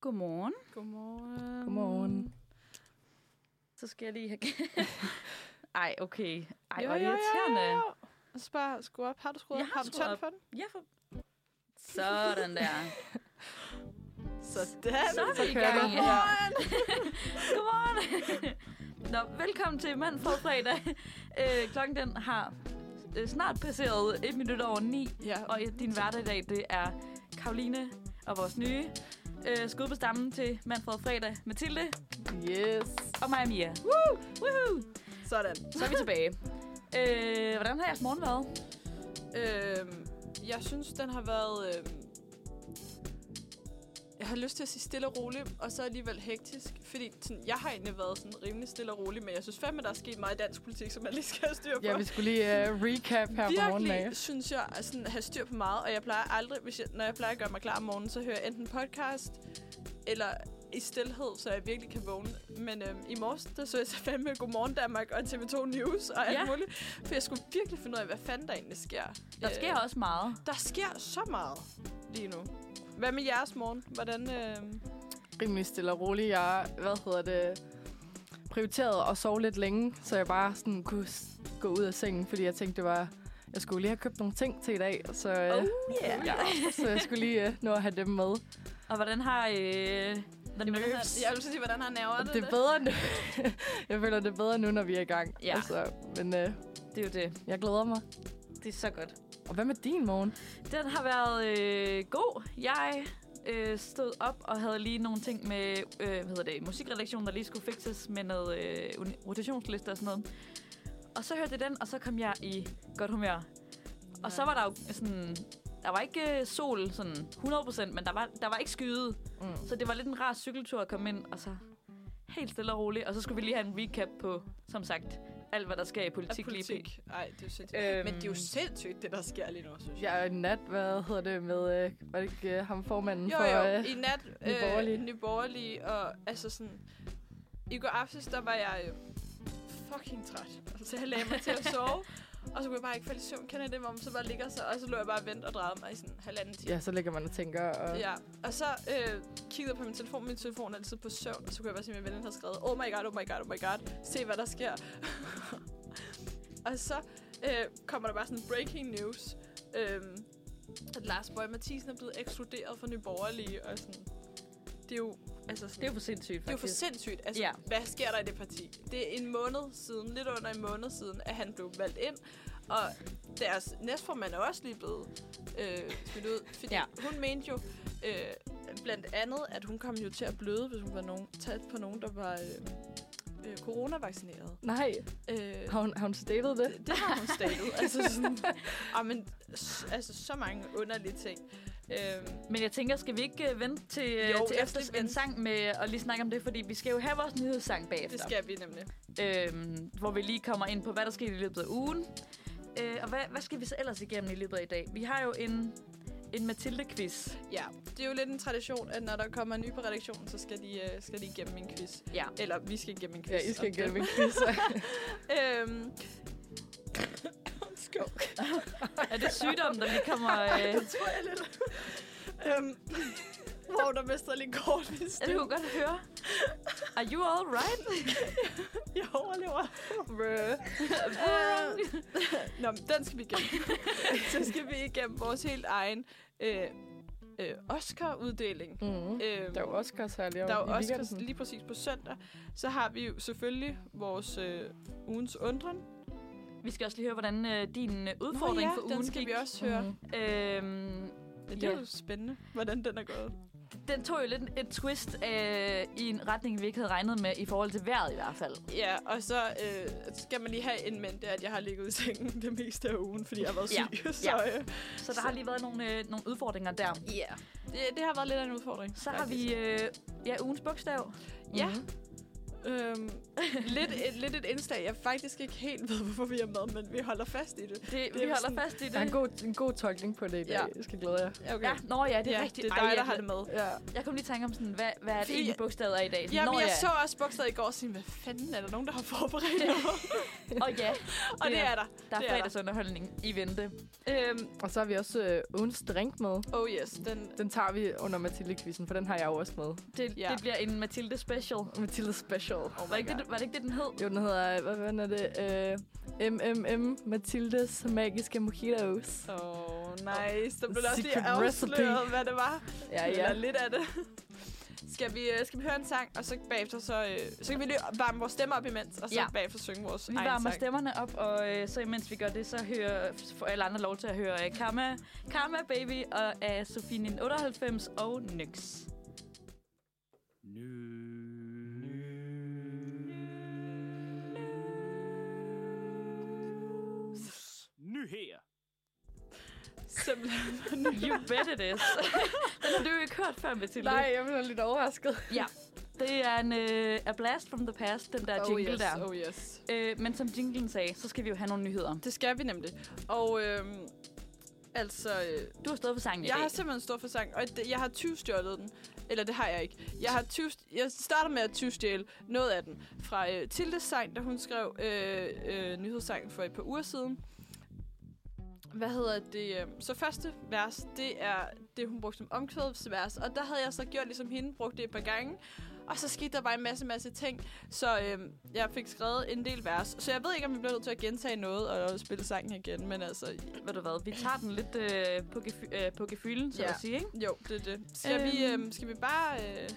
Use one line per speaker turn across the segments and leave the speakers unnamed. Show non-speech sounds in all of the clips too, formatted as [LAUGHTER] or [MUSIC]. Godmorgen.
Godmorgen.
Godmorgen.
Så skal jeg lige have... [LAUGHS] Ej, okay. Ej,
Jo,
hvor
jo, jo,
irriterende.
jo, jo. Og så bare skru op. Har du skruet
Jeg
op?
har
Har du
skruet
tændt
op.
for den?
Ja, for... Sådan der.
Sådan.
Så er vi i
kører
gang.
den.
Godmorgen! Godmorgen! [LAUGHS] Nå, velkommen til Mand for fredag. Øh, klokken den har øh, snart passeret et minut over ni.
Ja.
Og i din hverdag i dag, det er Karoline og vores nye øh, skud på stammen til Manfred Fredag, Mathilde
Yes.
og mig og Mia. Woo! Woohoo!
Sådan.
Så er vi tilbage. Øh, hvordan har jeres morgen været?
Øhm, jeg synes, den har været... Øhm, jeg har lyst til at sige stille og rolig, og så alligevel hektisk. Fordi sådan, jeg har egentlig været sådan rimelig stille og rolig, men jeg synes fandme, der er sket meget i dansk politik, som man lige skal have styr på.
Ja, vi skulle lige uh, recap her på morgenen af.
Virkelig synes jeg at sådan, have styr på meget, og jeg plejer aldrig, hvis jeg, når jeg plejer at gøre mig klar om morgenen, så hører jeg enten podcast eller i stilhed, så jeg virkelig kan vågne. Men øhm, i morges, der så jeg så fandme Godmorgen Danmark og TV2 News og alt
Ja.
ja. muligt. For jeg skulle virkelig finde ud af, hvad fanden der egentlig sker.
Der
Øh,
sker også meget.
Der sker så meget lige nu. Hvad med jeres morgen? Hvordan... Øh...
Rimelig stille og rolig. Jeg, hvad hedder det, prioriteret at sove lidt længe, så jeg bare sådan kunne s- gå ud af sengen, fordi jeg tænkte, det var... Jeg skulle lige have købt nogle ting til i dag, så, øh,
Oh, yeah.
ja, så jeg skulle lige øh, nå at have dem med.
Og hvordan har... Øh, den nerves?
Jeg vil så sige, hvordan har nerverne
Det er bedre nu. [LAUGHS] jeg føler, det er bedre nu, når vi er i gang.
Ja.
Altså, men øh,
Det er jo det.
jeg glæder mig.
Det er så godt.
Og hvad med din morgen?
Den har været øh, god. Jeg øh, stod op og havde lige nogle ting med øh, hvad hedder det, musikredaktionen, der lige skulle fikses med noget øh, uni- rotationslister og sådan noget. Og så hørte jeg den, og så kom jeg i godt humør. Og så var der jo sådan... Der var ikke øh, sol sådan 100%, men der var, der var ikke skyde.
Mm.
Så det var lidt en rar cykeltur at komme ind, og så helt stille og roligt. Og så skulle vi lige have en recap på, som sagt, alt hvad der sker i politik, lige p-
politik. Ej, det er jo sindssygt.
Øhm.
Øhm... Men det er jo sindssygt, det der sker lige nu, synes jeg.
Jeg er i nat, hvad hedder det, med, øh, var det ikke øh, ham formanden
Jo,
for...
jo,
øh,
i
[LAUGHS]
nat,
Nye Borgerlige.
øh, Nye Borgerlige, og altså sådan, i går aftes, der var jeg jo fucking træt, så jeg lagde mig til
[LAUGHS]
at sove, og så kunne jeg bare ikke falde i søvn, kender I det, hvor man så bare ligger sig, og så lå jeg bare og ventede og drejede mig i sådan halvanden time.
Ja, så ligger man og tænker, og ja.
Ja, og så øh, kiggede jeg på min telefon. Min telefon er altid på søvn, og så kunne jeg bare se, at min veninde havde skrevet, oh my god, oh my god, oh my god, se hvad der sker. [LAUGHS] og så øh, kommer der bare sådan breaking news, øh, at Lars Bøge Mathisen er blevet ekskluderet fra Nye Borgerlige, og sådan, det er jo, altså sådan,
Det er jo for sindssygt, faktisk.
det er jo for sindssygt. Altså,
Ja.
ja. hvad sker der i det parti? Det er en måned siden, lidt under en måned siden, at han blev valgt ind. Og deres næstformand er også lige blevet øh, smidt ud. Fordi
Ja.
ja. hun mente jo øh, blandt andet, at hun kom jo til at bløde, hvis hun var nogen, tæt på nogen, der var øh, øh, coronavaccineret.
Nej,
Øh,
har hun, har hun stated det?
det, det har hun statet. altså, sådan, og men, s- altså, så mange underlige ting. Øh,
Men jeg tænker, skal vi ikke øh, vente til, øh,
Jo,
til
lad os
efter
lige
en
vente.
sang med og lige snakke om det, fordi vi skal jo have vores nyhedssang bagefter.
det skal vi nemlig.
Øhm, hvor vi lige kommer ind på, hvad der skete i løbet af ugen. Øh, og hvad, hvad skal vi så ellers igennem i løbet af i dag? Vi har jo en, en Mathilde-quiz.
Ja, det er jo lidt en tradition, at når der kommer en ny på redaktionen, så skal de, øh, skal de igennem en quiz.
Ja.
Eller vi skal igennem en quiz.
Ja, I skal
om
igennem
det.
en quiz.
[LAUGHS] Øhm. Skål.
Er det sygdommen, der lige kommer... Øh,
[LAUGHS] Det tror jeg lidt. øhm. Wow, der mistede jeg lige kort min
ja, det
stemme.
kunne jeg godt høre. Are you all right?
Jeg overlever. Øh. Nå, men den skal vi igennem.
[LAUGHS]
så skal vi igennem vores helt egen øh, øh, Oscar-uddeling.
mm.
Øhm.
Der er jo Oscars her lige,
Der er
om-
jo
i
også
weekenden.
lige præcis på søndag, så har vi jo selvfølgelig vores øh, ugens undren.
Vi skal også lige høre, hvordan øh, din øh, udfordring for ugen
den skal
gik.
vi også høre. Mm.
Mhm.
Øhm,
Ja, det er
Ja.
jo spændende, hvordan den er gået.
den tog jo lidt en- et twist øh, i en retning, vi ikke havde regnet med, i forhold til vejret i hvert fald.
Ja, og så øh, skal man lige have en mænd, at jeg har ligget i sengen det meste af ugen, fordi jeg har været
Ja.
syg. [LAUGHS] så, øh,
Så der har lige været nogle, øh, nogle udfordringer der.
yeah. det, det har været lidt af en udfordring.
Mm-hmm.
Så har vi øh, ja, ugens bogstav.
Ja, Øhm, lidt, et, lidt et indslag. Jeg faktisk ikke helt ved, hvorfor vi er med, men vi holder fast i det.
Det, det vi holder
sådan-
fast i det.
Der er en god, en god tolkning på det i dag.
Ja.
Jeg skal glæde jer.
Okay.
Ja, nå ja, det er
ja,
rigtigt.
Det er
Ej,
dig, der
jeg-
har det med.
Ja.
Jeg kom lige i tanke om, sådan, hvad, hvad er det
Fordi-
egentlig bogstavet er i dag? Sådan,
Jamen,
nå,
jeg
ja.
så også bogstavet i går og sådan, hvad fanden er der nogen, der har [LAUGHS] forberedt noget?
Og ja,
og det
er-
er der.
der er
det er der.
fredagsunderholdning i vente.
Øhm,
Og så har vi også øh, ugens drink med.
oh yes, den,
Den tager vi under Mathilde-quizzen, for den har jeg jo også med.
Det,
Ja.
ja. det bliver en Mathilde special.
Mathilde Special.
Oh.
var, ikke det, var det ikke det, den hed?
Jo, den hedder, hvad fanden er det? Øh, MMM Mathildes Magiske Mojitos.
Oh, nice. Der blev også lige
Secret recipe.
afsløret, hvad det var.
Ja,
Eller
ja.
lidt af det. [LAUGHS] Skal vi, øh, skal vi høre en sang, og så bagefter så, øh, så kan vi lige varme vores stemmer op imens, og så ja.
Ja.
bagefter synge vores
Vi
egen
varmer
sang.
stemmerne op, og øh, så imens vi gør det, så hører, får alle andre lov til at høre øh, Karma, Karma Baby og af Sofie 98 og Nyx.
Nyheder.
Simpelthen.
You bet it is. [LAUGHS] den har du jo ikke hørt før, Mathilde.
Nej, jeg blev lidt overrasket.
Det er en øh, A Blast from the Past, den der jingle
yes,
der.
Oh yes.
Øh, men som jinglen sagde, så skal vi jo have nogle nyheder.
Det skal vi nemlig. Og øhm, altså, øh,
Du har stået for sangen i
jeg
dag.
har simpelthen stor for sang, og det, jeg har 20 stjålet den. Eller det har jeg ikke. Jeg har 20, jeg starter med at 20 stjæle noget af den fra øh, Tildes sang, da hun skrev øh, øh, nyhedssangen for et par uger siden. Hvad hedder det? øh, Så første vers, det er det, hun brugte som omkvædelsvers. Og der havde jeg så gjort ligesom hende, brugt det et par gange. Og så skete der bare en masse, masse ting. Så øh, jeg fik skrevet en del vers. Så jeg ved ikke, om vi bliver nødt til at gentage noget og spille sangen igen. Men altså,
Ved du hvad, vi tager den lidt øh, på, gef- øh, på gefylen, så
Ja.
at sige, ikke?
jo, det er det. Skal, øhm.
Øhm.
vi, øh, skal vi bare... Øh,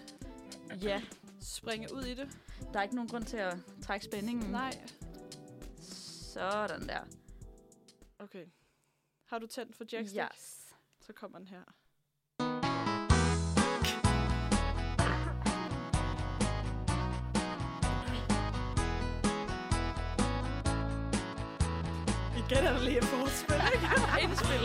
Ja,
springe ud i det.
der er ikke nogen grund til at trække spændingen.
Nej.
Sådan der.
Okay. Har du tændt for Jackstick?
Yes.
Så kommer den her. Igen er der lige et forspil, [LAUGHS]
Indspil.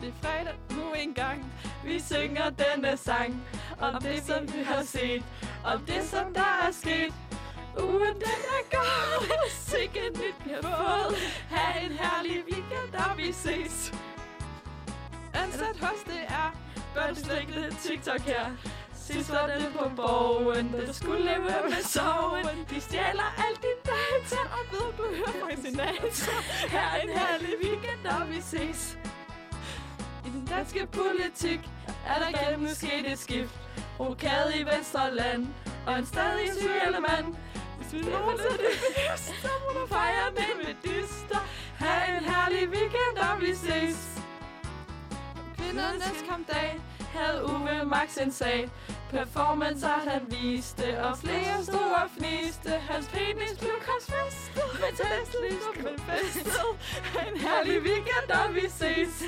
Det er fredag nu engang. Vi synger denne sang. Om det, som vi har set. Om det, som der er sket. Ugen den er gået. Sikke nyt vi har fået. Ha' en herlig weekend, og vi ses. Ansat hos det er. Børnslægte TikTok her. Sidster den på borgen, den skulle leve med soven. De stjæler alt din data, og ved du hører fra sin data. Her er en herlig weekend, og vi ses. I den danske politik er der gennem sket et skift. Rokade i Vesterland og en stadig syg mand. Hvis vi låser det bedst, så må du fejre den med dyster. Ha' en herlig weekend, og vi ses. Kvindernes kom dag havde Uwe Max en sag. Performancer han viste, og flere stod og fniste. Hans penis blev korsfæstet, men Teslis blev [LAUGHS] festet. En herlig weekend, og vi ses.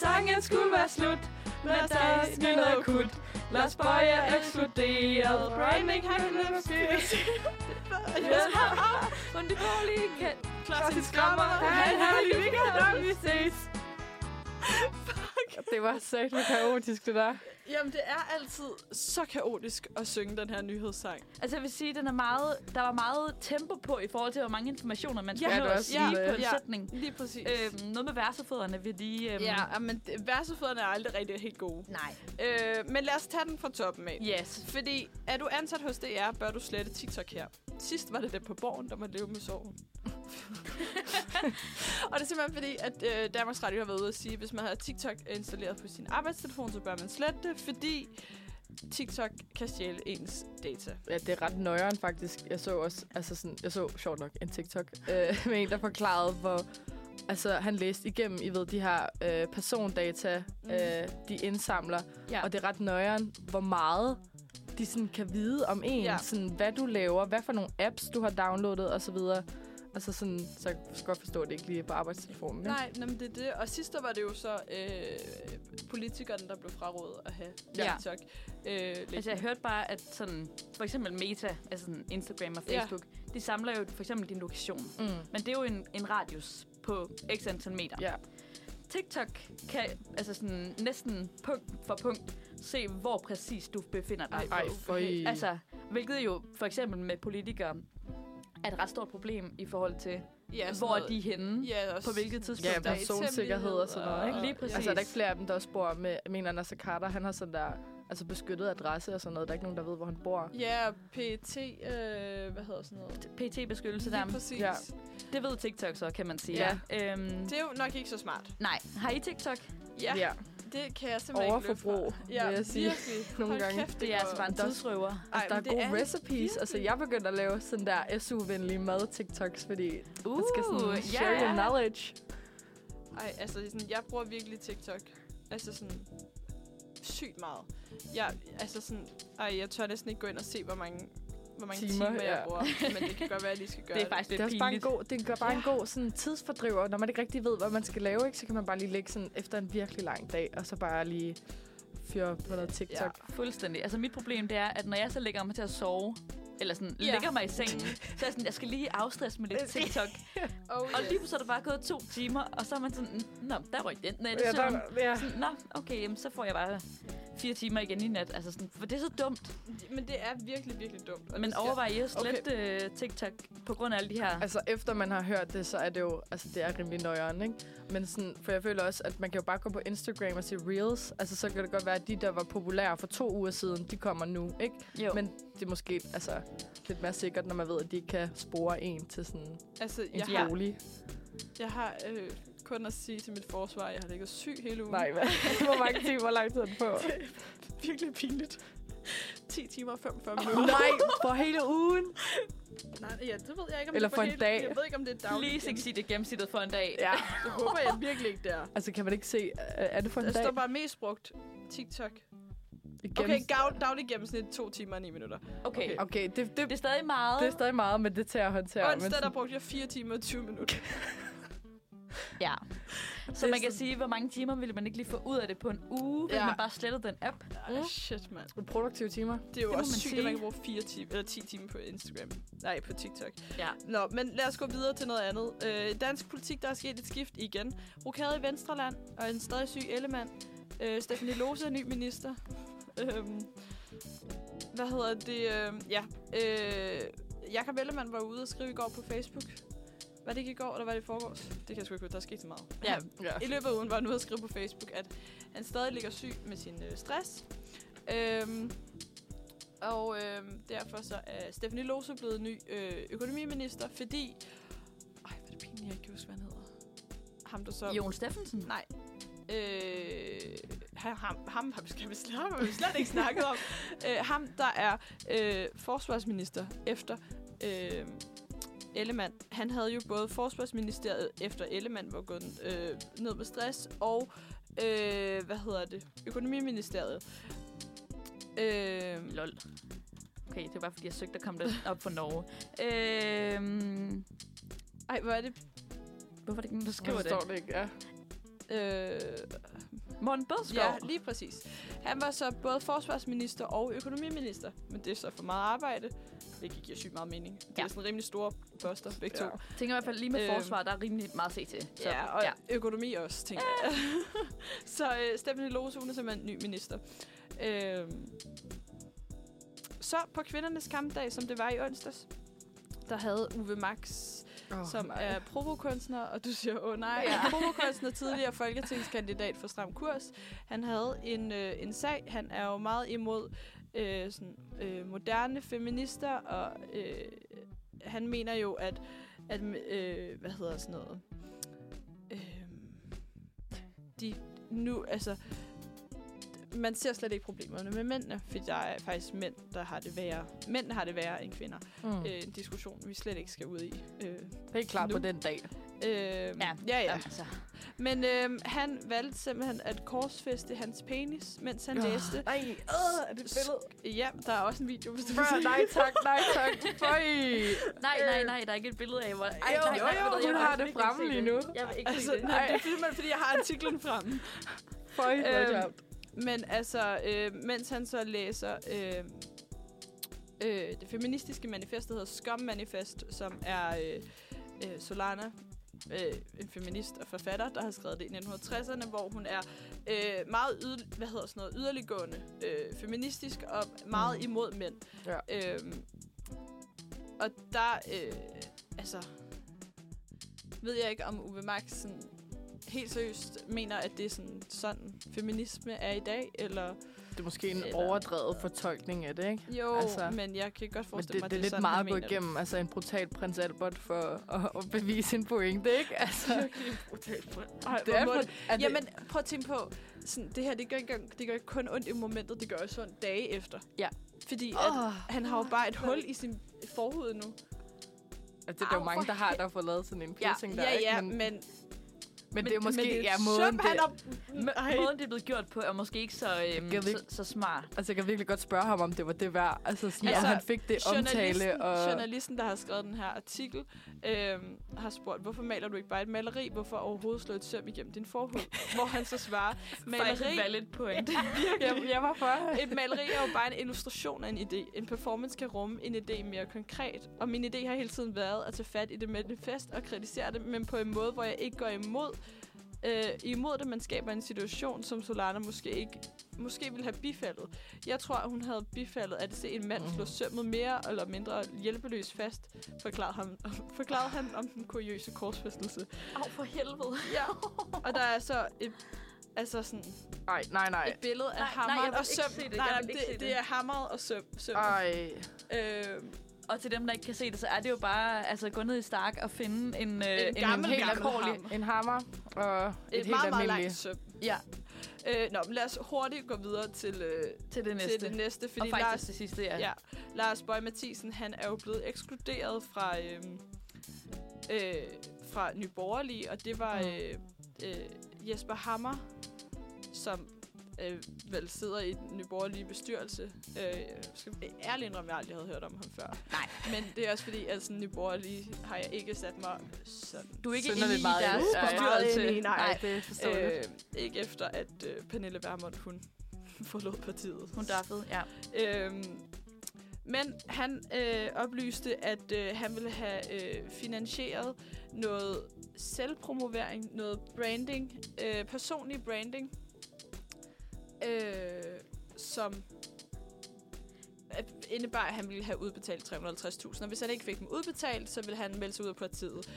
Sangen skulle være slut, men der er ikke noget kut. Lars Bøje er eksploderet, Brightning han blev spidt.
Yes. Und die Pauli kendt.
Klassisk skrammer, han er herlig weekend, og vi ses.
Det var sagt kaotisk, det der.
Jamen, det er altid så kaotisk at synge den her nyhedssang.
Altså jeg vil sige, den er meget, der var meget tempo på i forhold til, hvor mange informationer man skulle
Ja,
ja, nå
det er
at
også øh,
sige
lidt,
på en
ja.
sætning.
Lige præcis. Øhm,
Øhm, noget med værsefødderne vil de... Øhm,
ja, men værsefødderne er aldrig rigtig helt gode.
Nej.
Øh, men lad os tage den fra toppen af.
Yes.
Fordi er du ansat hos DR, bør du slette TikTok her. Sidst var det det på borgen, der må leve med [LAUGHS] sorgen. og det er simpelthen fordi, at øh, Danmarks Radio har været ude at sige, at hvis man har TikTok installeret på sin arbejdstelefon, så bør man slette det, fordi TikTok kan stjæle ens data.
Ja, det er ret nøjeren faktisk. Jeg så også, altså sådan, jeg så sjovt nok en TikTok øh, [LAUGHS] med en, der forklarede, hvor altså, han læste igennem, I ved, de her øh, persondata,
Mm.
øh, de indsamler.
Ja.
Og det er ret nøjeren, hvor meget de sådan kan vide om en.
Ja.
Ja. Sådan, hvad du laver, hvad for nogle apps, du har downloadet osv. Altså sådan, så jeg kan godt forstå, at det ikke lige er på arbejdstelefonen. ikke?
Nej, nej men det er det. Og sidst der var det jo så øh, politikerne, der blev frarådet at have
Ja.
TikTok. Øh,
Altså jeg hørte bare, at sådan, for eksempel Meta, altså sådan Instagram og
Ja.
Facebook, ja. de samler jo for eksempel din lokation.
Mm.
Men det er jo en, en radius på x antal meter.
Ja.
TikTok kan altså sådan, næsten punkt for punkt se, hvor præcis du befinder dig.
Ej, for i...
Altså, hvilket jo for eksempel med politikere er et ret stort problem i forhold til,
Ja,
hvor er de henne,
Ja, også
på hvilket tidspunkt.
Ja,
der er-
personsikkerhed og sådan noget,
ikke? Lige præcis.
altså, er der ikke flere af dem, der også bor med... Jeg mener, Nasser Carter, han har sådan der altså beskyttet adresse og sådan noget. Der er ikke nogen, der ved, hvor han bor.
Ja, PT, øh, hvad hedder sådan noget?
PT-beskyttelse der.
Lige præcis.
Ja.
Ja.
Det ved TikTok så, kan man sige.
Ja.
Øhm,
Det er jo nok ikke så smart.
nej, har I TikTok?
Ja, ja. det kan jeg simpelthen ikke
Overforbrug,
løbe fra.
ja, vil jeg sige.
virkelig.
[LAUGHS] Nogle
Hold
gange.
Kæft,
Det er altså
går-
bare en
Der er-
tidsrøver.
Altså,
men
der er
det
gode
er det
recipes. Altså,
virkelig.
jeg begyndte at lave sådan der SU-venlige mad-TikToks, fordi uh, man skal sådan
ja.
share your knowledge.
Ej, altså, det er sådan, jeg bruger virkelig TikTok. Altså sådan, sygt meget. Jeg, altså sådan, ej, jeg tør næsten ikke gå ind og se, hvor mange, hvor mange
Timer,
timer, timer jeg
ja.
bruger. Men det kan godt være, at jeg lige
[LAUGHS]
skal gøre
Det er faktisk
Det
lidt
er også bare en
pinligt.
god, det gør bare en god sådan, tidsfordriver. Når man ikke rigtig ved, hvad man skal lave, ikke, så kan man bare lige ligge sådan, efter en virkelig lang dag, og så bare lige fyre på noget TikTok.
Fuldstændig. Altså mit problem det er, at når jeg så lægger mig til at sove, eller sådan,
Ja.
yeah. ligger mig i sengen, så er jeg sådan, jeg skal lige afstresse med lidt TikTok.
Oh,
Og lige pludselig er der bare gået to timer, og så er man sådan, nå, der røg den. Nej, det
ja,
er sådan,
der, ja.
nå, okay, jamen, så får jeg bare fire timer igen i nat. Altså sådan, for det er så dumt.
Men det er virkelig, virkelig dumt. og
Men
det skal-
overvej, jeg slet okay. TikTok på grund af alle de her...
Altså, efter man har hørt det, så er det jo, altså, det er rimelig nøjeren, ikke? Men sådan, for jeg føler også, at man kan jo bare gå på Instagram og se Reels. Altså, så kan det godt være, at de, der var populære for to uger siden, de kommer nu, ikke?
Jo.
Men det er måske altså, lidt mere sikkert, når man ved, at de ikke kan spore en til sådan
Altså,
en
jeg har,
bolig.
jeg har øh, kun at sige til mit forsvar, at jeg har ligget syg hele ugen.
Nej, hvad? [LAUGHS] Hvor mange timer lang tid er den på?
[LAUGHS] virkelig pinligt. [LAUGHS] 10 timer og 45 minutter.
Nej, for hele ugen.
[LAUGHS] Nej, ja, det ved jeg ikke, om
Eller
det er
for en
hele-
dag.
Jeg ved ikke, om det er dagligt.
Please ikke sige det gennemsnittet for en dag.
Ja.
Jeg håber jeg virkelig ikke, [LAUGHS] der.
Altså, kan man ikke se, øh, er det for en
Der
dag?
står bare mest brugt TikTok.
Gennem-
Okay, gav, daglig gennemsnit 2 timer og 9 minutter.
Okay. okay.
okay det, det,
Det er stadig meget.
det, er stadig meget, men det er til at håndtere.
Ja,
men
Onsdag, der
sådan-
brugte jeg 4 timer og 20 minutter.
Ja. Så
er
man kan
sådan-
sige, hvor mange timer ville man ikke lige få ud af det på en uge, hvis
Ja.
man bare slettede den app.
Ej, Ah, shit, mand.
Produktive timer.
Det er
Det
jo
må
det også
man
sygt, at man
sige.
kan bruge 4 timer, eller 10 timer på Instagram. Nej, på TikTok.
Ja.
Nå, men lad os gå videre til noget andet. Øh, i dansk politik, der er sket et skift igen. Rokade i Venstreland og en stadig syg Ellemann. Øh, Stephanie Lose er ny minister. Øhm, hvad hedder det? Øhm, ja. Øh, Jakob Ellemann var ude og skrive i går på Facebook. Var det ikke i går, eller var det i forgårs? Det kan jeg sgu ikke huske, der er sket så meget.
Ja.
Ja.
I løbet af ugen var han ude og skrive på Facebook, at han stadig ligger syg med sin øh, stress. Øhm, og øhm, derfor så er Stephanie Lose blevet ny øh, økonomiminister, fordi... Ej, hvor er det pinligt, jeg ikke kan huske, hvad han hedder. Ham, der så...
Jon Steffensen?
Nej. Øh, ham, ham, ham, ham skal vi slet, [LAUGHS] ham har vi slet ikke snakket om. Øh, ham, der er øh, forsvarsminister efter øh, Ellemann. Han havde jo både forsvarsministeriet efter Ellemann var gået øh, ned med stress, og øh, hvad hedder det? Økonomiministeriet. Øh,
Lol. Okay, det var bare fordi, jeg søgte at komme det op for Norge. Øhm,
ej, hvor er det?
hvorfor er det ikke nogen, der
Jeg
skriver det?
forstår det ikke, ja.
Øh,
Morten Bødskov?
Ja, lige præcis. Han var så både forsvarsminister og økonomiminister, men det er så for meget arbejde, hvilket giver sygt meget mening. Det ja.
Ja.
er sådan rimelig store poster, begge
Ja.
to.
Jeg tænker i hvert fald lige med
Øhm.
forsvar, der er rimelig meget at se til. Så,
Ja, og ja. økonomi også, tænker jeg. [LAUGHS] så øh, Stephanie Lose, hun er simpelthen ny minister. Øh, så på kvindernes kampdag, som det var i onsdags, der havde Uwe Max
Oh,
som nej. er provokunstner, og du siger, åh oh, nej,
Ja.
ja. [LAUGHS] provokunstner, tidligere folketingskandidat for Stram Kurs. Han havde en, øh, en sag, han er jo meget imod øh, sådan, øh, moderne feminister, og øh, han mener jo, at, at øh, hvad hedder sådan noget, øh, de nu, altså, man ser slet ikke problemerne med mændene, fordi der er faktisk mænd, der har det værre. Mænd har det værre end kvinder.
Mm.
Mm. Øh, en diskussion, vi slet ikke skal ud i. Øh,
Helt klart på
nu.
den dag.
Øh, ja, ja, ja.
Altså,
Men øh, han valgte simpelthen at korsfeste hans penis, mens han læste.
Nej, øh, er det
et [LAUGHS] billede? Ja, der er også en video, hvis du vil
Bro,
se.
nej tak, nej tak. Føj. [LAUGHS]
nej, nej, nej, der er ikke et billede af, hvor... Ej,
Jo,
nej,
jo,
nej,
jo,
ved du, jeg
hun
vil
har
altså
det
virkelig ikke
fremme
se
lige
det.
nu.
Jeg vil ikke altså,
Altså,
se det.
nej, det er simpelthen, fordi jeg har artiklen fremme.
Føj, hvor
Øhm,
dumt.
Men altså, øh, mens han så læser øh, øh, det feministiske manifest, der hedder Skum Manifest, som er øh, øh, Solana øh, en feminist og forfatter, der har skrevet det i 1960'erne, hvor hun er øh, meget yd, hvad hedder sådan noget, yderliggående øh, feministisk og meget
Mhm.
imod mænd.
Ja.
Øhm, og der, øh, altså, ved jeg ikke, om Uwe Max sådan, helt seriøst mener, at det er sådan, sådan feminisme er i dag, eller
Det er måske en
Eller-
overdrevet fortolkning af det, ikke?
jo, altså,
Altså,
men jeg kan godt
Men det,
forestille mig,
det, er
at det er
lidt
sådan,
meget
han
at gå
mener det.
igennem. Altså en brutal prins Albert for at, at bevise en pointe, ikke?
[LAUGHS]
Altså,
Ej,
det er for, at det,
Jamen, prøv at tænke på, sådan, det her, det gør, ikke, engang- det gør ikke kun ondt i momentet, det gør også ondt dage efter.
Ja.
Fordi at
Åh,
han har jo bare et hul i sin forhud nu.
altså, det er jo
au,
mange,
for
der har, der har fået lavet sådan en piercing
ja,
der,
ja,
ikke?
ja,
men,
men, men,
men, det er måske
men det
ja,
et
måden,
søm,
det,
han har...
Ej. Måden, det er blevet gjort på, er måske ikke så, øhm,
Jeg ved
så, så smart.
Altså, jeg kan virkelig godt spørge ham, om det var det værd. Altså, sådan,
Altså,
altså, han fik det omtale, og
journalisten, der har skrevet den her artikel, øh, har spurgt, hvorfor maler du ikke bare et maleri? Hvorfor overhovedet slå et søm igennem din forhud? Hvor han så svarer,
Faktisk et
maleri,
valid point. [LAUGHS]
jeg, jeg var for.
et maleri er jo bare en illustration af en idé. En performance kan rumme en idé mere konkret. Og min idé har hele tiden været at tage fat i det manifest og kritisere det, men på en måde, hvor jeg ikke går imod, øh, imod det, man skaber en situation, som Solana måske ikke måske ville have bifaldet. Jeg tror, at hun havde bifaldet at se en mand slå
Mhm.
sømmet mere eller mindre hjælpeløst fast, forklarede, ham, forklarede han om den kuriøse korsfæstelse.
Au, for helvede.
Ja. Og der er så et, altså sådan,
Nej, nej, nej.
et billede af
Nej, nej,
hammeren
jeg vil
og
ikke
søm.
se det.
Nej,
Jeg
nej,
vil
det,
ikke se
det.
det.
er hammeret og søm. søm.
Ej.
Øh,
Og til dem, der ikke kan se det, så er det jo bare altså, gå ned i Stark og finde en, øh,
En gammel,
helt
gammel
alvorlig-
hammer.
En hammer og et,
et
helt
meget, meget langt
almindeligt.
søm.
Ja,
Øh, nå, men lad os hurtigt gå videre til, øh,
til det næste.
til det næste,
og
fordi
faktisk
Lars,
det sidste, ja.
ja, Lars Bøge Mathisen, han er jo blevet ekskluderet fra, øh, øh, fra Nye Borgerlige, og det
Mm.
var øh, øh, Jesper Hammer, som øh, vel sidder i den Nye Borgerlige bestyrelse. Øh, jeg skal ærligt indrømme, jeg aldrig havde hørt om ham før.
Nej.
Men det er også fordi, at sådan, Nye Borgerlige har jeg ikke sat mig sådan
Du er ikke
Synderligt
inde i
meget
deres
inde i.
bestyrelse.
Meget inde i, nej.
det forstår jeg
Øh, ikke efter, at øh, Pernille Vermund, hun [LAUGHS] forlod partiet.
Hun daffede, ja.
Øhm, men han øh, oplyste, at øh, han ville have øh, finansieret noget selvpromovering, noget branding, øh, personlig branding, øh, som at- indebar, at han ville have udbetalt 350.000. Og hvis han ikke fik dem udbetalt, så ville han melde sig ud af partiet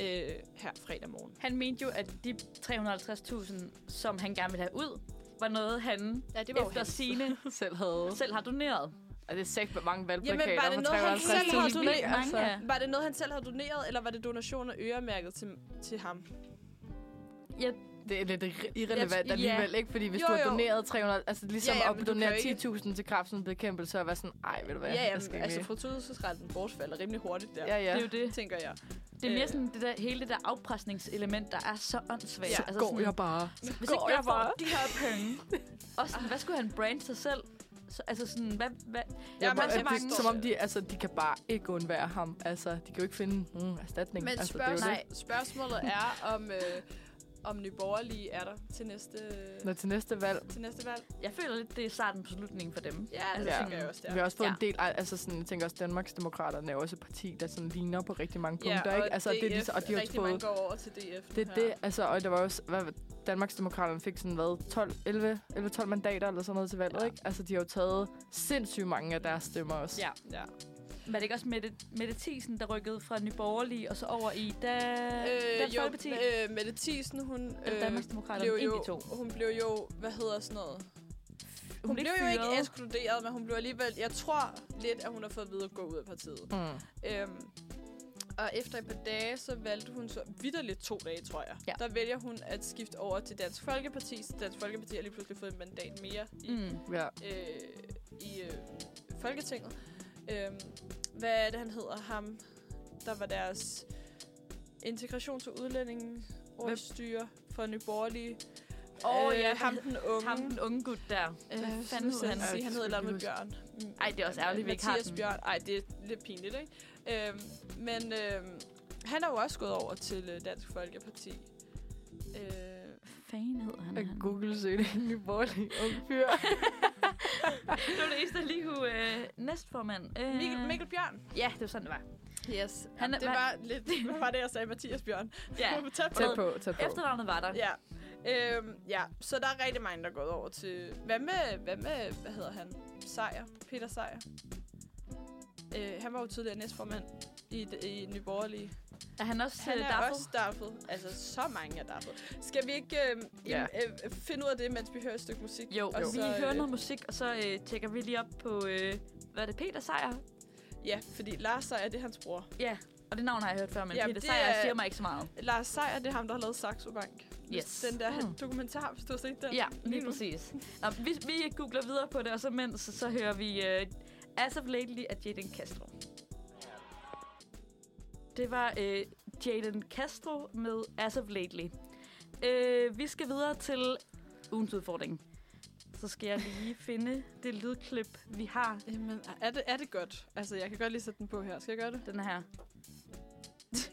øh, her fredag morgen.
Han mente jo, at de 350.000, som han gerne ville have ud, var noget, han
Ja, det
efter sine
Selv havde.
selv har doneret.
Og det er sæt med mange
Jamen, var
valgplakater
det
på
noget, han selv har
350.000 blik,
doneret?
altså.
Mange,
Var det noget, han selv havde doneret, eller var det donationer øremærket til, til ham?
ja.
Det er lidt irre- irrelevant
Ja.
alligevel, ikke? Fordi hvis
Jo,
du har
jo.
doneret 300... Altså ligesom
Ja, ja,
at
men du
donere
kan jo ikke-
10.000 til kræftens bekæmpelse og være sådan, ej, ved du hvad,
Ja,
der
ja,
skal
men,
ikke
altså
mere."
fortrydelsesretten bortfalder rimelig hurtigt der,
Ja,
ja.
Ja.
ja.
Det er jo det.
tænker jeg.
Det er
Øh.
mere sådan det der, hele det der afpresningselement, der er så åndssvagt.
Så
altså, sådan,
bare.
hvis
går
ikke jeg
jeg
får
bare.
de her penge. Og sådan, hvad skulle han brande sig selv? Så, altså sådan, hvad... hvad?
Ja,
Ja,
men
men,
så
det,
mange-
som om de, altså, de kan bare ikke undvære ham. Altså, de kan jo ikke finde nogen erstatning.
Men
altså,
spørg-
det er jo
nej, spørgsmålet er, om, øh, om Nye Borgerlige er der til næste,
det. Når til næste valg,
til næste valg.
Jeg føler lidt, det er starten på slutningen for dem.
Ja, det
Ja.
ja. tænker jeg også,
vi
der.
har også fået
Ja.
en del, ej, altså sådan, jeg tænker også, Danmarksdemokraterne er også et parti, der sådan ligner på rigtig mange punkter,
og
ikke? Altså,
DF,
det er ligesom, og de har
rigtig mange
fået,
går over til DF. nu
det er
her.
det, altså, og der var også, hvad, Danmarksdemokraterne fik sådan, hvad, 12, 11, 11, 12 mandater eller sådan noget til valget,
Ja.
ja. ikke? Altså, de har jo taget sindssygt mange af deres stemmer også.
Ja.
Ja.
Var det ikke også Mette, Mette Thiesen, der rykkede fra Nye Borgerlige og så over i da, øh,
Øh,
Dansk
jo,
Folkeparti?
øh, Mette Thiesen, hun, øh,
Eller Danmarksdemokraterne,
blev
en af
jo,
de to.
hun blev jo, hvad hedder sådan noget? Hun,
blev
hun blev
ikke
jo ikke
fyret.
ekskluderet, men hun blev alligevel, jeg tror lidt, at hun har fået at vide at gå ud af partiet.
Mm.
Øhm, og efter et par dage, så valgte hun så vidderligt to dage, tror jeg.
Ja.
Der vælger hun at skifte over til Dansk Folkeparti, så Dansk Folkeparti har lige pludselig fået en mandat mere i, mm.
Mm.
ja.
øh, i øh, Folketinget. Øhm, hvad er det, han hedder? Ham, der var deres integrations- og udlændinge ordstyre for Nye Borgerlige.
Åh,
Øh,
ja,
ham den unge.
Ham, den unge gut der.
Øh,
Hvad
hvad
fanden
fanden
hed
han?
han?
Sige, han hedder et eller andet med Bjørn.
Mm. Ej, det er også ærgerligt, vi ikke har
Mathias
den.
Bjørn. Ej, det er lidt pinligt, ikke? Øhm, men øhm, han er jo også gået over til øh, Dansk Folkeparti. Øh,
Fanden hed han?
Jeg
han?
google søgte en ny borgerlig ung fyr.
Det var det eneste, jeg lige kunne øh, næstformand. Øh,
Mikkel, Mikkel Bjørn.
Ja, det var sådan, det var.
Yes.
Han
Han,
er-
det
hvad-
var
[LAUGHS]
lidt... Hvad var det, jeg sagde? Mathias Bjørn.
Ja,
[LAUGHS] Tæt
[LAUGHS] Tæt på, tæt på.
efternavnet var der.
Ja. Øhm, ja, så der er rigtig mange, der er gået over til... Hvad med, hvad med, hvad hedder han? Sejer. Peter Sejer. Øh, han var jo tidligere næstformand i, d- i Nye Borgerlige.
Er han også
Han
øh,
er
Daffo?
også daffet. Altså, så mange er daffet. Skal vi ikke øh,
Ja.
ja. øh, finde ud af det, mens vi hører et stykke musik?
Jo,
og
vi
så,
hører
øh,
noget musik, og så øh, tjekker vi lige op på, øh, hvad er det, Peter Sejer?
Ja, fordi Lars Sejer, det er hans bror.
Ja, og det navn har jeg hørt før, men
Jamen,
Peter
det
Sejer
er-
siger mig ikke så meget.
Lars Sejer, det er ham, der har lavet Saxo Bank. Hvis
Yes.
Den der
Mm.
mm. dokumentar, hvis du har set den.
Ja, [LAUGHS]
nu.
lige præcis. Nå, vi, vi googler videre på det, og så mens, så hører vi øh, As of Lately af Jaden Castro. Det var øh, Jaden Castro med As of Lately. Øh, vi skal videre til ugens udfordring. Så skal jeg [LAUGHS] lige finde det lydklip, vi har.
Jamen, er det, er det godt? Altså, jeg kan godt lige sætte den på her. Skal jeg gøre det?
Den her.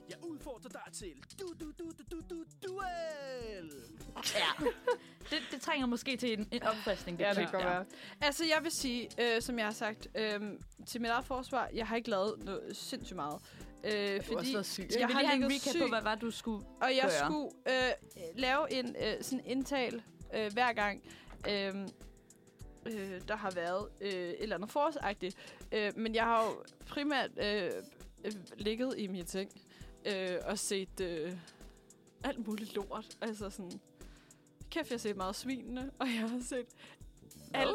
Jeg udfordrer dig til du du du du du du duel.
Ja. Det, det trænger måske til en, en opfriskning.
Ja, det
klip
kan godt
der.
være.
Altså, jeg vil sige, øh, som jeg har sagt, øh, til mit eget forsvar, jeg har ikke lavet noget sindssygt meget. Øh,
Du har også
fordi,
været syg.
Skal
Jeg
vi
har
lige have en
ligget
recap
syg.
på, hvad var du skulle...
og jeg
gøre?
skulle øh, lave en øh, sådan indtal øh, hver gang, øh, øh, der har været øh, et eller andet forårsagtigt. Øh, men jeg har jo primært øh, øh, ligget i mine ting øh, og set øh, alt muligt lort. Altså sådan, kæft, jeg har set meget svinene, og jeg har set... Alle,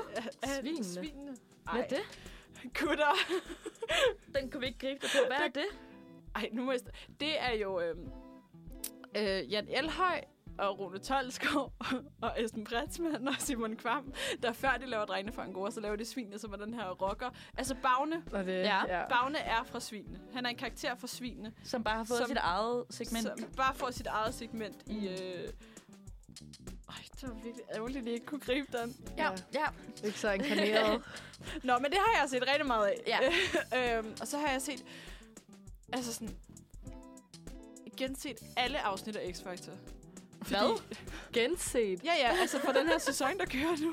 Svinene?
svinene?
Hvad er det?
Gutter!
Den kunne vi ikke gribe dig på. Hvad er det?
Ej, nu må jeg st- Det er jo øh, øh, Jan Elhøj og Rune Tolskov [LAUGHS] og Esben Bretsmann og Simon Kvam, der før de laver drengene fra Angora, så laver de svinene, som er den her rocker. Altså Bagne.
Og det,
Ja.
ja.
Bagne er fra svinene. Han er en karakter fra svinene,
Som bare har fået
Som-
sit eget segment.
som bare får sit eget segment i... Øh... Ej, det var virkelig ærgerligt, at de ikke kunne gribe den.
Ja, ja.
Ikke så inkarneret. [LAUGHS]
Nå, men det har jeg set rigtig meget af.
Ja.
[LAUGHS] øhm, og så har jeg set... Altså sådan... Genset alle afsnit af X-Factor.
Hvad?
Genset.
Ja, ja, altså for den her sæson, der kører nu.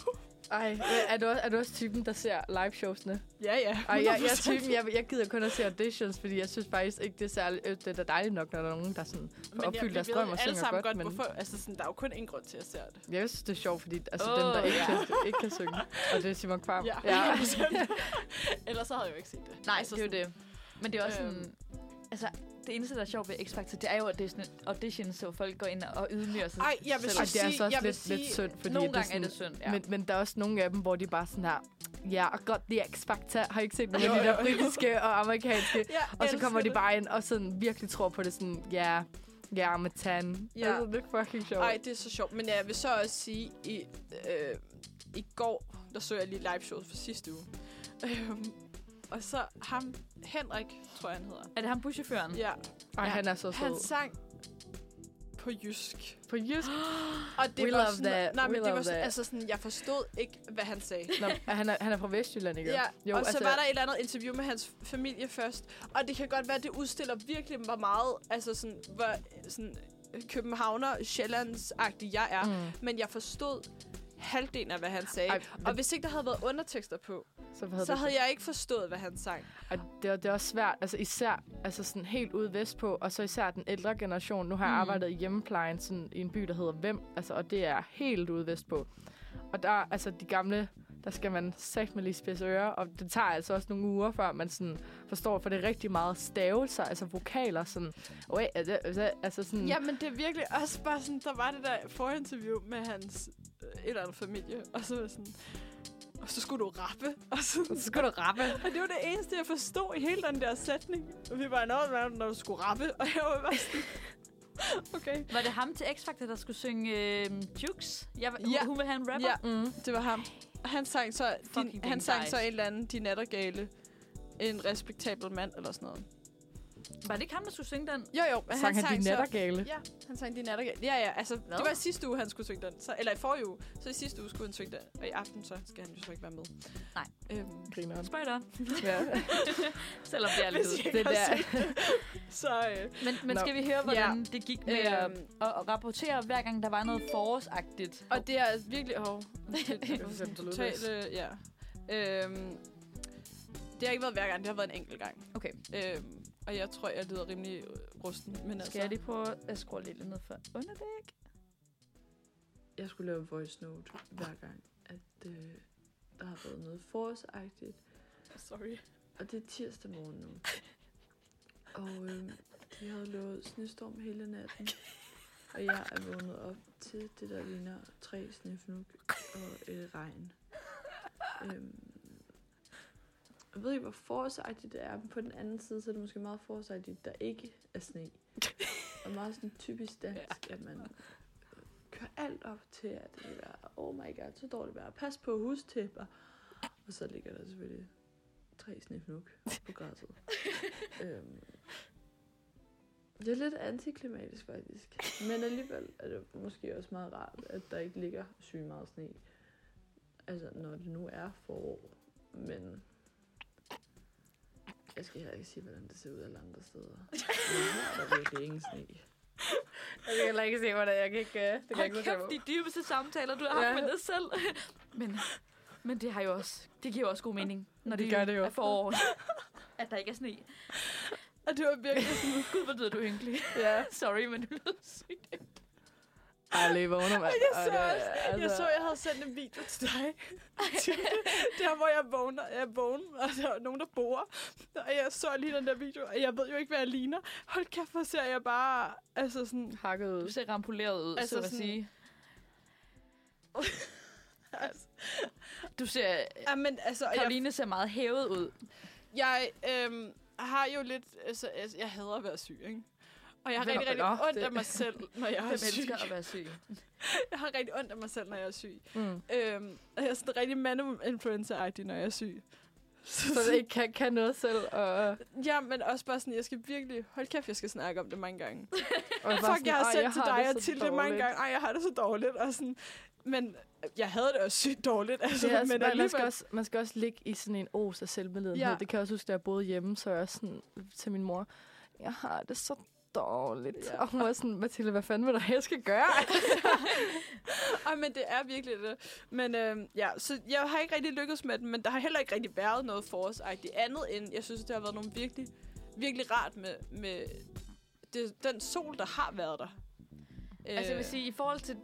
Ej, men er du, også- er du også typen, der ser live-showsene?
Ja, ja. [LAUGHS]
Ej, jeg, jeg, er typen, jeg, jeg gider kun at se auditions, fordi jeg synes faktisk ikke, det er, særlig, øh, det er da dejligt nok, når der er nogen, der sådan får opfyldt deres drøm
alle
og synger
sammen godt,
godt. men
hvorfor. Altså, sådan, der er jo kun en grund til, at jeg ser det.
jeg synes, det er sjovt, fordi altså,
Åh,
oh, dem, der ikke,
ja.
kan, ikke kan synge, og det er Simon
[LAUGHS]
Kvam.
Ja,
ja.
100%. Ellers så havde jeg jo ikke set det.
Nej, det er jo det. Men det er også
Øhm.
sådan... Altså, det eneste, der er sjovt ved X-Factor, det er jo audition- auditions, så folk går ind og ydmyger sig
Ej, jeg vil
selv.
Og det er
sige-
så også
jeg vil
lidt, lidt
sige,
synd, fordi
Nogle
det
gange
sådan,
er det synd, ja.
Ja. Men, men der er også nogle af dem, hvor de bare sådan her, ja, og godt, det er X-Factor. Har I ikke set nogle af de der britiske og amerikanske?
Ja,
Og så
elsker
kommer de
det.
bare ind og sådan virkelig tror på det sådan, ja, ja, med tan.
Ja.
Altså, det er fucking sjovt.
Ej, det er så sjovt. Men jeg vil så også sige, i, øh, i går, der så jeg lige live showet for sidste uge. Øhm, og så ham, Henrik, tror jeg, han hedder.
Er det ham buschaufføren?
Ja, ja.
Ej, han er så
han
sød.
sang på jysk.
På jysk.
Og det
We
var
love
sådan,
that.
Nej,
We
men det
love
var sådan,
that.
altså sådan, jeg forstod ikke, hvad han sagde.
Nå, han, er, han er fra Vestjylland, ikke?
Ja, jo, og altså, så var der et eller andet interview med hans familie først. Og det kan godt være, at det udstiller virkelig, hvor meget altså sådan, hvor, sådan, københavner sjællands jeg er. Mm.
Mm,
Men jeg forstod halvdelen af, hvad han sagde.
Ej,
Ej,
det-
og hvis ikke der havde været undertekster på,
så havde
så
det,
havde jeg ikke forstået, hvad han sang.
Og det, er- det er også svært, altså især altså sådan helt ude vestpå, og så især den ældre generation. Nu har jeg
Mm.
arbejdet i hjemmeplejen sådan, i en by, der hedder Hvem, altså, og det er helt ude vestpå. Og der, altså de gamle, der skal man sagt med lige spidse ører, og det tager altså også nogle uger, før man sådan forstår, for det er rigtig meget stavelser, altså vokaler, sådan, okay, altså, altså- altså sådan,
Mm. Jamen, det er virkelig også bare sådan, der var det der forinterview med hans øh, et eller andet familie. Og så var jeg sådan, og så skulle du rappe. [LAUGHS] Og sådan,
så skal du rappe.
[LAUGHS] Og det var det eneste, jeg forstod i hele den der sætning. Og vi var enormt nærmest, når du skulle rappe. [LAUGHS] Og jeg var bare sådan, okay.
Var det ham til X-Factor, der skulle synge øh, Jukes? Jeg, hun,
Ja.
hun vil have en rapper?
Ja,
Mm.
det var ham. Og han sang så, din,
Fucking
han sang
nice.
så en eller anden, din nattergale. En respektabel mand, eller sådan noget.
Var det ikke ham, der skulle synge den?
Jo, jo, men
Sang han, de
så-
nattergale?
Ja, han sang din nattergale. Ja, ja, altså, Hvad?
Hvad?
det var i sidste uge, han skulle synge den. Så, eller i forrige uge. Så i sidste uge skulle han synge den. Og i aften, så skal han jo så ikke være med.
Nej.
Øhm,
Grineren.
Spørg dig om,
[LAUGHS]
Ja.
selvom det er lidt...
hvis jeg
ud.
ikke
Det
har
der.
set det, så... Øh,
Men, men
Nå.
skal vi høre, hvordan ja. det gik med
Øhm.
øhm. at, at rapportere, hver gang der var noget forårsagtigt?
Og det er altså virkelig... Oh, [LAUGHS]
var sådan
totalt, øh, ja. Øhm, det har ikke været hver gang, det har været en enkelt gang.
Okay.
Øhm, Og jeg tror, jeg lyder rimelig øh, rusten. Men altså,
Skal jeg lige prøve at skrue lidt ned for underdæk?
Jeg skulle lave en voice note hver gang, at øh, der har været noget forårsagtigt.
Sorry.
Og det er tirsdag morgen nu. Og øh, vi havde lovet snestorm hele natten. Og jeg er vågnet op til det, der ligner tre snefnug og øh, regn. Øhm, jeg ved ikke, hvor forårsagtigt det er, men på den anden side, så er det måske meget forårsagtigt, der ikke er sne. Og meget sådan typisk dansk, at man øh, kører alt op til, at det vil være, oh my god, så dårligt vejr. Pas på hustæpper. Og så ligger der selvfølgelig tre snefnuk på græsset. øhm, det er lidt antiklimatisk faktisk. Men alligevel er det måske også meget rart, at der ikke ligger sygt meget sne. Altså, når det nu er forår. Men jeg skal heller ikke sige, hvordan det ser ud alle andre steder. Men her er der virkelig ingen sne.
Jeg kan heller ikke se, hvordan jeg kan ikke... øh, Det kan jeg
Hold
ikke huske,
kæft, de dybeste samtaler, du har haft
Ja.
med dig selv. men, men det har jo også, det giver jo også god mening, når
Det
det,
gør det jo.
er forår. [LAUGHS] at der ikke er sne.
Og det var virkelig sådan...
Gud, hvor lyder du ynkelig.
Ja.
[LAUGHS] Sorry, men du lyder sygt.
Ej, lige vågner, mand.
[LAUGHS] Jeg
Ej,
så,
det er- altså
også, jeg så, jeg havde sendt en video til dig. [LAUGHS] der, hvor jeg vågner, jeg vågner, og der er nogen, der bor. Og jeg så lige den der video, og jeg ved jo ikke, hvad jeg ligner. Hold kæft, hvor ser jeg bare... Altså sådan...
Hakket ud.
Du ser rampoleret ud,
Altså
altså så at
sådan-
sige. [LAUGHS]
Altså,
Du ser,
ja, men altså... og Jeg,
Karoline ser meget hævet ud.
jeg øhm, har jo lidt... Altså, altså, jeg hader at være syg, ikke? Og jeg har
Hvem-
rigtig, rigtig
Nå,
ondt
det-
af mig selv, når [LAUGHS] jeg
Hvem
er syg.
elsker at være syg?
Jeg har rigtig ondt af mig selv, når jeg er syg.
Mm.
Øhm, og jeg er sådan rigtig mandem-influencer-agtig, når jeg er syg.
Så det ikke kan, kan noget selv. Og, og
Ja, men også bare sådan, jeg skal virkelig... Hold kæft, jeg skal snakke om det mange gange.
bare
Fuck, jeg har
"Ej,
sendt til dig
det
og
så
til det mange
dårligt."
gange. Ej, jeg har det så dårligt. Og sådan, men øh, jeg havde det også sygt dårligt. Altså,
Det er også,
men
man, man, skal
alligevel...
også, man skal også ligge i sådan en os af selvmedledenhed.
Ja.
Ja. Det kan jeg også huske, da jeg boede hjemme, så jeg også sådan, til min mor, jeg har det så dårligt.
Ja.
Ja. Og hun var sådan, Mathilde, hvad fanden vil du have, jeg skal gøre?
[LAUGHS] Ej, men det er virkelig det. Men øhm, ja, så jeg har ikke rigtig lykkedes med den, men der har heller ikke rigtig været noget forårsagtigt andet end, jeg synes, det har været nogle virkelig, virkelig rart med, med det, den sol, der har været der. Øh,
Altså jeg vil sige, i forhold til...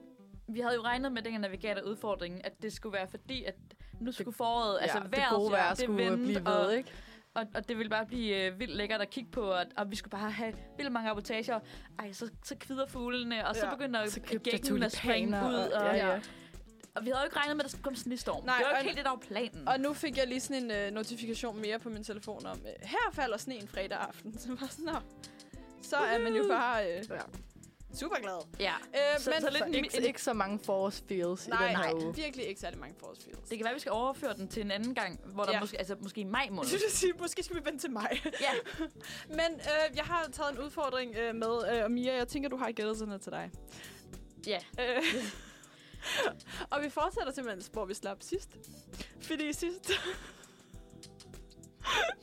Vi havde jo regnet med, dengang at vi gav dig udfordringen, at det skulle være fordi, at nu skulle foråret, altså
det
vejret,
gode vejr
det
skulle
vendte,
blive ved,
og,
ikke?
og, og, det ville bare blive øh, vildt lækkert at kigge på, og, og vi skulle bare have vildt mange reportager. Ej, så, så kvider fuglene, og så
Ja.
begynder
Så købte jeg
gækken at springe
tulipaner.
ud. Og,
ja, ja.
og, vi havde jo ikke regnet med, at der skulle komme snestorm.
Nej,
Nej, det var jo
og-
ikke helt det, der var planen.
Og nu fik jeg lige sådan en øh, notifikation mere på min telefon om, øh, her falder sneen fredag aften. [LAUGHS] Så var sådan, "Nå." så er man jo bare øh,
Ja.
super glad.
ja.
Øh,
Så-
men
så lidt
Så
en-
ikke, ikke så mange forårsfeels i den
nej,
her
nej,
uge.
virkelig ikke særlig mange forårsfields.
Det kan være, vi skal overføre den til en anden gang, hvor der
Ja.
måske, altså måske i maj
jeg [LAUGHS]
måned.
synes, at sige, måske skal vi vente til mig.
ja,
[LAUGHS] Men øh, jeg har taget en udfordring øh, med, øh, og Mia, jeg tænker, du har gættet sådan noget til dig.
Ja.
Øh, [LAUGHS] og vi fortsætter simpelthen, hvor vi slap sidst. Fordi sidst... [LAUGHS]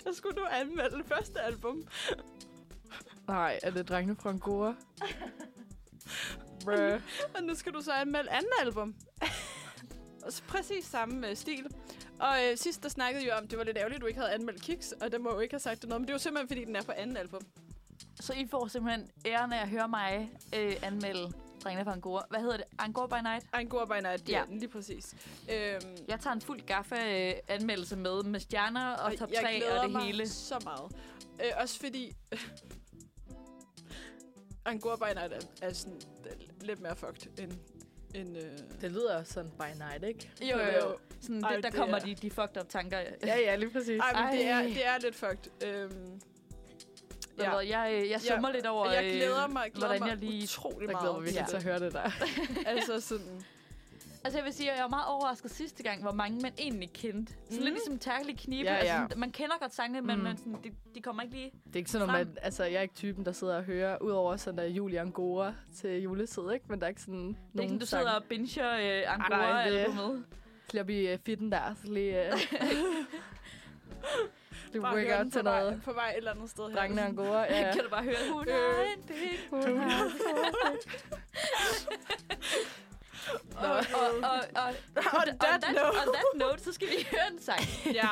der skulle du anmelde det første album.
Nej, er det drengene fra Angora? Bruh.
Og nu skal du så anmelde andet album. [LAUGHS] Og så præcis samme øh, stil. Og øh, sidst der snakkede vi om, det var lidt ærgerligt, at du ikke havde anmeldt Kiks, og det må jo ikke have sagt det noget, men det er jo simpelthen, fordi den er på anden album.
så I får simpelthen æren af at høre mig øh, anmelde Drengene fra Angora. Hvad hedder det? Angora by Night?
Ej, en god by night, ja.
Ja.
lige præcis. Øhm,
Jeg tager en fuld gaffa-anmeldelse med, med stjerner og top 3
glæder
og det
mig
hele.
så meget. Øh, også fordi... [LAUGHS] Angora by night er, er sådan øh, lidt mere fucked end... end øh...
Det lyder sådan by night, ikke?
Jo, jo, jo. Sådan,
Ej,
det, der
det
kommer
er-
de, de fucked up tanker.
Ja, ja, lige præcis.
Ej, men det er,
Ej.
det er lidt fucked. Øhm,
Ja. Jeg, øh, jeg, jeg summer lidt over,
og jeg glæder
øh,
mig, glæder
hvordan
mig
jeg lige...
utrolig
der
meget.
glæder vi virkelig til at høre det der.
altså sådan...
Altså jeg vil sige, at jeg var meget overrasket sidste gang, hvor mange man egentlig kendte. Så mm.
Mhm.
lidt ligesom Terkel Knibe.
Ja,
Ja, ja.
ja.
Altså, sådan, man kender godt sangene, men
Mm.
man, sådan, de, de kommer ikke lige...
Det er ikke sådan, at
Frem.
man, altså, jeg er ikke typen, der sidder og hører, udover sådan der Julie Angora til juletid, ikke? Men der er ikke sådan nogen
Det er ikke, sådan, du
sang.
sidder og binger øh,
nej, det-
Angora-albumet.
Klip i uh, fitten der, så
[LAUGHS]
lige... Uh, det
Bare høre
worker
den
til
på vej,
noget.
på vej et eller andet sted her.
Drengene
[LAUGHS]
Angora, ja.
kan du bare høre, hun
Øh.
er en big hun er en Og, og, og, og,
On that note.
on that note, så skal vi høre en sang.
ja.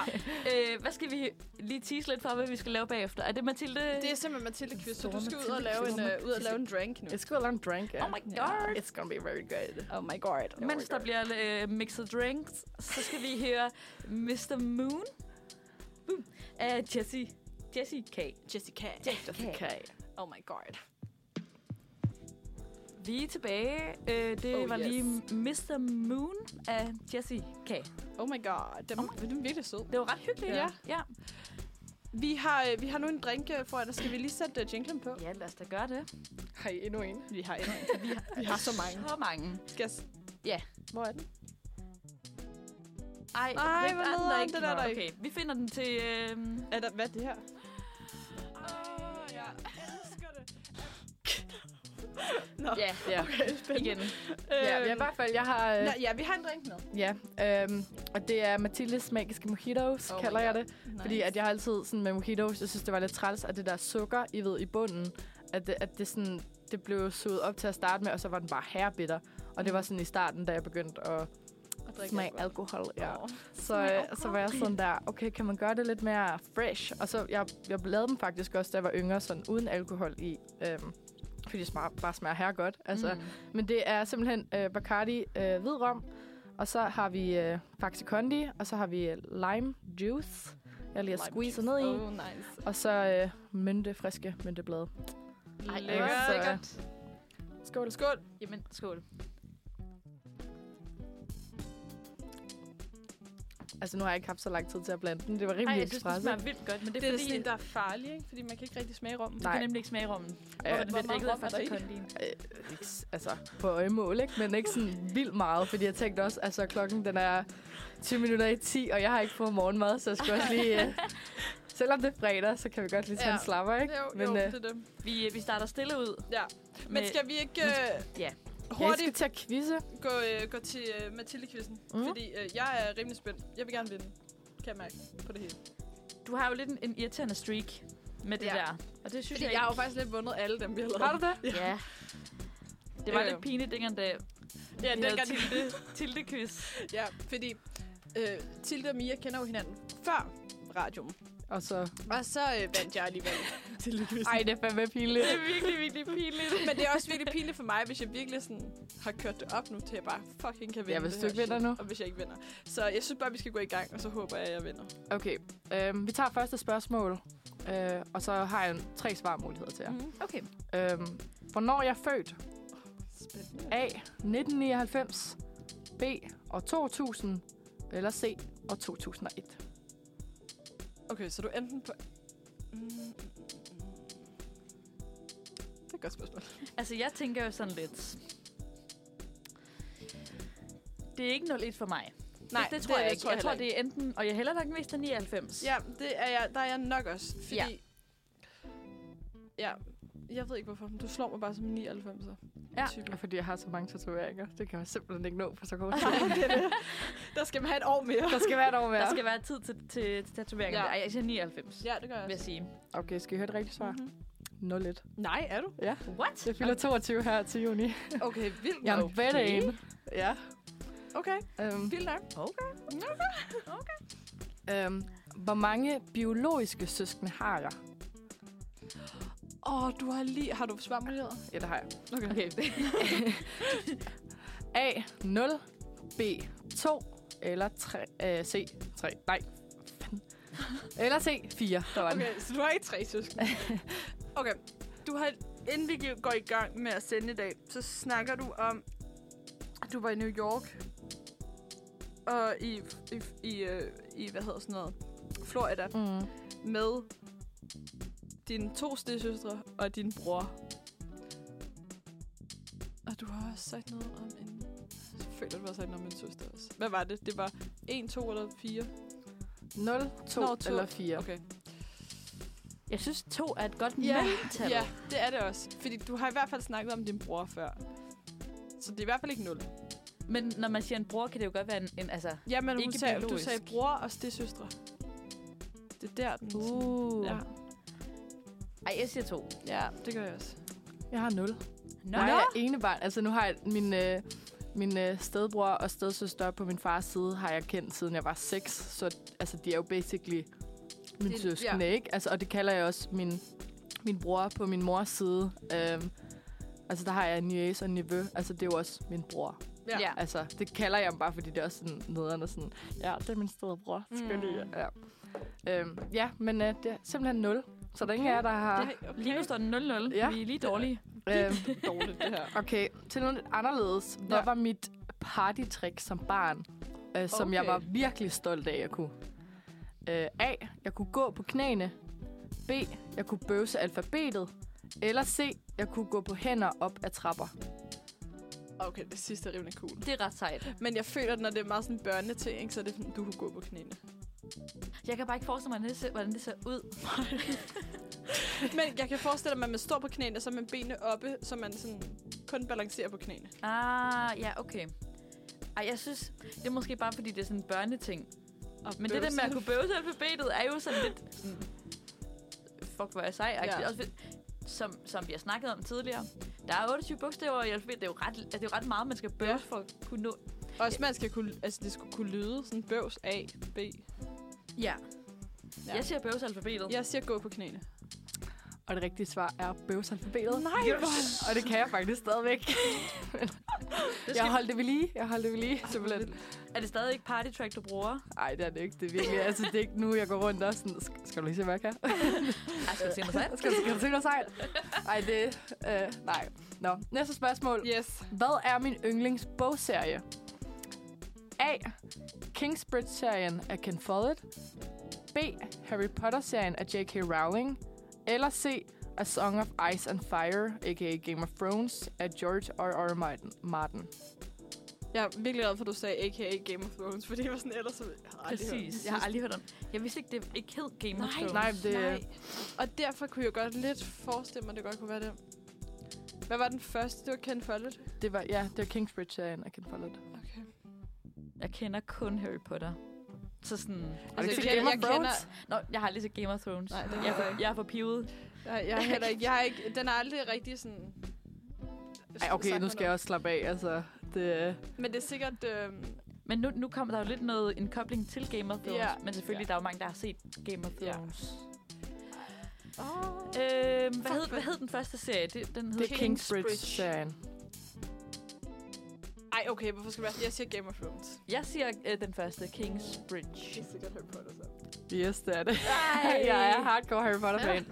Øh, hvad skal vi lige tease lidt for, hvad vi skal lave bagefter? Er det Mathilde?
Det er simpelthen Mathilde Quiz, så
Store
du skal ud og
Mathilde
lave
quiz.
en, øh, ud og lave en drink nu.
It's gonna be drink. Yeah.
Oh my god.
It's gonna be very good.
Oh my god.
Mens der bliver øh, mixet drinks, så skal vi høre Mr. Moon Boom. af Jesse. Jesse K.
Jessica.
Just okay.
Oh my god.
Vi er tilbage. Øh, det
Oh,
oh, var
yes.
yes. lige Mr. Moon af Jesse K.
Oh my god, den, oh my. den er virkelig sød.
Det var ret hyggeligt.
Ja.
ja.
Vi har, øh, vi har nu en drink øh, foran os. Skal vi lige sætte uh, jinglen på?
Ja, lad os da gøre det.
Har I endnu en?
Vi har endnu en. vi, har, vi har så mange.
Så mange.
Skal jeg s-
Hvor er den?
Ej,
Ej,
det
hvor
er den
nederen,
ikke.
den er der
Okay, vi finder den til... Øh...
er der, hvad er det her? Åh, Ah, jeg elsker det. Nå,
Ja,
Ja.
okay, spændende. Øhm,
igen.
Ja, ja, i hvert fald, jeg har... Øh,
Øh. Nå, ja, vi har en drink med.
ja, øhm, og det er Mathildes magiske mojitos,
Oh
oh
my
kalder jeg
God.
det. Fordi at jeg har altid sådan med mojitos, jeg synes, det var lidt træls, at det der sukker, I ved, i bunden, at det, at det sådan, det blev suget op til at starte med, og så var den bare herrebitter. Og det var sådan i starten, da jeg begyndte at
Og drikke
smage
alkohol.
alkohol. Ja. Så, øh, så var jeg sådan der, okay, kan man gøre det lidt mere fresh? Og så, jeg, jeg lavede dem faktisk også, da jeg var yngre, sådan uden alkohol i. Øhm, fordi det smager, bare smager her godt. Altså, mm. Men det er simpelthen øh, Bacardi øh, hvidrom, og så har vi øh, Faxe Kondi, og så har vi øh, lime juice, jeg lige har squeezet ned i.
Oh, nice.
Og så øh, mynte, friske mynteblade.
Ej,
lækkert.
så-
Lækkert.
Skål. Skål.
Jamen, skål.
Altså, nu har jeg ikke haft så lang tid til at blande den. Det var
Ej,
rimelig
jeg synes, det
ekspresset.
smager vildt godt, men det
Det
er,
er, det er
fordi...
sådan en, der er farlig, ikke? Fordi man kan ikke rigtig smage rummen.
Du
Nej.
kan nemlig ikke smage rummen. Hvor
Ja,
den bliver
Hvor
dækket
meget
af
rom er
første
der i?
kondien.
øh, ikke s- altså, på øjemål, ikke? Men ikke sådan vildt meget, fordi jeg tænkte også, altså klokken den er 20 minutter i 10, og jeg har ikke fået morgenmad, så jeg skal også lige... Øh, selvom det er fredag, så kan vi godt lige tage
Ja.
en slapper, ikke?
Jo,
Men,
jo,
øh,
det er det.
Vi, øh, vi starter stille ud.
Ja. Men
Med-
skal vi ikke
Men
øh,
ja.
Ja, I skal
hurtigt
til at quizze.
gå, øh, gå til øh, Mathilde-quizzen?
Mhm.
Fordi øh, jeg er rimelig spændt. Jeg vil gerne vinde. Kan jeg mærke på det hele.
Du har jo lidt en, en irriterende streak med det
Ja.
ja. der. Og det synes
Fordi jeg
jeg
har jo
ikke...
faktisk lidt vundet alle dem, vi har lavet.
Har du det?
Ja. Det var
Øh.
lidt pinligt dengang, da
Ja,
vi
dengang
havde
de
Tilde, Tilde quiz.
Ja, fordi øh, Tilde og Mia kender jo hinanden før radioen.
Og så...
Og så øh, vandt jeg alligevel til
Ej, det er fandme pinligt.
Det er virkelig, virkelig pinligt.
[LAUGHS] Men det er også virkelig pinligt for mig, hvis jeg virkelig sådan har kørt det op nu, til jeg bare fucking kan vinde
Ja, hvis
det
du
her
ikke vinder
shit,
nu.
Og hvis jeg ikke vinder. Så jeg synes bare, vi skal gå i gang, og så håber jeg, at jeg vinder.
Okay, øhm, vi tager første spørgsmål, øh, og så har jeg en- tre svarmuligheder til jer.
Mm.
Okay.
Øhm, hvornår er jeg født?
Spændende.
A. 1999, B. og 2000, eller C. og 2001.
Okay, så du er enten på... Mm, mm, mm, mm. Det er et godt spørgsmål.
Altså, jeg tænker jo sådan lidt... Det er ikke 01 for mig.
Nej,
det, det
det
tror
er-
jeg,
det
ikke.
tror jeg
jeg tror,
heller
det er enten... Og jeg hælder nok mest af 99.
Ja, det er jeg, der er jeg nok også, fordi...
Ja.
Ja. ja. Jeg ved ikke hvorfor, men du slår mig bare som en 99'er.
Ja.
Type.
Og fordi jeg har så mange tatoveringer, det kan man simpelthen ikke nå på så kort tid.
[LAUGHS] Nej, det er det. Der skal man have et år mere.
[LAUGHS] Der skal være et år
Der
mere.
skal være tid til, til, til tatoveringer.
Ja.
Ja. Ej, jeg siger 99, ja.
Ja, det gør jeg
vil jeg
også.
sige.
Okay, skal I høre et rigtigt svar?
Mhm.
01.
Nej, er du?
What?
Jeg fylder 22 her til juni.
Okay, vildt
Jeg
nok.
er ved en. Ja.
Okay,
Øhm,
vildt nok.
øhm, hvor mange biologiske søskende har jeg?
Åh, oh, du har lige... Har du svarmuligheder?
Ja, det har jeg.
Okay.
Okay.
A. 0. B. 2. Eller 3, øh, C. 3. Nej. fanden. Eller C. 4. Der var den.
Okay, så du har ikke tre søskende. Okay, du har... Inden vi går i gang med at sende i dag, så snakker du om, at du var i New York. Og i, i, i, øh, i hvad hedder sådan noget, Florida.
Mm.
Med dine to stedsøstre og din bror. Og du har også sagt noget om en... Jeg føler, du har sagt noget om en søster også. Hvad var det? Det var 1, 2 eller 4?
0, 2
Nå, to.
eller 4.
Okay.
[LAUGHS] Jeg synes, to er et godt
Ja.
yeah. mellemtal.
Ja, det er det også. Fordi du har i hvert fald snakket om din bror før. Så det er i hvert fald ikke nul.
Men når man siger en bror, kan det jo godt være en... en altså,
Ja, men hun
Ikke
sagde, du
biologisk.
sagde bror og stedsøstre. Det er der, den sådan-
uh.
Ja.
ja. Ej, jeg siger to.
ja, det gør jeg også.
Jeg har 0.
Nå.
Nej, jeg er enebarn. Altså, nu har jeg min... Øh, Min øh, stedbror og stedsøster på min fars side har jeg kendt, siden jeg var 6. Så altså, de er jo basically min
Det-
søskende, ja. ikke? Altså, og det kalder jeg også min, min bror på min mors side. Øhm, altså, der har jeg en niece og en nevø. Altså, det er jo også min bror.
Ja.
ja.
Altså, det kalder jeg ham bare, fordi det er også sådan nederen og sådan, ja, det er min stedbror, skal
Mm.
mm. ja. Øhm, ja, men øh, det er simpelthen 0. Så der er ingen af jer, der har...
Ej, okay.
Lige nu står den 0-0.
Ja.
Ja. Vi er lige dårlige.
Øhm,
dårligt, det her.
Okay, til noget lidt anderledes. Hvad
Ja.
ja. var mit partytrick som barn, øh, som okay. jeg
Okay.
var virkelig stolt af, jeg kunne? Øh, A. Jeg kunne gå på knæene. B. Jeg kunne bøvse alfabetet. Eller C. Jeg kunne gå på hænder op ad trapper.
Okay, det sidste er rimelig cool.
Det er ret sejt.
Men jeg føler, at når det er meget sådan børneting, ikke, så er det sådan, du kunne gå på knæene.
Jeg kan bare ikke forestille mig, hvordan det ser- hvordan det ser ud.
Men jeg kan forestille mig, at man står på knæene, så er man benene oppe, så man sådan kun balancerer på knæene.
Ah, ja, okay. Ej, jeg synes, det er måske bare, fordi det er sådan en børneting.
Og
Men det der
bøvse.
med at kunne bøvse alfabetet, er jo sådan lidt... Sådan, fuck, hvor er jeg sej.
Ja.
Ja. Også, fordi- som, som vi har snakket om tidligere. Der er 28 bogstaver i alfabetet. Det er jo ret, altså, det er jo ret meget, man skal bøvse
Ja.
ja. for at kunne nå.
Også man skal kunne, altså det skulle kunne lyde sådan bøvs A, B.
Ja.
Ja.
ja. Jeg siger bøvse alfabetet.
Jeg siger gå på knæene.
Og det rigtige svar er bøvse alfabetet.
Nej, hvor-
Og det kan jeg faktisk [LAUGHS] stadigvæk.
Det
Jeg
skal,
holdt det ved lige. Jeg holdt det ved lige, simpelthen.
er det stadig ikke party track, du bruger?
Ej, det er det ikke. Det er virkelig, altså det er ikke nu, jeg går rundt og sådan, "Sk- skal du lige se, hvad jeg kan?
Jeg skal du se mig selv.
Skal du, skal du se noget sejt? Ej, det... Øh, nej. Nå, næste spørgsmål.
Yes.
Hvad er min yndlingsbogserie? A. Kingsbridge-serien af Ken Follett. B. Harry Potter-serien af J.K. Rowling. Eller C. A Song of Ice and Fire, a.k.a. Game of Thrones, af George R.R. R. Martin. Martin.
Jeg er virkelig glad for, at du sagde a.k.a. Game of Thrones, [LAUGHS] fordi det var sådan ellers... så- Jeg har aldrig hørt
Præcis. Jeg har aldrig hørt om. Jeg vidste ikke, det ikke hed Game of
Nej.
Thrones.
Nej,
det.
det,
Nej. Og derfor kunne jeg godt lidt forestille mig, at det godt kunne være det. Hvad var den første? Det var Ken Follett.
det var, ja, det var Kingsbridge-serien af Ken Follett.
Okay.
Jeg kender kun Harry Potter. Så sådan... Altså,
Og det
Altså, jeg kender-
er Game
jeg
of Thrones?
kender-
Nå, jeg har lige set Game of Thrones.
Nej, det
jeg,
har jeg
er for,
ikke.
jeg er for pivet.
Jeg, jeg, er heller ikke, jeg er ikke... Den er aldrig rigtig sådan...
Ej, okay,
sagt
nu
mig
skal jeg
noget.
også slappe af, altså. Det,
Men det er sikkert... Øh,
Men nu, nu kommer der jo lidt noget, en kobling til Game of Thrones.
Ja.
Men selvfølgelig, der er jo mange, der har set Game of
Ja.
Thrones.
oh.
Øhm, hvad, hed, hvad hed den første serie? Det, den hed
det er Kingsbridge-serien.
Ej, okay, hvorfor skal jeg være... Jeg siger Game of Thrones.
Jeg siger øh, den første, Kingsbridge.
er sikkert Harry Potter, så.
Yes, det er det.
Ej.
jeg er hardcore Harry Potter-fan.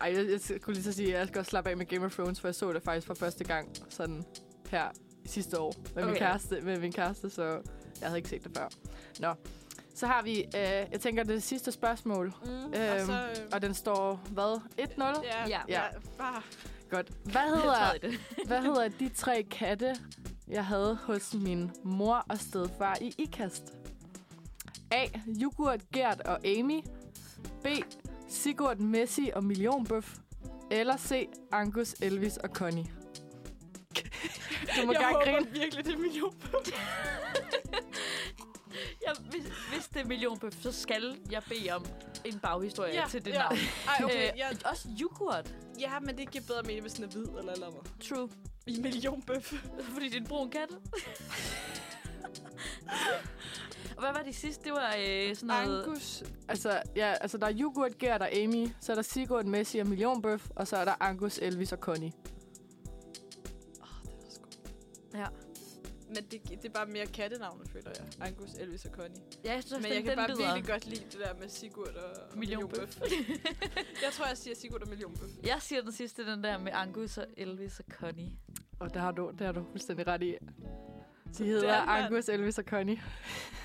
Ej, jeg, jeg skulle lige så sige, at jeg skal også slappe af med Game of Thrones, for jeg så det faktisk for første gang sådan her sidste år med, okay. min,
Okay.
kæreste, med min kæreste, så jeg havde ikke set det før. Nå, så har vi, øh, jeg tænker, det sidste spørgsmål,
Mm, og
Øhm,
så... Øh,
og den står, hvad, 1-0?
Ja.
ja, ja. ja. Ah.
Ja.
Bare,
Godt. Hvad
Jeg
hedder,
træder i det.
hvad hedder de tre katte, jeg havde hos min mor og stedfar i Ikast? A. Jugurt, Gert og Amy. B. Sigurd, Messi og Millionbøf. Eller C. Angus, Elvis og Connie. du må
jeg
gerne
håber
grine.
virkelig, det er million.
[LAUGHS] Jeg, hvis, hvis det er millionbøf, så skal jeg bede om en baghistorie ja, til det ja. navn.
Ej, okay,
Øh,
jeg,
Også yoghurt.
ja, men det giver bedre mening, hvis den er hvid eller eller andet.
True. [LAUGHS]
I millionbøf.
Fordi det er en brun
[LAUGHS]
kat. Og hvad var det sidste? Det var øh, sådan noget...
Angus.
Altså, ja, altså, der er Jugurt, Gert og Amy. Så er der Sigurd, Messi og Millionbøf. Og så er der Angus, Elvis og Connie.
Åh, det er også godt.
Ja.
Men det, gi- det er bare mere kattenavne, føler jeg. Angus, Elvis og Connie.
Ja, jeg synes,
Men
den,
jeg kan
den
bare
lyder.
virkelig godt lide det der med Sigurd og, og
Millionbøf. [LAUGHS]
jeg tror, jeg siger Sigurd og millionbøf.
Jeg siger den sidste, den der med Angus og Elvis og Connie.
Og der har du, der har du fuldstændig ret i. De hedder
det er mand.
Angus, Elvis og Connie.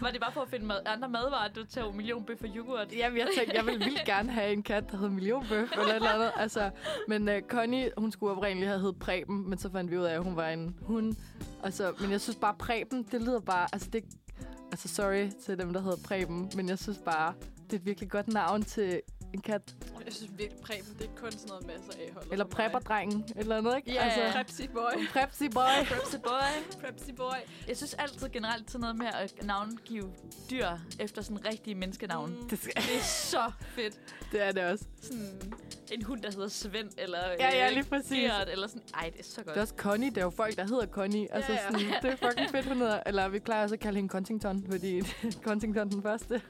Var det bare for at finde mad, andre madvarer, du tog millionbøf og yoghurt?
Jamen, jeg tænkte, jeg ville vildt gerne have en kat, der hed Millionbøf eller et eller andet. Altså, men uh, Connie, hun skulle oprindeligt have hed Preben, men så fandt vi ud af, at hun var en hund. Altså, men jeg synes bare, Preben, det lyder bare... Altså, det, altså sorry til dem, der hedder Preben, men jeg synes bare, det er et virkelig godt navn til en kat.
Jeg synes virkelig, Preben, det er kun sådan noget masser af holdet.
Eller Prepper-drengen, et eller andet, ikke? Altså,
Ja, ja.
Prepsi boy.
[LAUGHS]
Prepsi boy.
Prepsi Altså,
[LAUGHS]
boy.
Prepsi boy.
[LAUGHS] Jeg synes altid generelt sådan noget med at navngive dyr efter sådan rigtige menneskenavn.
Mm.
Det, skal,
Det er så fedt.
hmm.
det er det også.
Sådan, en hund, der hedder Svend, eller
Ja, ja,
øh,
lige præcis.
Gerhard, eller sådan. Ej, det er så godt.
Det er også Connie. Der er jo folk, der hedder Connie. Altså,
Ja, ja.
Sådan, det er fucking fedt, hun hedder. Eller vi plejer også at kalde hende Contington, fordi [LAUGHS] Contington den
[LAUGHS]
første.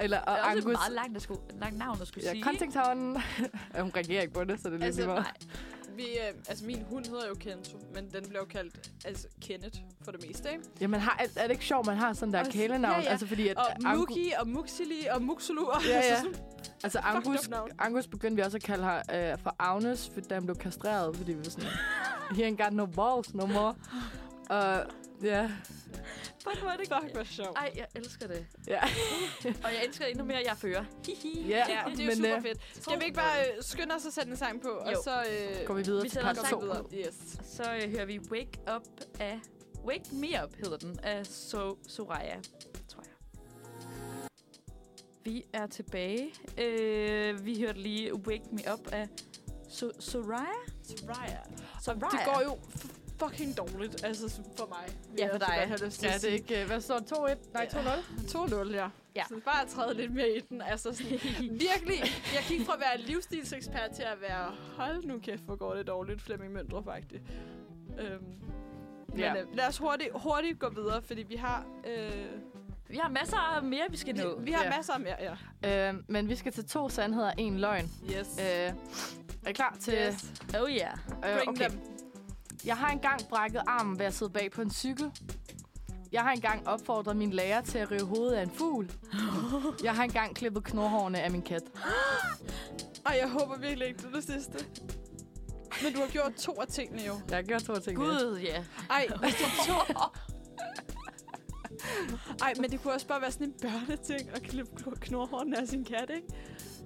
Eller, og
det er også et
Angus.
meget langt, at skulle, langt navn at skulle
Ja,
sige.
Contington. ja, hun reagerer ikke på det, så det er lidt
Altså,
altså, meget.
Nej,
Vi, øh, altså, min hund hedder jo Kento, men den bliver jo kaldt altså, Kenneth for det meste, ikke?
Ja, man har, er det ikke sjovt, man har sådan der
Og-
kælenavn?
ja, ja.
Altså, fordi at
Og
Angu-
Muki, og Muxili, og Muxulu, [LAUGHS] og
Ja, ja.
altså sådan-
altså,
fucked
Angus,
up navn.
Angus begyndte vi også at kalde ham øh, for Agnes, for- da han blev kastreret, fordi vi var sådan, he ain't got no balls no more. Og ja,
fuck, hvor er det
Fuck,
godt.
hvor sjovt.
Ej, jeg elsker det.
ja,
Og jeg elsker endnu mere, at jeg fører. Hihi.
ja,
Ja, det er jo
men,
super
øh,
fedt. Skal vi ikke bare øh, skynde os at sætte en sang på, og
Jo.
så øh,
går vi videre
Vi
til
sætter
part
en
så
sang
2.
videre.
videre? Yes.
Så øh, hører vi Wake Up af... Wake Me Up hedder den, af so Soraya, tror jeg. Vi er tilbage. Øh, vi hørte lige Wake Me Up af so Soraya.
Raya.
Soraya.
Det går jo f- fucking dårligt, altså s- for mig. vil
Ja, for
jeg så
dig.
godt have lyst til
Ja,
at
det er
sige.
ikke... øh, Hvad står det? 2-1? Nej,
Ja.
2-0?
2-0, ja.
Ja.
Så bare træde lidt mere i den. Altså sådan, virkelig, jeg gik fra at være livsstilsekspert til at være, hold nu kæft, hvor går det dårligt, Flemming Møndrup faktisk. Øhm,
Ja.
ja. Men øh, lad os hurtigt, hurtigt gå videre, fordi vi har, øh,
Vi har masser af mere, vi skal nå.
vi, vi har
Ja.
masser mere. Ja.
Øh, men vi skal til to sandheder og en løgn.
Yes.
Øh, er I klar til...
yes.
Oh yeah.
øh,
Bring them.
Jeg har engang brækket armen ved at sidde bag på en cykel. Jeg har engang opfordret min lærer til at rive hovedet af en fugl. Jeg har engang klippet knorhårene af min kat.
Ej, jeg håber virkelig ikke, det er det sidste. Men du har gjort to af tingene jo.
Jeg har gjort to ting.
Gud, ja. Yeah.
[LAUGHS] Ej, hvis det er to... Ej, men det kunne også bare være sådan en børneting at klippe kno- knorhårene af sin kat, ikke?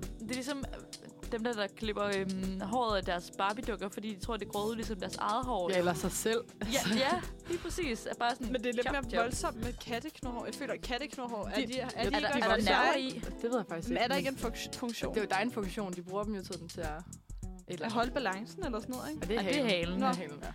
Det er ligesom øh, dem der, der klipper øhm, håret af deres Barbie-dukker, fordi de tror, det gror ud ligesom deres eget hår.
Ja, eller sig selv.
ja, ja lige præcis. Er bare sådan,
Men det er lidt
chop,
mere
chop.
voldsomt med katteknorhår. Jeg føler, at katteknorhår, er de, er de ikke
Er
Er der,
også
er der
voksne?
nerver
seje?
i?
Det ved jeg faktisk
Men
ikke.
er der ikke en funk- funktion?
Det er jo dig en funktion. De bruger dem jo sådan til at... Eller...
At holde balancen eller sådan noget, ikke?
Og det er
Ej, det er
halen.
halen.
Det
Nå.
er halen, ja.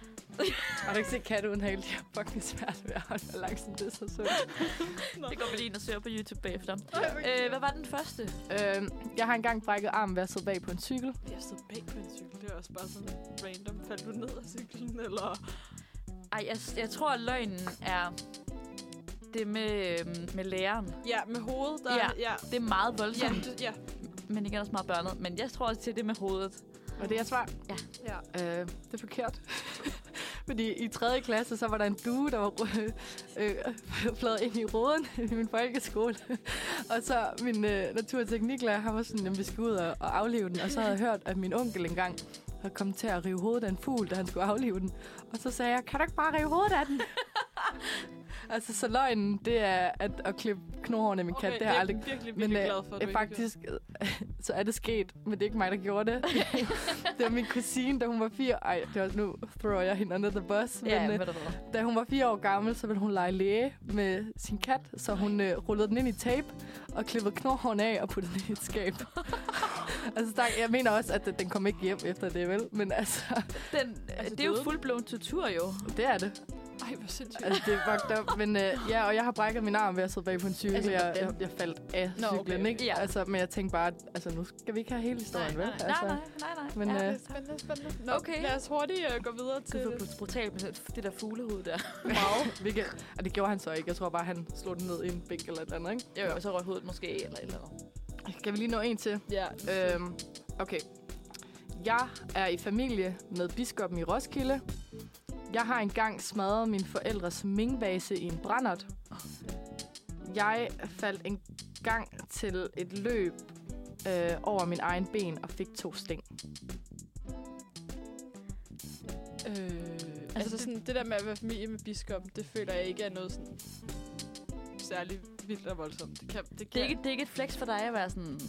Har du ikke set katte uden hale? De har fucking svært ved at holde balancen. Det er så sødt.
Det går vi lige ind og søger på YouTube bagefter. Øh, hvad var den første?
Øh, jeg har engang brækket armen ved at sidde bag på en cykel.
Jeg har siddet bag på en cykel. Det er også bare sådan random. Faldt du ned af cyklen, eller...
Ej, jeg, jeg tror, at løgnen er det med, øhm, med læreren.
Ja, med hovedet. Der,
Ja.
ja.
Det er meget
Ja,
voldsomt,
det, ja.
ja. men igen også meget børnet. Men jeg tror også til det med hovedet.
Og det er svar.
ja.
Øh, det er forkert. [LAUGHS] Fordi i 3. klasse, så var der en due, der var [LAUGHS] øh, øh, flad ind i roden [LAUGHS] i min folkeskole. [LAUGHS] og så min øh, naturtekniklærer, han var sådan, at vi skulle ud og, og aflive den. Og så havde jeg hørt, at min onkel engang havde kommet til at rive hovedet af en fugl, da han skulle aflive den. Og så sagde jeg, kan du ikke bare rive hovedet af den? [LAUGHS] altså, så løgnen, det er at, at klippe knorhårene af min kat. Det har jeg aldrig
Jeg er virkelig,
Men
virkelig
øh,
glad for, at du
øh,
ikke
faktisk, øh, [LAUGHS] så er det sket, men det er ikke mig, der
[LAUGHS]
gjorde det. det var min kusine, da hun var fire. Ej, det var, nu throw jeg hende under the bus.
Ja,
men, øh,
hvad der var.
da hun var fire år gammel, så ville hun lege læge med sin kat, så hun øh, rullede den ind i tape og klippede knorhåren af og puttede den i et
[LAUGHS]
skab. altså, der, jeg mener også, at den kom ikke hjem efter det, vel? Men
[LAUGHS]
altså,
Den,
Altså,
altså, det er jo
døde.
fuldblåen tortur, jo.
det er det.
gjort. Ej, hvor sindssygt.
Altså, det er fucked up. Men øh, ja, og jeg har brækket min arm ved at sidde bag på en cykel.
Altså,
Altså, jeg,
hvordan?
jeg, jeg, faldt af
Nå, okay,
cyklen,
okay.
ikke?
Ja.
Altså, men jeg tænkte bare, at altså, nu skal vi ikke have hele historien, vel?
Nej,
altså,
nej, nej, nej.
Men,
ja,
øh,
Det er spændende, spændende. Nå,
Okay.
okay. Lad os hurtigt øh, gå videre
det
til...
er så brutalt med det der fuglehoved der.
Wow. [LAUGHS] Hvilket, og det gjorde han så ikke. Jeg tror bare, han slog den ned i en bænk eller et eller andet, ikke?
Jo, jo, så røg hovedet måske, eller et eller andet.
Skal vi lige nå en til?
Ja. øh,
Øhm, okay. Jeg er i familie med biskoppen i Roskilde. Jeg har engang smadret min forældres mingbase i en brændert. Jeg faldt engang til et løb øh, over min egen ben og fik to sting.
Øh, altså,
altså,
altså sådan, det der med at være familie med biskoppen, det føler jeg ikke er noget sådan særlig vildt og voldsomt. Det kan, det kan.
Det er, ikke, det er ikke et flex for dig at være sådan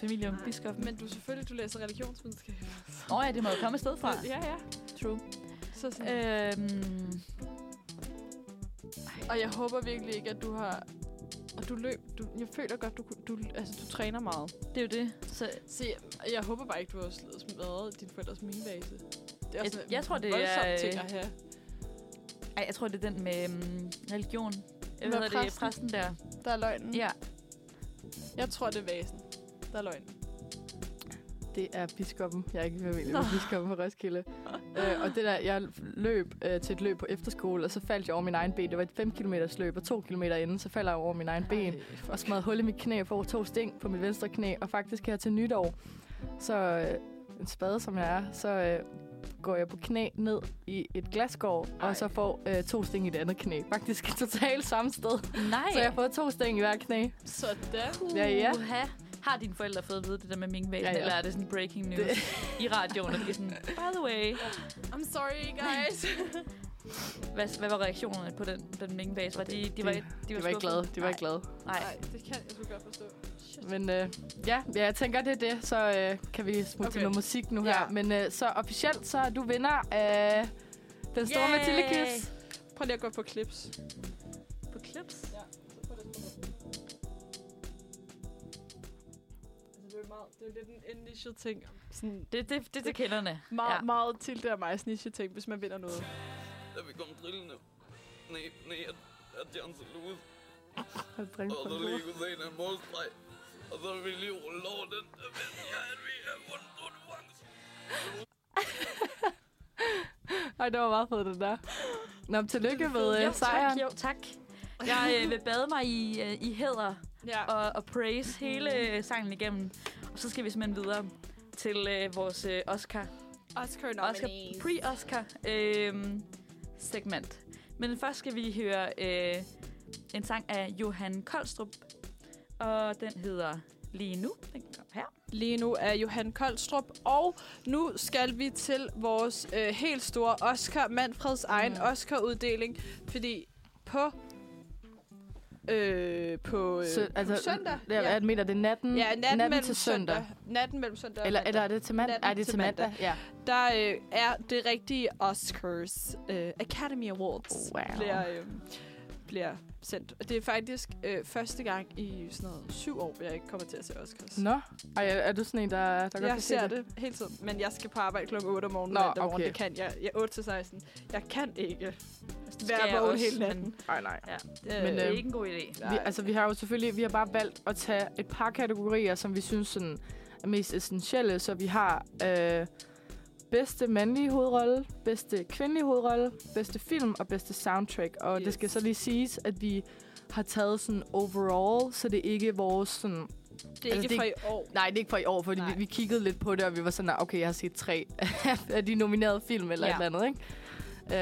familie om biskop.
Men du selvfølgelig, du læser religionsvidenskab.
Nå ja, det må jo komme et sted fra.
Ja, ja.
True.
Så sådan, øh.
Øhm,
Og jeg håber virkelig ikke, at du har... Og du løb. Du, jeg føler godt, du, kunne- du, altså, du træner meget.
det er jo det. Så
Se, jeg, jeg håber bare ikke, du har slået smadret din forældres minebase. Det er
Jeg-
sådan en
jeg tror, det
voldsom
er,
ting
øh,
at have.
Ej, jeg tror, det er den med um, religion. Jeg
Med
ved, det er
præsten?
præsten Mm. der.
Der er løgnen.
Ja.
Jeg tror, det er vasen. Der er løgnen.
Det er biskoppen. Jeg er ikke i familie med
Nå.
biskoppen
[LAUGHS]
på Roskilde. øh, og det der, jeg løb øh, til et løb på efterskole, og så faldt jeg over min egen ben. Det var et 5 km løb, og 2 km inden, så falder jeg over min egen ben. Og smadrede hul i mit knæ og får to sting på mit venstre knæ. Og faktisk her til nytår, så øh, en spade som jeg er, så øh, går jeg på knæ ned i et glasgård,
Ej.
og så får øh, to sting i det andet knæ. Faktisk [LAUGHS] totalt samme sted.
Nej.
Så jeg har fået to sting i hver knæ.
Sådan.
Ja, ja.
Uha. Har dine forældre fået at vide det der med minkvæsen,
Ja,
ja,
ja.
ja. eller er det sådan breaking news det. i radioen, og det er sådan, by the way,
I'm sorry, guys.
hvad, hvad var reaktionerne på den, den minkvæs? Var de, de, var, de,
De var ikke glade. De var ikke
[LAUGHS]
glade.
Nej.
[LAUGHS] Nej, det kan jeg sgu godt forstå.
Men øh, ja, ja, jeg tænker, det er det. Så øh, kan vi smutte okay. til
Okay.
noget musik nu
Ja.
her. Men øh, så officielt, så er du vinder af den store
Yay!
Mathilde Quiz.
Prøv lige at gå på clips.
På clips?
Altså, det er jo meget, det er jo lidt en, en niche ting. Sådan
Det, det, det, det kenderne.
meget, ja.
Ja.
meget til det mig niche ting, hvis man vinder noget.
Jeg vil komme drillende. Nej, nej, at, at Jan så lus,
Hold dreng
og
på
så
bordet.
lige kunne se den målstreg. Og så vil vi lige rulle over den, og vende jer, at vi er vundet konkurrencen.
Ej, det var meget fedt, det der. Nå, men tillykke med
jo,
øh, sejren.
Tak, jo, tak. Jeg øh, vil bade mig i, øh, i hæder
Ja.
og, og praise hele øh, sangen igennem. Og så skal vi simpelthen videre til øh, vores øh, Oscar
Oscar
Oscar, pre-Oscar øh, segment. Men først skal vi høre øh, en sang af Johan Koldstrup, og den hedder Lige Nu. Den kom her.
Lige nu er Johan Koldstrup, og nu skal vi til vores øh, helt store Oscar, Manfreds egen
Mm.
Oscar-uddeling, fordi på øh, på, øh,
Så, altså,
på søndag,
Ja, jeg mener, det er natten,
ja, natten,
natten
mellem
til søndag.
natten mellem søndag og
Eller,
mandag.
eller er det til mandag?
Natten
Er det
til
til mandag? Ja.
der øh, er det rigtige Oscars øh, Academy Awards
Wow.
bliver, øh, bliver sendt. Og Det er faktisk øh, første gang i sådan noget syv år, jeg ikke kommer til at se Oscars.
Nå, Ej, er er du sådan en, der, der godt kan
jeg
se
ser
det?
det hele tiden, men jeg skal på arbejde kl. 8 om morgenen
Nå,
mandag morgen.
okay.
Det kan jeg. jeg 8 til 16. Jeg kan ikke
Det skal jeg
være vågen
også,
hele
Men
natten. Øh,
Nej, nej.
det er
øhm,
ikke en god idé.
Vi, altså, vi har jo selvfølgelig vi har bare valgt at tage et par kategorier, som vi synes sådan, er mest essentielle. Så vi har øh, bedste mandlige hovedrolle, bedste kvindelige hovedrolle, bedste film og bedste soundtrack. Og yes. det
Yes.
skal så lige siges, at vi har taget sådan overall, så det er ikke vores sådan...
det er
altså,
ikke
det-
fra i år.
Nej, det er ikke for i år, fordi vi,
Nej.
vi kiggede lidt på det, og vi var sådan, "Nå, okay, jeg har set tre [LAUGHS] af de nominerede film eller
Ja.
et eller andet, ikke? Um,
Så,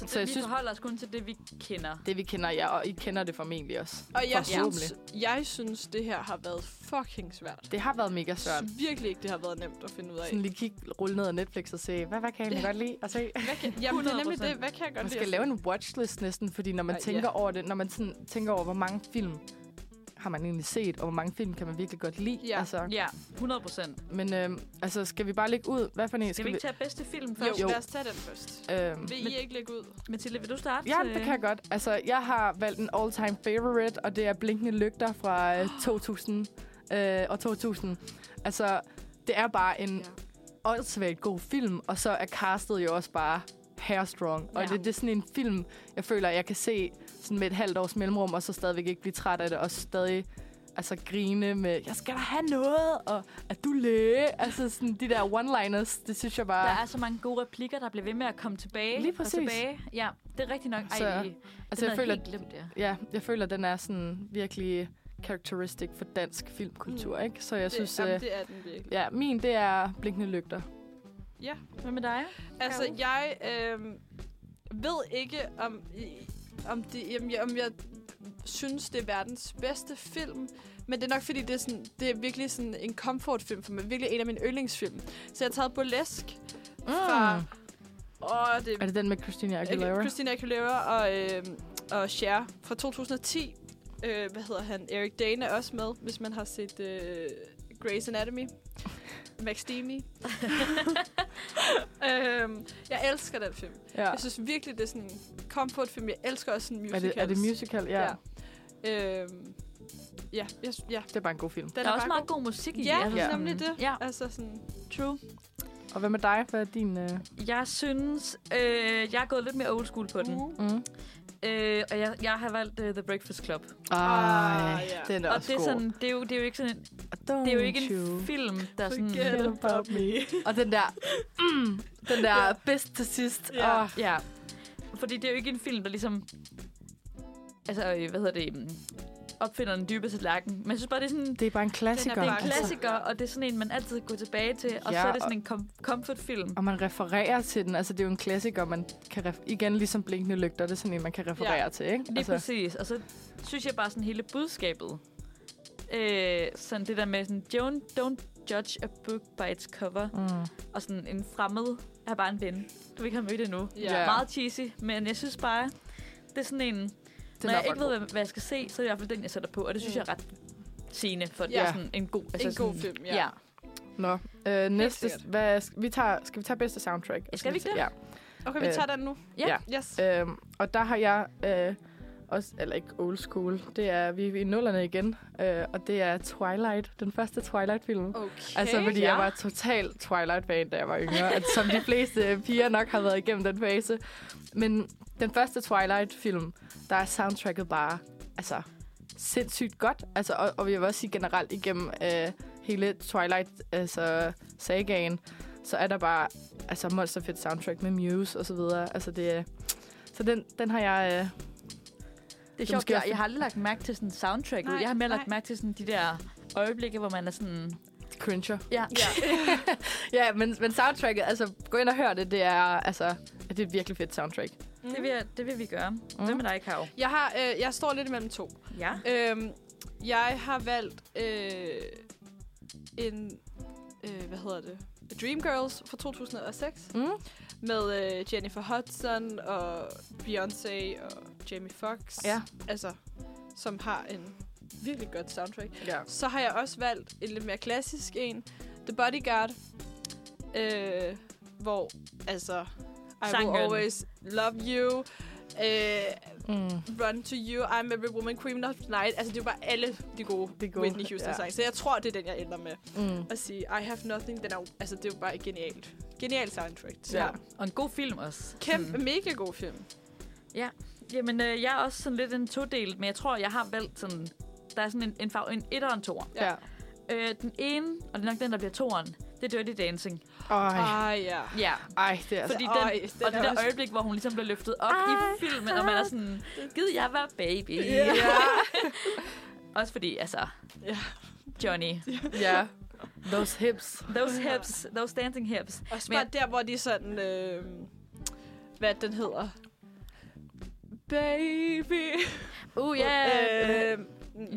det, så vi synes... forholder os kun til det, vi kender.
det vi kender jer, og I kender det formentlig også.
Og jeg
Forhåbentlig.
synes, jeg synes, det her har været fucking svært.
Det har været mega
Jeg
svært.
synes virkelig ikke, det har været nemt at finde ud af.
Sådan lige kigge, rulle ned ad Netflix og se, hvad, hvad kan jeg egentlig
Ja.
godt lide? Og se.
Hvad kan, jamen, det er nemlig
100%.
det. Hvad kan jeg godt
Man
lide
skal
at
lave
se?
en watchlist næsten, fordi når man
Ej, ja.
tænker over det, når man sådan, tænker over, hvor mange film har man egentlig set, og hvor mange film kan man virkelig godt lide.
Ja.
Altså,
Ja, 100 procent.
men øhm, altså, skal vi bare lægge ud? Hvad for en
Skal vi ikke tage bedste film
Jo,
først?
jo,
Jo.
lad os tage den først.
Øhm,
Vil I ikke lægge ud?
Mathilde, vil du starte? Øh,
ja, det kan jeg godt. Altså, jeg har valgt en all-time favorite, og det er Blinkende Lygter
[GASPS]
fra øh, 2000 øh, og 2000. Altså, det er bare en
Ja.
åndssvagt god film, og så er castet jo også bare hairstrong. Og
Ja.
det, det er sådan en film, jeg føler, jeg kan se sådan med et halvt års mellemrum, og så stadigvæk ikke blive træt af det, og stadig altså grine med, jeg skal da have noget, og er du læge? Altså sådan de der one-liners, det synes jeg bare...
Der er så mange gode replikker, der bliver ved med at komme tilbage.
Lige
og
præcis.
Tilbage. Ja, det er rigtigt nok. Ej,
Så-
så,
altså, jeg føler,
helt glemt, ja.
ja, jeg føler, den er sådan virkelig karakteristik for dansk filmkultur,
Mm.
mm. ikke? Så jeg
det,
det, synes,
jamen,
øh,
det er den virkelig.
ja, min det er Blinkende Lygter.
Hvad med dig?
Altså, jeg øh, ved ikke, om, I- om, det, jamen, jeg, om jeg synes, det er verdens bedste film. Men det er nok, fordi det er, sådan, det er virkelig sådan en comfortfilm for mig. Virkelig en af mine yndlingsfilm. Så jeg har taget Burlesk fra...
Mm.
Åh, det
Er det den med Christina Aguilera?
Christina Aguilera og, øh, og Cher fra 2010. Øh, hvad hedder han? Eric Dane er også med, hvis man har set øh, Grey's Anatomy. Max Demi. [LAUGHS] øhm, jeg elsker den film.
ja.
Jeg synes virkelig, det er sådan en comfort film. Jeg elsker også sådan
Er
musicals.
det, er det musical? Ja. ja.
Ja. Øhm, ja, jeg, sy- ja.
Det er bare en god film.
Den
Der er også
bare
meget god musik i
Ja,
altså
ja,
sådan-
nemlig det.
Ja,
Altså sådan...
true.
Og hvad med dig? Hvad er din... Øh...
Mm-hmm. Mhm.
Jeg synes, øh, jeg er gået lidt mere old school på den.
Mm.
Øh, og jeg, jeg har valgt uh, The Breakfast Club.
Ah, ja.
den er
og
også
det er,
god.
sådan, det, er jo, det er jo ikke sådan en, det er jo ikke en film, der er sådan...
Forget about me.
Og den der, mm, den der bedst til sidst.
Ja.
Åh,
Ja, fordi det er jo ikke en film, der ligesom... Altså, øh, hvad hedder det? mm, Opfinder den dybe tallerken. Men jeg synes bare, det er sådan...
det er bare en klassiker.
Det er en
altså.
klassiker, og det er sådan en, man altid kan gå tilbage til. Og
Ja,
ja, så er det
og-
sådan en com- comfort-film.
Og man refererer til den. Altså, det er jo en klassiker, man kan ref- igen ligesom blinkende lygter. Det er sådan en, man kan referere ja. til, ikke?
Lige altså.
altså,
præcis. Og så synes jeg bare sådan hele budskabet. Øh, sådan det der med sådan, Joan, don't judge a book by its cover.
mm.
Og sådan en fremmed er bare en ven. Du ikke har mødt endnu.
Ja.
Ja. Meget cheesy, men jeg synes bare, det er sådan en...
Den
Den når
er
jeg ikke
bare
ved, hvad, hvad jeg skal se, så er det i hvert fald den, jeg sætter på. Og det synes
Mm.
jeg er ret sigende, for det
Ja.
er sådan en god... altså
En god
sådan,
film, ja.
Ja.
Nå, øh, næste,
sikkert.
hvad, sk- vi tager, skal vi tage bedste soundtrack? Og
Skal vi
sådan
ikke
noget?
Okay, vi
Øh,
tager den nu.
ja.
Yes.
Ja, øhm, og der har jeg øh, også, eller ikke old school, det er, vi er i nullerne igen, øh, og det er Twilight, den første Twilight-film.
Okay.
Altså, fordi ja. jeg
ja.
var total Twilight-fan, da jeg var yngre. at, som de fleste [LAUGHS] piger nok har været igennem den fase. Men den første Twilight-film, der er soundtracket bare altså, sindssygt godt. Altså, og, og jeg vil også sige generelt igennem øh, hele Twilight-sagaen, så er der bare altså, monster fedt soundtrack med Muse og så videre. Altså, det er... Så den, den har jeg... Øh,
Det er
Det er
sjovt,
måske
jeg,
også-
jeg har aldrig lagt mærke til sådan soundtracket.
Nej,
jeg har mere lagt
nej.
mærke til sådan de der øjeblikke, hvor man er sådan...
cringer.
Ja, ja.
Ja, men, men soundtracket, altså, gå ind og hør det. Det er, altså, det er et virkelig fedt soundtrack.
Det, vil jeg, det vil vi gøre. Mm. Hvem er dig, Karo?
Jeg, har, øh, jeg står lidt imellem to.
Ja.
Øhm, jeg har valgt øh, en, øh, hvad hedder det, Dreamgirls fra 2006
Mm.
med øh, Jennifer Hudson og Beyoncé og Jamie Foxx.
Ja.
Altså, som har en virkelig godt soundtrack.
Ja.
Så har jeg også valgt en lidt mere klassisk en, The Bodyguard, øh, hvor altså, I
Sangen.
will always love you, øh,
Mm.
Run to You, I'm Every Woman, Queen of Night. Altså, det er jo bare alle de gode,
De
de
gode,
gode Whitney Houston
ja.
ja. sange. Så jeg tror, det er den, jeg ender med.
Mm.
At sige, I have nothing, den er, jo- altså, det er jo bare et genialt. Genial soundtrack. Så
Ja.
ja.
Og en god film også.
Kæmpe,
Sådan.
mega god film.
Jamen, øh, jeg er også sådan lidt en todel, men jeg tror, jeg har valgt sådan... Der er sådan en, en, fag, en etter og en toer.
Ja.
Ja.
Øh, den ene, og det er nok den, der bliver toeren, det er Dirty Dancing.
Ej,
Ah, ja.
Ja.
ej, det er altså...
Fordi
Altså,
den,
øj,
og
den
det
er
der
også-
øjeblik, hvor hun ligesom bliver løftet op i filmen, og man er sådan, gid jeg var baby.
Ja.
[LAUGHS] Også fordi, altså,
Ja.
Johnny,
Ja. Those hips.
those hips, those dancing hips.
Også
Men
bare der, hvor de sådan... Øh, hvad den hedder? Baby.
Uh, ja.
Øh,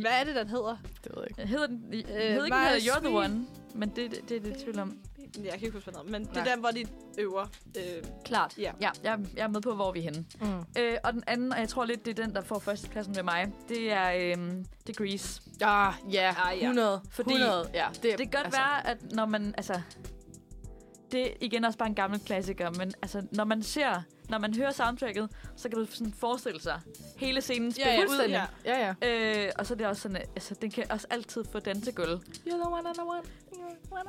hvad er det, den hedder?
Det ved jeg ikke.
Hedder den, øh, hedder
Øh,
ikke den hedder
Maja
You're the
Sweet.
One, men det, det, det er det i tvivl om.
Jeg kan ikke huske, hvad den hedder, men Nej. det
Nej.
er der, hvor de øver. Øh,
Klart.
Ja.
ja jeg, jeg er med på, hvor vi er henne.
Mm.
Øh, og den anden, og jeg tror lidt, det er den, der får førstepladsen med mig, det er øh, Degrees.
Ah, ja.
Ah, ja.
100.
Fordi
100. Ja,
Det kan godt altså. være, at når man, altså... Det er igen også bare en gammel klassiker, men altså, når man ser, når man hører soundtracket, så kan du sådan forestille sig hele scenen spille
ja,
ud.
Fuldstændig. Ja, ja.
Øh, og så er det også sådan, at, altså, den kan også altid få dansegulv
You're the one and the one.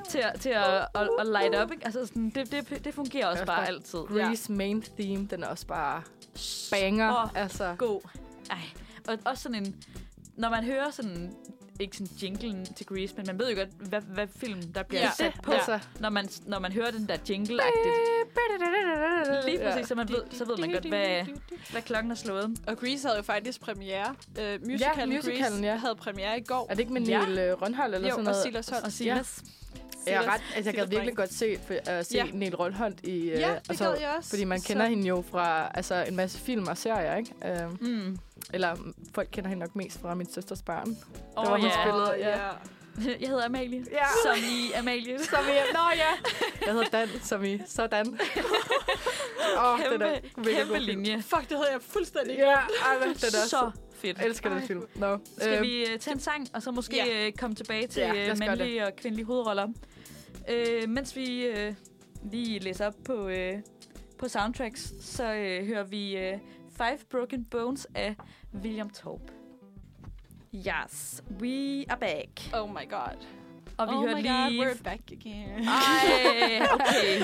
til, at- til at, at, at light up, ikke? Altså, sådan, det, det, det fungerer også
Ja,
bare
tak.
altid.
Grease main theme, den er også bare banger.
Åh,
altså.
God. Ej. Og også sådan en, når man hører sådan, ikke sådan jinglen til Grease, men man ved jo godt, hvad, hvad film der bliver
Ja.
ja. sat på,
Altså.
når, man, når man hører den der jingle-agtigt. Lige præcis, så, man ved, så ved man godt, hvad, hvad klokken er slået.
Og Grease havde jo faktisk premiere. Øh, musicalen, ja,
musicalen,
Grease
ja.
havde premiere i går.
Er det ikke med Niel ja. Rønhold eller
jo,
sådan
og
noget?
Silas Holm.
Og Silas.
Jeg er ret, altså, jeg
Silas
gad virkelig
Brink.
godt se, for, uh, se
Ja.
ja. Niel Rønhold i... Uh,
Ja, det gad jeg også.
Fordi man kender
så,
hende jo fra altså, en masse film og serier, ikke? Uh,
Ja. Mm.
eller mm, folk kender hende nok mest fra Min Søsters Barn.
Oh,
var hun
ja.
spillet.
Åh,
ja.
ja.
[LAUGHS] Jeg hedder Amalie.
Ja.
Som i Amalie.
Som i, nå ja. Jeg hedder Dan, som i
[LAUGHS]
sådan. Åh, oh, den
Kæmpe,
er mega
kæmpe
god film.
linje.
Fuck, det havde jeg fuldstændig.
Ja, ej, men den er så...
Så fedt.
Jeg elsker den film. Nå.
Skal
øhm,
vi øh, tage en sang, og så måske
Ja.
ja. komme tilbage til ja,
Ja, lad os gøre
mandlige og kvindelige hovedroller? Øh, mens vi øh, lige læser op på, øh, på soundtracks, så øh, hører vi øh, Five Broken Bones af William Taub. Yes, we are back.
Oh my god.
Og vi
oh
hørte
my god,
lige...
we're back again. [LAUGHS]
Ej, okay.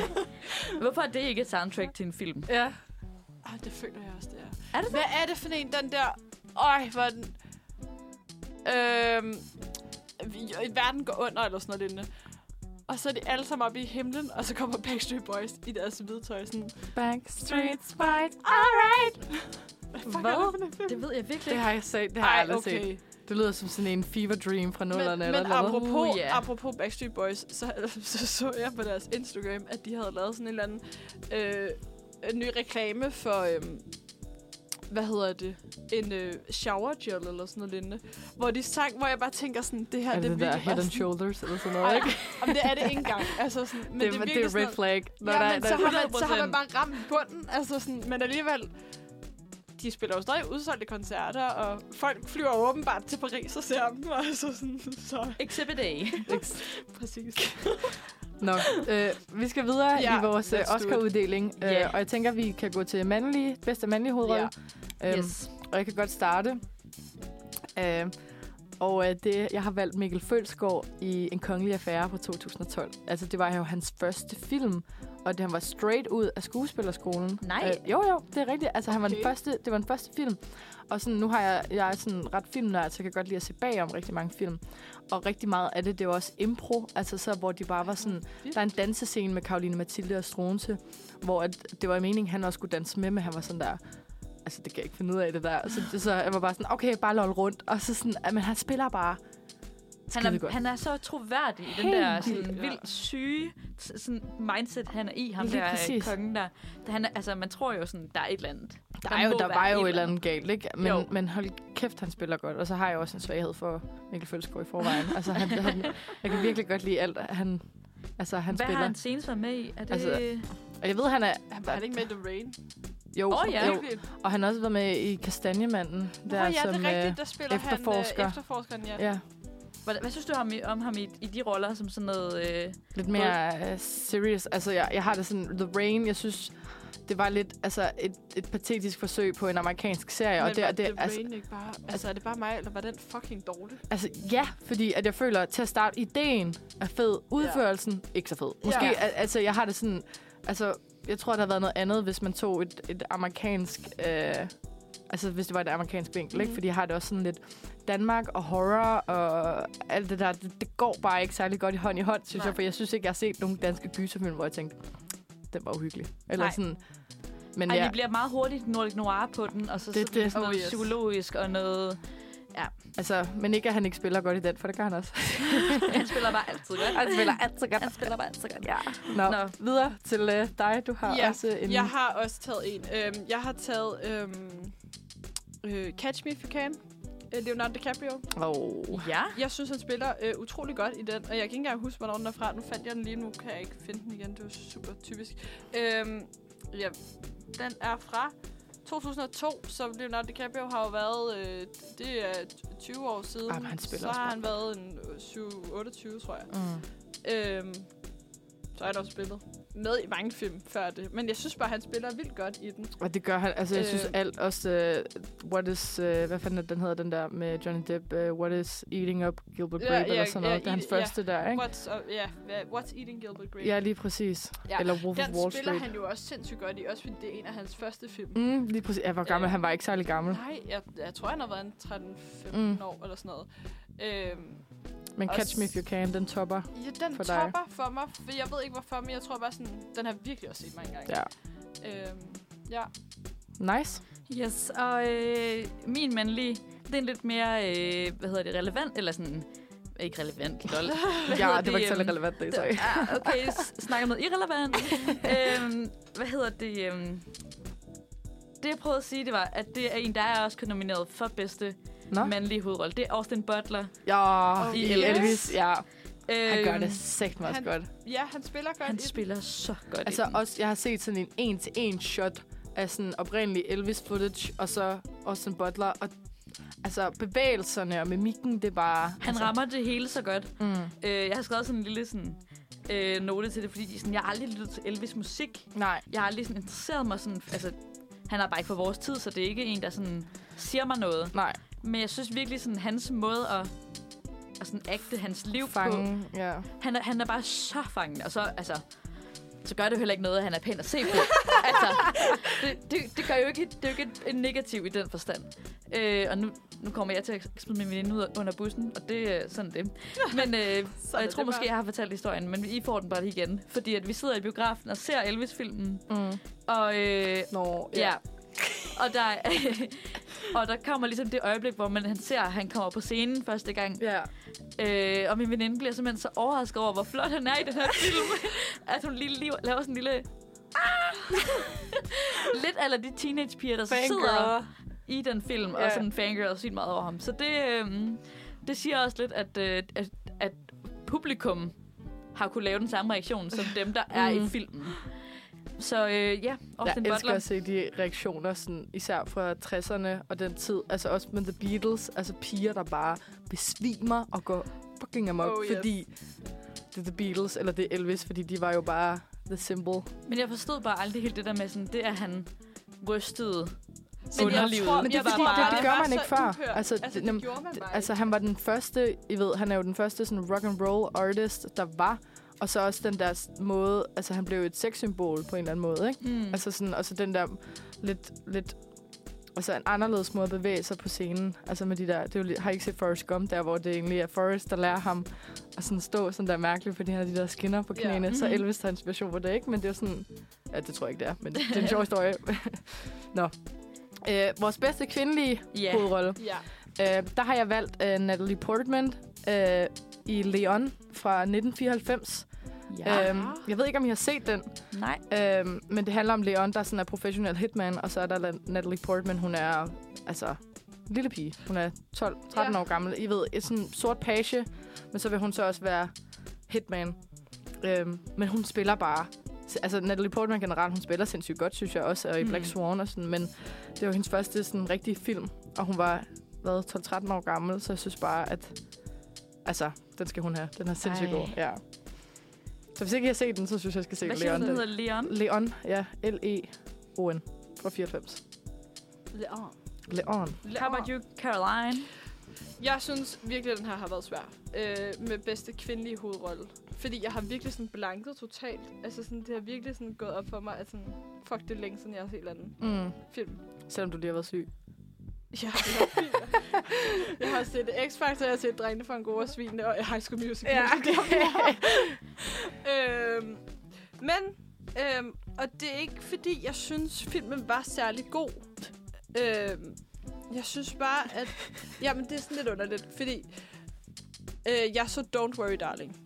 Hvorfor er det ikke et soundtrack til en film?
Ja.
Åh, det føler jeg også, det er.
Er det
Hvad er det for en, den der... Øj, hvor er den... Øhm, vi- verden går under, eller sådan noget lignende. Og så er de alle sammen oppe i himlen, og så kommer Backstreet Boys i deres hvide tøj, sådan...
Backstreet Spice.
Alright! [LAUGHS]
Hvad?
Det ved jeg virkelig
Det
ikke.
har jeg set. Det har jeg
Ej,
aldrig okay. set.
okay.
Det lyder som sådan en fever dream fra
Men,
nullerne
men
eller noget.
apropos,
Uh, ja.
apropos Backstreet Boys, så, [LAUGHS] så så jeg på deres Instagram, at de havde lavet sådan en eller anden øh, en ny reklame for, øh, hvad hedder det, en øh, shower gel eller sådan noget lignende, hvor de sang, hvor jeg bare tænker sådan, det her,
Er
det,
det, det der
virkelig
head
bare sådan,
and shoulders eller sådan
Ej,
noget, ikke?
Jamen, det er det ikke engang. Altså, sådan, men
det,
det,
er-
er
det
virkelig
er
sådan
red
noget,
flag. Når
ja,
der,
men
der,
så, har man, så har man
100%.
bare ramt bunden, altså sådan, men alligevel... De spiller jo stadig udsolgte koncerter, og folk flyver åbenbart til Paris og ser dem, og altså sådan, så...
Exhibit A.
Præcis.
Nå, øh, vi skal videre
Ja,
ja, i vores øh,
let's do it.
Oscar-uddeling,
Ja.
øh, og jeg tænker, vi kan gå til mandlige, bedste mandlige hovedrolle. Øhm, Ja.
Yes.
Og jeg kan godt starte. Øh, og øh, det, jeg har valgt Mikkel Følsgaard i En Kongelig Affære fra 2012. Altså, det var jo hans første film, og det, han var straight ud af skuespillerskolen.
Nej.
Øh, jo, jo, det er rigtigt. Altså, han var okay.
Okay.
den første, det var den første film. Og sådan, nu har jeg, jeg er sådan ret filmnørd, så jeg kan godt lide at se bagom rigtig mange film. Og rigtig meget af det, det var også impro, altså så, hvor de bare var sådan... Der er en dansescene med Karoline Mathilde og Stronse, hvor at, det var i meningen, han også skulle danse med, men han var sådan der... Altså, det kan jeg ikke finde ud af, det der. Så, så jeg var bare sådan, okay, bare lol rundt. Og så sådan, at, men han spiller bare...
Han er,
Skidegodt.
han er så troværdig i den
Helt
der
vildt.
sådan, vildt syge s- sådan, mindset, han er i, ham
Lige
der
præcis.
præcis. kongen der. Da han, er- altså, man tror jo sådan, der er et eller andet.
Der,
Der
er jo,
må
der
være
var jo
et eller
et eller andet galt, ikke?
Jo.
Men, men hold kæft, han spiller godt. Og så har jeg også en svaghed for Mikkel Følsgaard i forvejen. altså, han,
[LAUGHS]
han, jeg kan virkelig godt lide alt, han, altså, han
Han Hvad
spiller.
har han senest været med i? Er det...
Altså,
Altså,
Og jeg ved, han er...
Han var det ikke med The Rain.
Jo,
Åh, ja.
jo, og han har også været med i Kastanjemanden.
Nå, ja, det
som,
er
øh,
rigtigt. Der spiller
efterforsker.
han øh, efterforskeren, ja.
Ja,
hvad, hvad synes du om, om ham i, i de roller som sådan noget... Øh,
lidt mere uh, serious. Altså, jeg, jeg har det sådan, The Rain, jeg synes, det var lidt altså, et, et patetisk forsøg på en amerikansk serie. og
Men
det,
var
og det,
The
altså,
Rain ikke bare... Altså, er det bare mig, eller var den fucking dårlig?
altså, ja, fordi at jeg føler, at til at starte, ideen er fed, udførelsen ikke så fed. Måske,
Ja.
ja. altså, jeg har det sådan, altså, jeg tror, der havde været noget andet, hvis man tog et, et amerikansk... Øh, Altså, hvis det var et amerikansk vinkel, ikke?
Mhm.
Fordi jeg har det også sådan lidt Danmark og horror og alt det der. Det, det går bare ikke særlig godt i hånd i hånd, synes
Nej.
Nej. jeg. For jeg synes ikke, jeg har set nogen danske gyserfilm, hvor jeg tænkte, den var uhyggelig. Eller
Nej.
Nej. sådan... Men
ej,
ja,
det bliver meget hurtigt Nordic Noir på den, og så
Det-
sådan,
det-
sådan noget
oh, yes.
psykologisk og
[LAUGHS]
noget...
altså, men ikke, at han ikke spiller godt i den, for det gør han også.
Han spiller bare altid godt.
han [LAUGHS] spiller altid godt.
Han spiller bare altid godt.
Ja.
Nå.
Nå, Nå. videre til øh, dig. Du har
Ja,
også en...
Jeg har også taget en. Øhm, jeg har taget øhm, øh, Catch Me If You Can. øh, Leonardo DiCaprio.
Oh.
Ja.
Jeg synes, han spiller øh, utrolig godt i den, og jeg kan ikke engang huske, hvornår den er fra. Nu fandt jeg den lige nu, kan jeg ikke finde den igen. Det var super typisk. Øhm, ja, den er fra 2002, så Leonardo DiCaprio har jo været, øh, det er 20 år siden.
Jamen, han spiller
så
også
har han været
meget
en øh, 7, 28, tror jeg.
Mm.
Øhm, så har han også spillet med i mange film før det. Men jeg synes bare, han spiller vildt godt i den.
Og det gør han. Altså, jeg synes
Øh.
alt også... Uh, what is... Uh, hvad fanden er den hedder, den der med Johnny Depp? Uh, what is eating up Gilbert
Ja,
Grape?
ja,
eller sådan noget.
ja,
det er hans
eat-
første der, ikke?
What's, uh, yeah, yeah, what's Eating Gilbert Grape?
Ja, lige præcis.
Ja,
Ja. Eller Wolf
den
of Wall
spiller
Street.
han jo også sindssygt godt i, også fordi det er en af hans første film.
Mm, lige præcis. Ja, hvor gammel.
Øh.
Øh. Han var ikke særlig gammel.
Nej, jeg, jeg tror, han har været en 13-15 mm.
Mm.
år eller sådan noget. Øhm,
Men
Og
Catch Me
s-
If You Can, den topper.
ja, den
For
for
dig.
topper for mig, for jeg ved ikke hvorfor, men jeg tror bare sådan, den har jeg virkelig også set mange gange.
Ja.
Øhm, ja.
Nice.
Yes, og øh, min mandlige, det er en lidt mere, øh, hvad hedder det, relevant, eller sådan, ikke relevant, lol. Hvad hedder
Ja, det var ikke
øh,
særlig
øhm,
relevant, det sorry.
Ah, okay, s- snakker om noget
[LAUGHS]
irrelevant. øhm, hvad hedder det? Øhm, det, jeg prøvede at sige, det var, at det er en, der er også kun nomineret for bedste
Nå?
mandlige hovedrolle. Det er Austin Butler.
Ja,
Oh,
oh,
yes.
Elvis. Ja,
Øhm,
han gør det sagt mig også
han-
godt.
ja, han spiller godt
Han
i den.
spiller så godt i
Altså
den.
også, jeg har set sådan en en-til-en shot af sådan oprindelig Elvis footage, og så Austin Butler, og altså bevægelserne og mimikken, det er bare...
Han
altså,
rammer det hele så godt.
Mm,
Øh, jeg har skrevet sådan en lille sådan, øh, note til det, fordi sådan, jeg har aldrig lyttet til Elvis musik.
nej,
Jeg har aldrig sådan interesseret mig sådan... Altså, han er bare ikke for vores tid, så det er ikke en, der sådan siger mig noget.
nej.
Men jeg synes virkelig, sådan hans måde at, at sådan agte hans liv på,
Fange, ja.
han er, han er bare så fangende. Og så, altså, så gør det jo heller ikke noget, at han er pæn at se
[LAUGHS]
på. altså, det, det, det, gør jo ikke, det er jo ikke et, et negativ i den forstand. Øh, og nu, nu kommer jeg til at smide min veninde ud under bussen, og det er sådan det.
[LAUGHS]
Men øh,
Sådan
og
er
jeg tror
det
måske,
bare.
jeg har fortalt historien, men I får den bare lige igen. Fordi at vi sidder i biografen og ser Elvis-filmen,
Mm.
og, øh,
Nå, ja.
Ja. Og der, [LAUGHS] og der kommer ligesom det øjeblik, hvor man, han ser, at han kommer på scenen første gang.
Ja.
Øh, og min veninde bliver simpelthen så overrasket over, hvor flot han er i den her film, [LAUGHS] at hun lige, lige laver sådan en lille... [LAUGHS] "Ah!" Lidt alle de teenagepiger, der så sidder i den film,
Ja.
og sådan fangirl sygt meget over ham. Så det, øh, det siger også lidt, at, øh, at, at publikum har kunne lave den samme reaktion,
[LAUGHS]
som dem, der er
Mm.
i filmen. Så øh, ja,
Jeg
Austin
elsker
Butler.
at se de reaktioner, sådan, især fra 60'erne og den tid. Altså også med The Beatles. Altså piger, der bare besvimer og går fucking amok,
Oh,
oh,
yes.
yes. fordi det er The Beatles, eller det er Elvis, fordi de var jo bare the symbol.
Men jeg forstod bare aldrig helt det der med sådan, det at han rystede
jeg
underlivet.
tror-
Men det er
Jeg var
fordi,
bare-
det, det gør
var
man
så
ikke før.
uhørt.
Altså,
Altså,
det, nem-
det gjorde man bare
altså, han var den første, I ved, han er jo den første sådan rock and roll artist, der var. Og så også den der s- måde, altså han blev et sexsymbol på en eller anden måde, ikke?
Mm.
Altså sådan, og så den der lidt, lidt altså en anderledes måde at bevæge sig på scenen. Altså med de der, det er jo, lidt- har I ikke set Forrest Gump der, hvor det egentlig er Forrest, der lærer ham at sådan stå sådan der mærkeligt, fordi han har de der skinner på
Ja.
knæene. Så
Mhm.
Elvis tager inspiration på det, ikke? Men det er jo sådan, ja, det tror jeg ikke, det er, men det er en sjov historie. [LAUGHS] Nå. Øh, vores bedste kvindelige
Ja.
hovedrolle.
Ja.
Øh, der har jeg valgt øh, Natalie Portman øh, i Leon fra 1994.
ja.
Øhm, jeg ved ikke, om I har set den,
Nej.
øhm, men det handler om Leon, der sådan er professionel hitman, og så er der La- Natalie Portman, hun er altså en lille pige. Hun er 12-13
Ja.
år gammel. I ved, et sådan sort page, men så vil hun så også være hitman. Øhm, men hun spiller bare. Altså Natalie Portman generelt, hun spiller sindssygt godt, synes jeg også, og i
Mm.
Black Swan og sådan, men det var hendes første sådan rigtige film, og hun var hvad, 12-13 år gammel, så jeg synes bare, at altså, den skal hun have. Den er sindssygt
Ej.
god. Ja. Så hvis ikke I har set den, så synes jeg, jeg skal se
Hvad siger
Leon.
du, den hedder Leon?
Leon, ja. L-E-O-N. Fra 94.
Leon.
Leon.
How about you, Caroline?
Jeg synes virkelig, at den her har været svær. Øh, med bedste kvindelige hovedrolle. Fordi jeg har virkelig sådan blanket totalt. Altså sådan, det har virkelig sådan gået op for mig, at sådan, fuck, det er længe siden, jeg har set en eller anden
Mm.
film.
Selvom du lige har været syg.
Jeg har, jeg har, jeg har set X-Factor, jeg har set Drengene fra Angora Svinene, og jeg har School Musical.
Ja,
Det er mere. øhm, men, øhm, og det er ikke fordi, jeg synes, filmen var særlig god. Øhm, jeg synes bare, at... Jamen, det er sådan lidt underligt, fordi... Øh, jeg så Don't Worry Darling.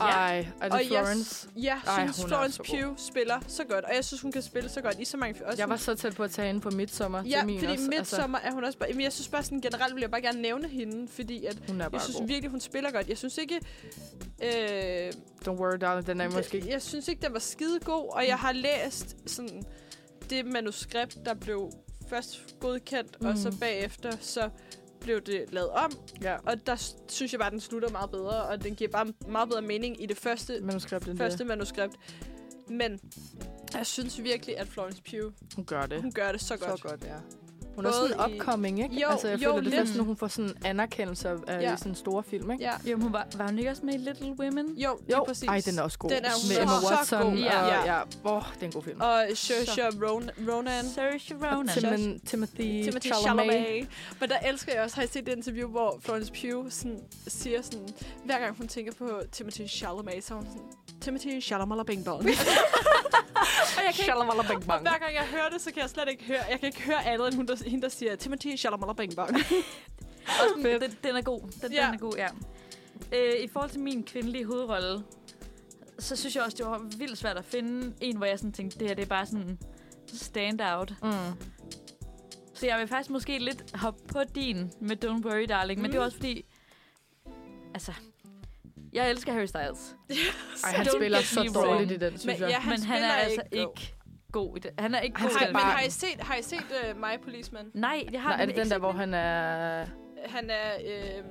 Ej, er det
og
Florence?
jeg, jeg
Ej,
synes,
hun er
Florence
så god.
Pugh spiller så godt. Og jeg synes, hun kan spille så godt i så mange... fi- Også
Jeg var
sådan-
så tæt på at tage hende på midsommer
Ja,
til min
fordi
også. altså,
midsommer er hun også bare... Jamen, jeg synes bare sådan generelt, vil jeg bare gerne nævne hende, fordi at
hun er bare
jeg synes
god.
virkelig, hun spiller godt. Jeg synes ikke... Øh,
Don't worry, darling. Den er måske
jeg synes ikke, den var skide god, og jeg har læst sådan det manuskript, der blev først godkendt, mm. og så
Mm.
bagefter, så blev det lavet om.
Ja.
Og der s- synes jeg bare, den slutter meget bedre, og den giver bare meget bedre mening i det første,
manuskript end
første
det.
manuskript. Men jeg synes virkelig, at Florence Pugh,
Hun gør det.
hun gør det så godt.
Så godt, ja. Hun er også
Både
sådan
i-
upcoming, ikke?
Jo,
altså, jeg
jo,
føler, det er først
lidt.
nu, hun får sådan anerkendelse af
Ja.
ja. sådan store film, ikke?
Ja.
Jo, hun var, var hun ikke også med i Little Women?
Jo, jo.
Jo,
Lige præcis.
ej, den er også god.
Den er
med
så-
Emma
så
Watson.
god.
Og,
Ja.
ja. ja. Åh, det er en god film.
Og Saoirse Ron- Ronan.
Saoirse Ronan.
Tim- Timothy,
Timothy Chalamet. Men der elsker jeg også, har I set det interview, hvor Florence Pugh sådan, siger sådan, hver gang hun tænker på Timothy Chalamet, så er hun sådan, Timothy Chalamet Bing Bong. og jeg kan ikke,
Chalamet Bang
og
Bang.
hver gang jeg hører det, så kan jeg slet ikke høre, jeg kan ikke høre andet end hun, der, hende, der siger, Timothy Chalamet Bing Bong.
Og sådan, den, den er god. Den,
Ja.
den er god, ja. Øh, I forhold til min kvindelige hovedrolle, så synes jeg også, det var vildt svært at finde en, hvor jeg sådan tænkte, det her det er bare sådan stand out.
Mm.
Så jeg vil faktisk måske lidt hoppe på din med Don't Worry Darling, men det er
Mm.
også fordi, altså, jeg elsker Harry Styles.
Ej, han
Don't
spiller
get
så
me
dårligt
wrong.
i den, synes
Men ja,
jeg.
han,
men han er altså
ikke.
ikke god i det. Han er ikke
Han
god. i
God. Har,
skal
den.
men
bare-
har I set, har I set uh, My Policeman?
Nej, jeg har
Nå, er det
ikke
den der,
set
hvor han er...
Han er... Øh,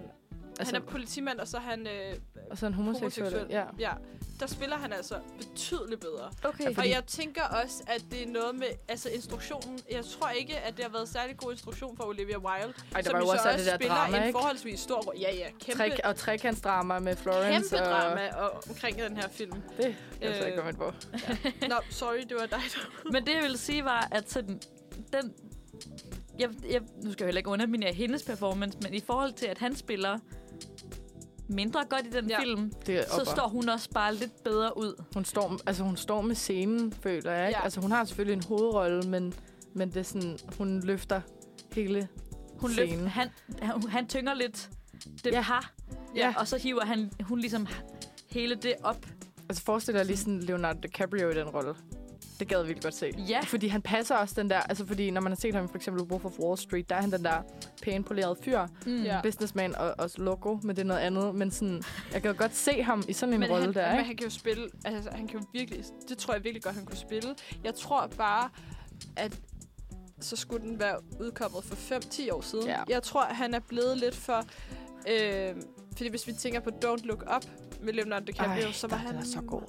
Altså,
han er politimand, og så er han øh,
og så en homoseksuel.
homoseksuel.
Ja.
ja. Der spiller han altså betydeligt bedre.
Okay.
Og jeg tænker også, at det er noget med altså instruktionen. Jeg tror ikke, at det har været særlig god instruktion for Olivia Wilde.
Ej, der
som
var
jo
jo også
så
alt det der
spiller
drama,
en
ikke?
forholdsvis stor... ro- Ja, ja, kæmpe,
Træk, og trekantsdrama med Florence.
kæmpe
Og,
drama og, omkring den her film.
det kan jeg så ikke
Øh,
komme ind på.
Nå, sorry, det var dig, der...
Men det, jeg ville sige, var, at sådan, den... Jeg, jeg, nu skal jeg heller ikke underminere hendes performance, men i forhold til, at han spiller mindre godt i den
Ja.
ja. film,
Det er
så
opper.
står hun også bare lidt bedre ud.
Hun står, altså hun står med scenen, føler jeg. Ikke?
Ja.
Ja. Altså hun har selvfølgelig en hovedrolle, men, men det er sådan, hun løfter hele
Hun
scenen.
løft, han, han, han tynger lidt det ja.
Ja.
par,
Ja.
og så hiver han, hun ligesom hele det op.
Altså forestil dig lige sådan Leonardo DiCaprio i den rolle. Det gad jeg vildt godt se.
Ja.
Fordi han passer også den der, altså fordi når man har set ham i for eksempel i Wolf of Wall Street, der er han den der pæne polerede fyr,
Mm.
Ja.
Ja.
businessman og også logo, men det er noget andet. Men sådan, jeg kan jo godt se ham i sådan en
Men
rolle
han,
der,
men
ikke?
han kan jo spille... Altså, han kan jo virkelig... Det tror jeg virkelig godt, han kunne spille. Jeg tror bare, at så skulle den være udkommet for 5-10 år siden.
Ja.
Jeg tror, han er blevet lidt for... Øh, fordi hvis vi tænker på Don't Look Up med Leonardo DiCaprio, så var
den-
han...
den er så god.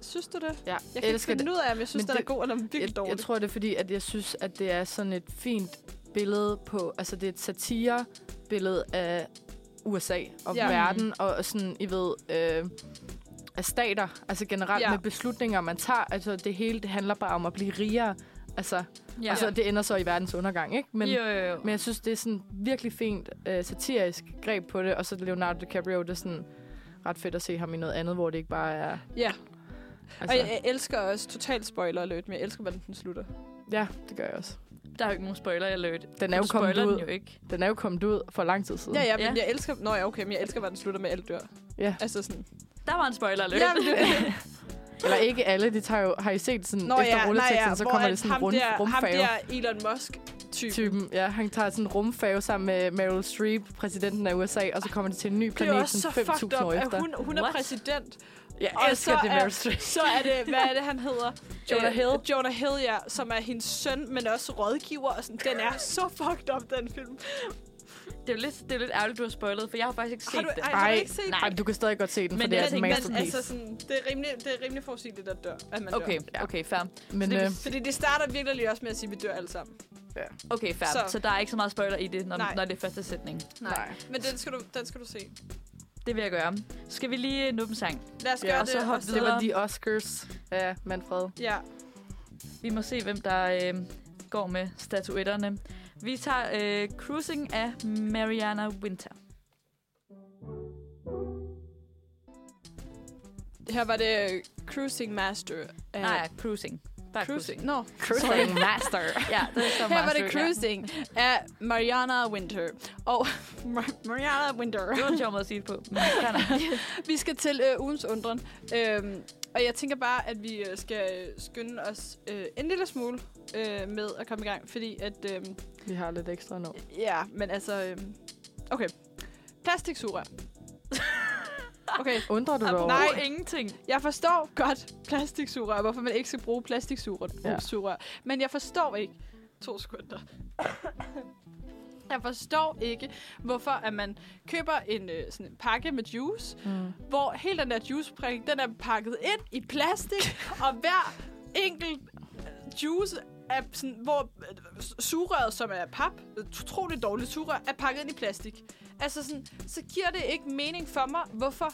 Synes du det?
Ja,
Jeg kan ikke
elsker
finde
det.
ud af, om jeg synes,
Men
den er
det-
god eller virkelig
Jeg,
dårlig.
jeg tror, det er fordi, at jeg synes, at det er sådan et fint billede på... Altså, det er et satirebillede af USA og
Ja.
ja. verden, og og sådan, I ved, øh, af stater, altså generelt
Ja.
ja. med beslutninger, man tager. Altså, det hele det handler bare om at blive rigere. Altså, ja. altså det ender så i verdens undergang, ikke? Men,
jo, jo, jo.
men jeg synes, det er sådan virkelig fint øh, satirisk greb på det, og så Leonardo DiCaprio, det er sådan ret fedt at se ham i noget andet, hvor det ikke bare er...
Ja.
Altså,
Og jeg, jeg elsker også total spoiler alert, men jeg elsker, hvordan den slutter.
ja, det gør jeg også.
Der er jo ikke nogen spoiler alert.
Den er jo
Du
kommet
spoiler
ud.
den jo ikke.
Den er jo kommet ud for lang tid siden.
Ja, ja, men
Ja.
jeg elsker... Nå ja, okay, men jeg elsker, hvordan den slutter med alt dør.
Ja.
Altså sådan...
Mm,
Der var en spoiler alert.
Ja, men det,
[LAUGHS]
Eller ikke alle, de tager jo, har I set sådan, Nå, efter ja, rulleteksten, nej, ja. så
hvor
kommer
at
det sådan en rund,
der, ham
rumfave.
der Elon Musk-typen.
Typen, ja, han tager sådan en rumfave sammen med Meryl Streep, præsidenten af USA, og så kommer de til en ny
Det er jo
planet
også så
sådan
fucked
5.000 år
up,
efter.
at hun, hun er
What?
præsident.
Jeg
og
elsker
så
det,
er-
Meryl Streep.
Så er det, hvad er det, han hedder?
Jonah
Øh,
Hill.
Jonah Hill, ja, som er hendes søn, men også rådgiver. Og sådan. Den er så fucked up, den film.
Det er jo lidt, det er jo lidt ærgerligt, du har spoilet, for jeg har faktisk ikke set
Har du,
det.
ej, har du
Ej,
ikke set
nej.
Ej, du kan stadig godt se den, for
Men
det
jeg
er altså en
tænker,
Men
masterpiece.
altså, sådan, det er rimelig, det er rimelig forudsigeligt, at, dør, at man
Okay,
dør.
okay, fair.
men
det
øh,
vil-
Fordi det starter virkelig også med at sige, at vi dør alle sammen.
Okay, fair.
Så-
Så, så der er ikke så meget spoiler i det, når,
Nej.
når det er første sætning.
nej.
Men den skal du, den skal du se.
Det vil jeg gøre. Skal vi lige øh, nå en sang?
Lad os
Ja,
gøre
og så
det.
hop
Det var
videre.
de Oscars af Manfred.
Ja.
Vi må se, hvem der øh, går med statuetterne. Vi tager øh, Cruising af Mariana Winter.
Her var det øh, Cruising Master. af-
Nej, ja, Cruising. Bare Cruising.
Nå.
[LAUGHS] Cruising Master. ja, det er så
Her var det
master, ja.
Cruising af Mariana Winter. Og [LAUGHS] Mar- Mariana Winter.
Det var en sjov måde at sige det på. Men fair nok.
Vi skal til øh, ugens undren. Øhm, og jeg tænker bare, at vi øh, skal øh, skynde os øh, en lille smule øh, med at komme i gang. Fordi at... Øh,
Vi har lidt ekstra nu.
Ja, men altså... øhm, Okay. Plastiksugerør. [LAUGHS] Okay,
Undrer du dig over?
nej.
Og ingenting.
jeg forstår godt plastiksugerør, hvorfor man ikke skal bruge plastiksugerør,
Ja.
ja. men jeg forstår ikke... To sekunder. jeg forstår ikke, hvorfor at man køber en, øh, sådan en pakke med juice,
Mm.
hvor hele den der juiceprik, den er pakket ind i [LAUGHS] plastik, og hver enkelt øh, juice er sådan, hvor øh, sugerøret, som er pap, øh, utroligt dårligt sugerør, er pakket ind i plastik. Altså sådan, så giver det ikke mening for mig, hvorfor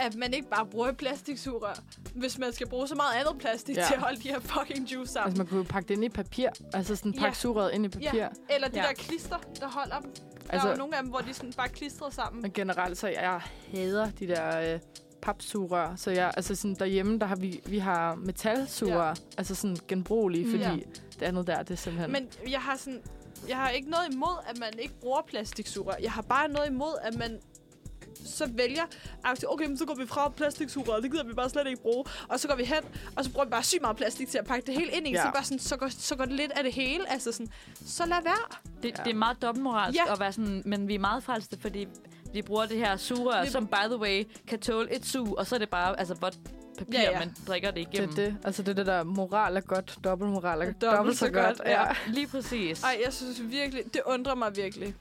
at man ikke bare bruger et plastiksugerør, hvis man skal bruge så meget andet plastik ja.
Ja.
til at holde de her fucking juice sammen.
Altså, man kunne jo pakke det ind i papir. Altså, sådan
Ja.
pakke surrøret ind i papir.
ja. Eller de Altså, ja.
Ja.
der klister, der holder dem. Der altså, er jo
Altså,
nogle af dem, hvor de sådan bare klistrer sammen.
Men generelt, så jeg hader de der øh, papsugerør. Så jeg, altså sådan derhjemme, der har vi, vi har metalsugerør. Ja. Altså sådan genbrugelige,
Mm.
fordi
Ja.
det andet der, det er simpelthen...
Men jeg har sådan... Jeg har ikke noget imod, at man ikke bruger plastiksugerør. Jeg har bare noget imod, at man så vælger, aktivt, okay, men så går vi fra plastiksugerør, det gider vi bare slet ikke bruge. Og så går vi hen, og så bruger vi bare sygt meget plastik til at pakke det hele ind i. Ja.
Ja.
Så, bare sådan, så, går, så går det lidt af det hele. Altså sådan, så lad være.
Det, det er meget dobbeltmoralsk
Ja.
ja. at være sådan, men vi er meget frelste, fordi vi bruger det her surør,
Vi-
som by the way kan tåle et sug, og så er det bare altså vådt papir,
Ja, ja.
ja, ja. man drikker det igennem.
det, det, altså det er det der, moral er godt, dobbelt moral
[LAUGHS]
er
Dobbelt
dobbelt, dobbelt
så
så,
godt,
godt.
ja.
Ja.
Lige præcis.
Ej, jeg synes virkelig, det undrer mig virkelig.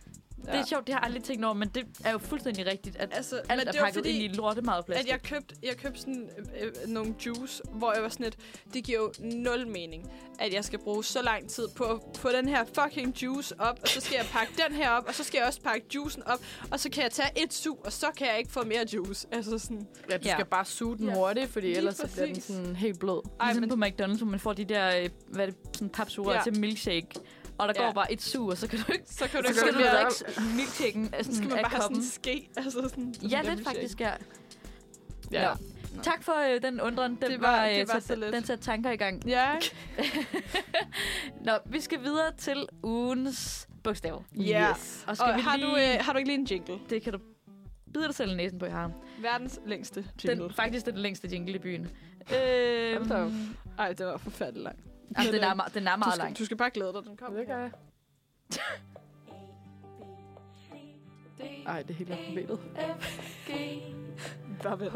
Ja. Det er sjovt, det har jeg aldrig tænkt over, men det er jo fuldstændig rigtigt, at
Altså, men
alt
det
er
var
pakket
fordi,
ind i et lortemadplastik.
at jeg købte, jeg købte sådan, øh, øh, nogle juice, hvor jeg var sådan lidt, det giver jo nul mening, at jeg skal bruge så lang tid på at få den her fucking juice op, og så skal jeg pakke den her op, og så skal jeg også pakke juicen op, og så kan jeg tage et sug, og så kan jeg ikke få mere juice. Altså sådan,
Ja, du
Ja.
skal bare suge den
Ja.
hurtigt, fordi
Lige
ellers så bliver den
præcis.
sådan helt blød.
ej,
ligesom
men,
på McDonald's, hvor man får de der øh, hvad er det, sådan papsuger
Ja.
ja. til milkshake. Og der
Ja.
går bare et sug, og så kan du ikke...
så kan du
Så
ikke
skal
få
du
mere
da
op.
ikke milkshaken af,
Så skal
sådan,
man
af
bare
koppen.
sådan ske. Altså sådan,
Ja, lidt faktisk, ja.
Ja.
Ja. Tak for øh, den undren. Den,
Det
det
var-
var, var, øh,
det var
sat-
så lidt.
den satte tanker i gang.
Ja.
Nå, vi skal videre til ugens bogstav.
Ja.
Yes.
Og skal
Og
og vi
har,
lige...
du, øh, har du ikke lige en jingle?
Det kan du bide dig selv i næsen på, jeg har.
Verdens længste jingle.
Den,
Den.
faktisk den længste jingle i byen. Øh,
Hold da op.
Ej, det var forfærdelig lang.
altså, den, er, me- den er
Du
meget
skal,
lang.
du skal bare glæde dig, den kommer.
Det gør jeg. Ej, det er helt problemet.
Bare vent.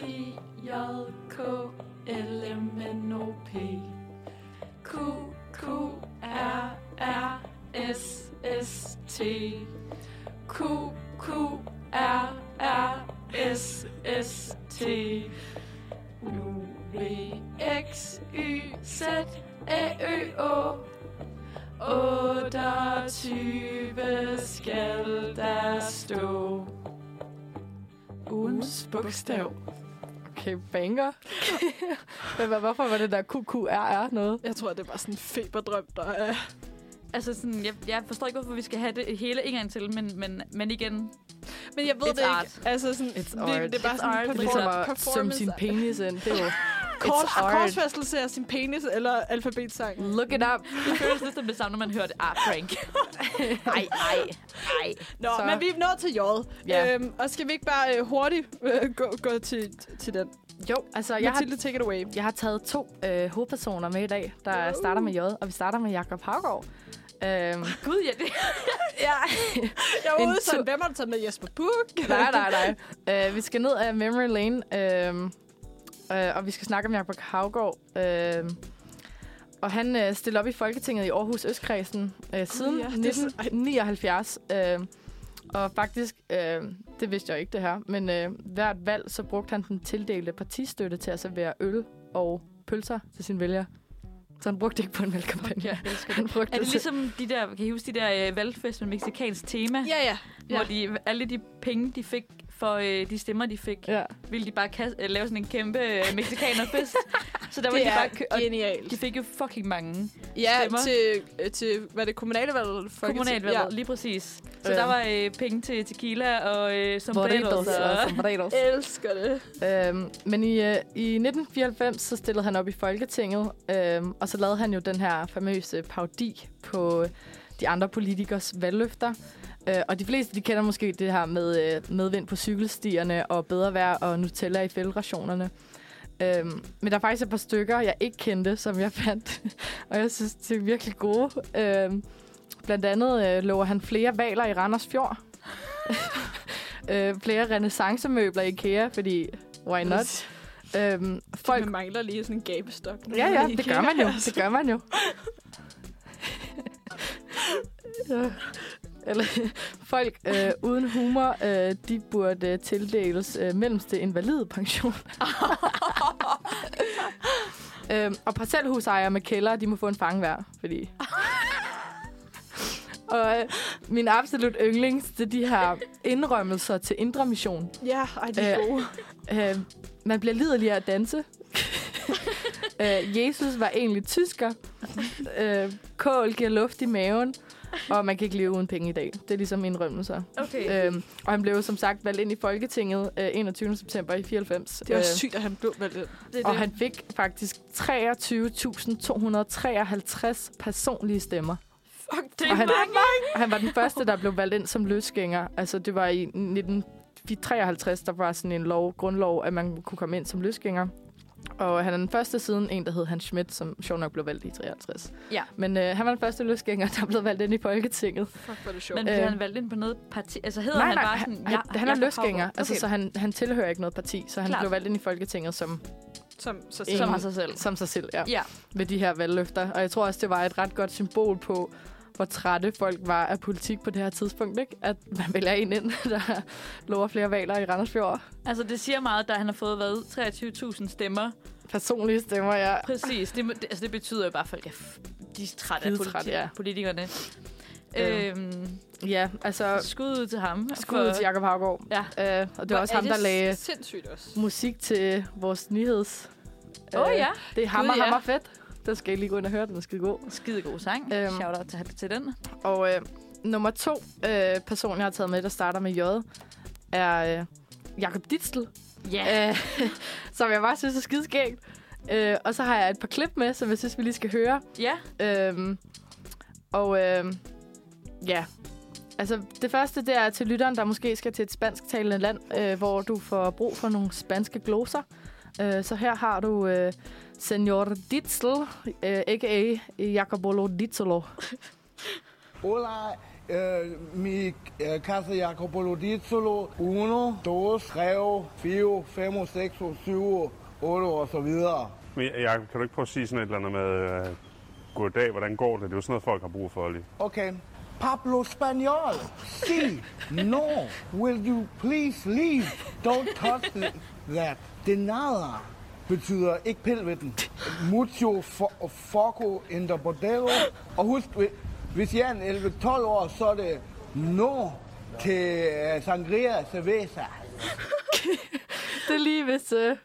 H-I-J-K-L-M-N-O-P Q-Q-R-R-S-S-T Q-Q-R-R-S-S-T U-V-X-Y-Z-A-Ø-Å 28 skal der stå
Ugens bogstav.
Okay, banger. Men hvad- hvorfor var det der QQRR noget?
Jeg tror, det var sådan en feberdrøm, der er...
Altså, sådan, jeg, jeg forstår ikke, hvorfor vi skal have det hele en gang til, men, men, men igen,
Men jeg ved
It's
det ikke.
art.
Altså sådan,
It's
virkelig,
art.
det er bare
It's
sådan
art.
en
Ligesom
performance.
at sømme sin penis ind. Det er jo...
Kors,
It's art.
korsfæstelse af sin penis eller alfabetsang.
Look it up.
det føles lidt som det samme, når man hørte Art Frank. Ej, ej, ej.
Nå,
Så-
så. men vi er nået til J.
Ja.
Øhm, og skal vi ikke bare øh, hurtigt øh, gå, gå til, til den?
Jo, altså, jeg
Jeg
har,
Mathilde, take it away.
jeg har taget to øh, hovedpersoner med i dag, der
Uh.
starter med J, og vi starter med Jakob Havgaard. Øhm,
Gud, ja, det
ja.
[LAUGHS] Jeg var
En
ude sådan,
tur-
hvem har du taget med? Jesper Buch?
nej, nej, nej. Øh, vi skal ned af memory lane, øhm, øh, og vi skal snakke om Jakob Havgaard. Øh, og han øh, stillede op i Folketinget i Aarhus Østkredsen øh, siden
ja,
ja,
det er så- ej.
1979. Øh, og faktisk, øh, det vidste jeg ikke det her, men øh, hvert valg, så brugte han den tildelte partistøtte til at servere øl og pølser til sine vælgere. Så han brugte det ikke på en valgkampagne.
Jeg elsker det.
Han brugte
Er det
til-
ligesom de der, kan I huske de der øh, valgfest med mexikansk tema?
[LAUGHS] Ja, ja.
Hvor de, alle de penge, de fik for øh, de stemmer, de fik,
Ja.
ville de bare kaste, øh, lave sådan en kæmpe øh, mexikanerfest. så der var
Det
de bare...
er
kø- og
genialt.
de fik jo fucking mange
Ja,
stemmer.
til, øh, til, hvad er det, kommunalvalget? eller Folketing-
kommunalvalget, ja.
Ja.
lige præcis. Så
Øh.
der var øh, penge til tequila og øh,
Burritos
sombreros.
og
Og...
sombreros.
Elsker det.
Øhm, men i, øh, i 1994, så stillede han op i Folketinget, øhm, og så lavede han jo den her famøse parodi på de andre politikers valgløfter. Øh, og de fleste, de kender måske det her med øh, medvind på cykelstierne og bedre vejr og Nutella i fældrationerne. Øhm, men der er faktisk et par stykker, jeg ikke kendte, som jeg fandt, [LAUGHS] og jeg synes, de er virkelig gode. Øhm, blandt andet øh, lover han flere valer i Randers Fjord. [LAUGHS] øh, flere renaissancemøbler i IKEA, fordi why not? Øhm, folk
Man mangler lige sådan en gabestok. når
Ja,
man er
ja,
i
det
IKEA,
gør man jo.
altså.
Det gør man jo. Ja. Eller, folk øh, uden humor, øh, de burde øh, tildeles øh, mellemste invalide [LAUGHS] pension. øhm, og parcelhusejere med kælder, de må få en fange hver, [LAUGHS] fordi... og øh, min absolut yndlings, det er de her indrømmelser til indre mission.
Ja, ej, de er
Øh,
gode.
Øh, man bliver liderlig af at danse. øh, Jesus var egentlig tysker. øh, kål giver luft i maven. Og man kan ikke leve uden penge i dag. Det er ligesom indrømmelser.
Okay.
Øhm, og han blev jo som sagt valgt ind i Folketinget øh, 21. september i Øh, 94.
Det var sygt, at han blev valgt ind.
Det er
og
det.
han fik faktisk 23.253 personlige stemmer.
Fuck, det
og
er
han-
mange.
Og han var den første, der blev valgt ind som løsgænger. Altså, det var i 1953, der var sådan en lov, grundlov, at man kunne komme ind som løsgænger. Og han er den første siden en, der hed Hans Schmidt, som sjovt nok blev valgt i 53.
Ja.
Men øh, han var den første løsgænger, der blev valgt ind i Folketinget.
Fuck, hvor er det sjovt.
Men bliver
Øh.
han valgt ind på noget parti? Altså hedder
nej,
han
nej,
bare
han,
sådan...
han,
Ja-
han er
Jakob
løsgænger,
Haugaard"?
altså, så han, han tilhører ikke noget parti. Så han
Klart.
blev valgt ind i Folketinget som,
Som, så
en-
Som har sig selv.
som sig selv, ja,
Ja.
med de her valgløfter. Og jeg tror også, det var et ret godt symbol på, hvor trætte folk var af politik på det her tidspunkt, ikke? At man vælger en ind, [LAUGHS] der lover flere valer i Randers Fjord.
Altså, det siger meget, da han har fået, hvad, 23.000 stemmer.
Personlige stemmer, ja.
Præcis. Det, må- det, altså, det betyder jo bare, at folk er, f- de er trætte af
Skidetrætte,
politi-
ja.
politikerne.
Øh.
Øhm,
Ja, altså...
skud ud til ham.
Skud ud til Jacob Havgård.
Ja.
Øh, og det var
Hvor
også
er
ham,
det
der lagde
Sindssygt også.
musik til vores nyheds.
Åh oh,
Øh,
ja.
Det er hammer,
Gud, ja.
hammer fedt. Der skal I lige gå ind og høre, den er skide god.
Skide god sang.
Øhm.
Øhm. Shout out til, til den.
Og øh, nummer to øh, person, jeg har taget med, der starter med J, er øh, Jakob Ditzel,
Ja.
øh, [LAUGHS] som jeg bare synes er skideskægt. Øh, og så har jeg et par klip med, som jeg synes, vi lige skal høre.
Ja.
Øhm, og øhm, ja, altså det første det er til lytteren, der måske skal til et spansktalende land, øh, hvor du får brug for nogle spanske gloser. Øh, så her har du øh, Senor Ditzel, øh, a.k.a. Jacobolo Ditzelo.
Hola, eh, mi eh, casa Jacopo Dizzolo. 1, 2, 3, 4, 5, 6, 7, 8 og så videre.
Men Jacob, kan du ikke prøve at sige sådan et eller andet med, øh, goddag, hvordan går det? Det er jo sådan noget, folk har brug for lige.
Okay. Pablo Spaniol, si, no, will you please leave? Don't touch th- that. De nada betyder ikke pil ved den. Mucho fo- foco in the bordello. Og husk, hvi- hvis jeg er en 11-12 år, så er det no til øh, sangria cerveza.
Det er lige, hvis øh,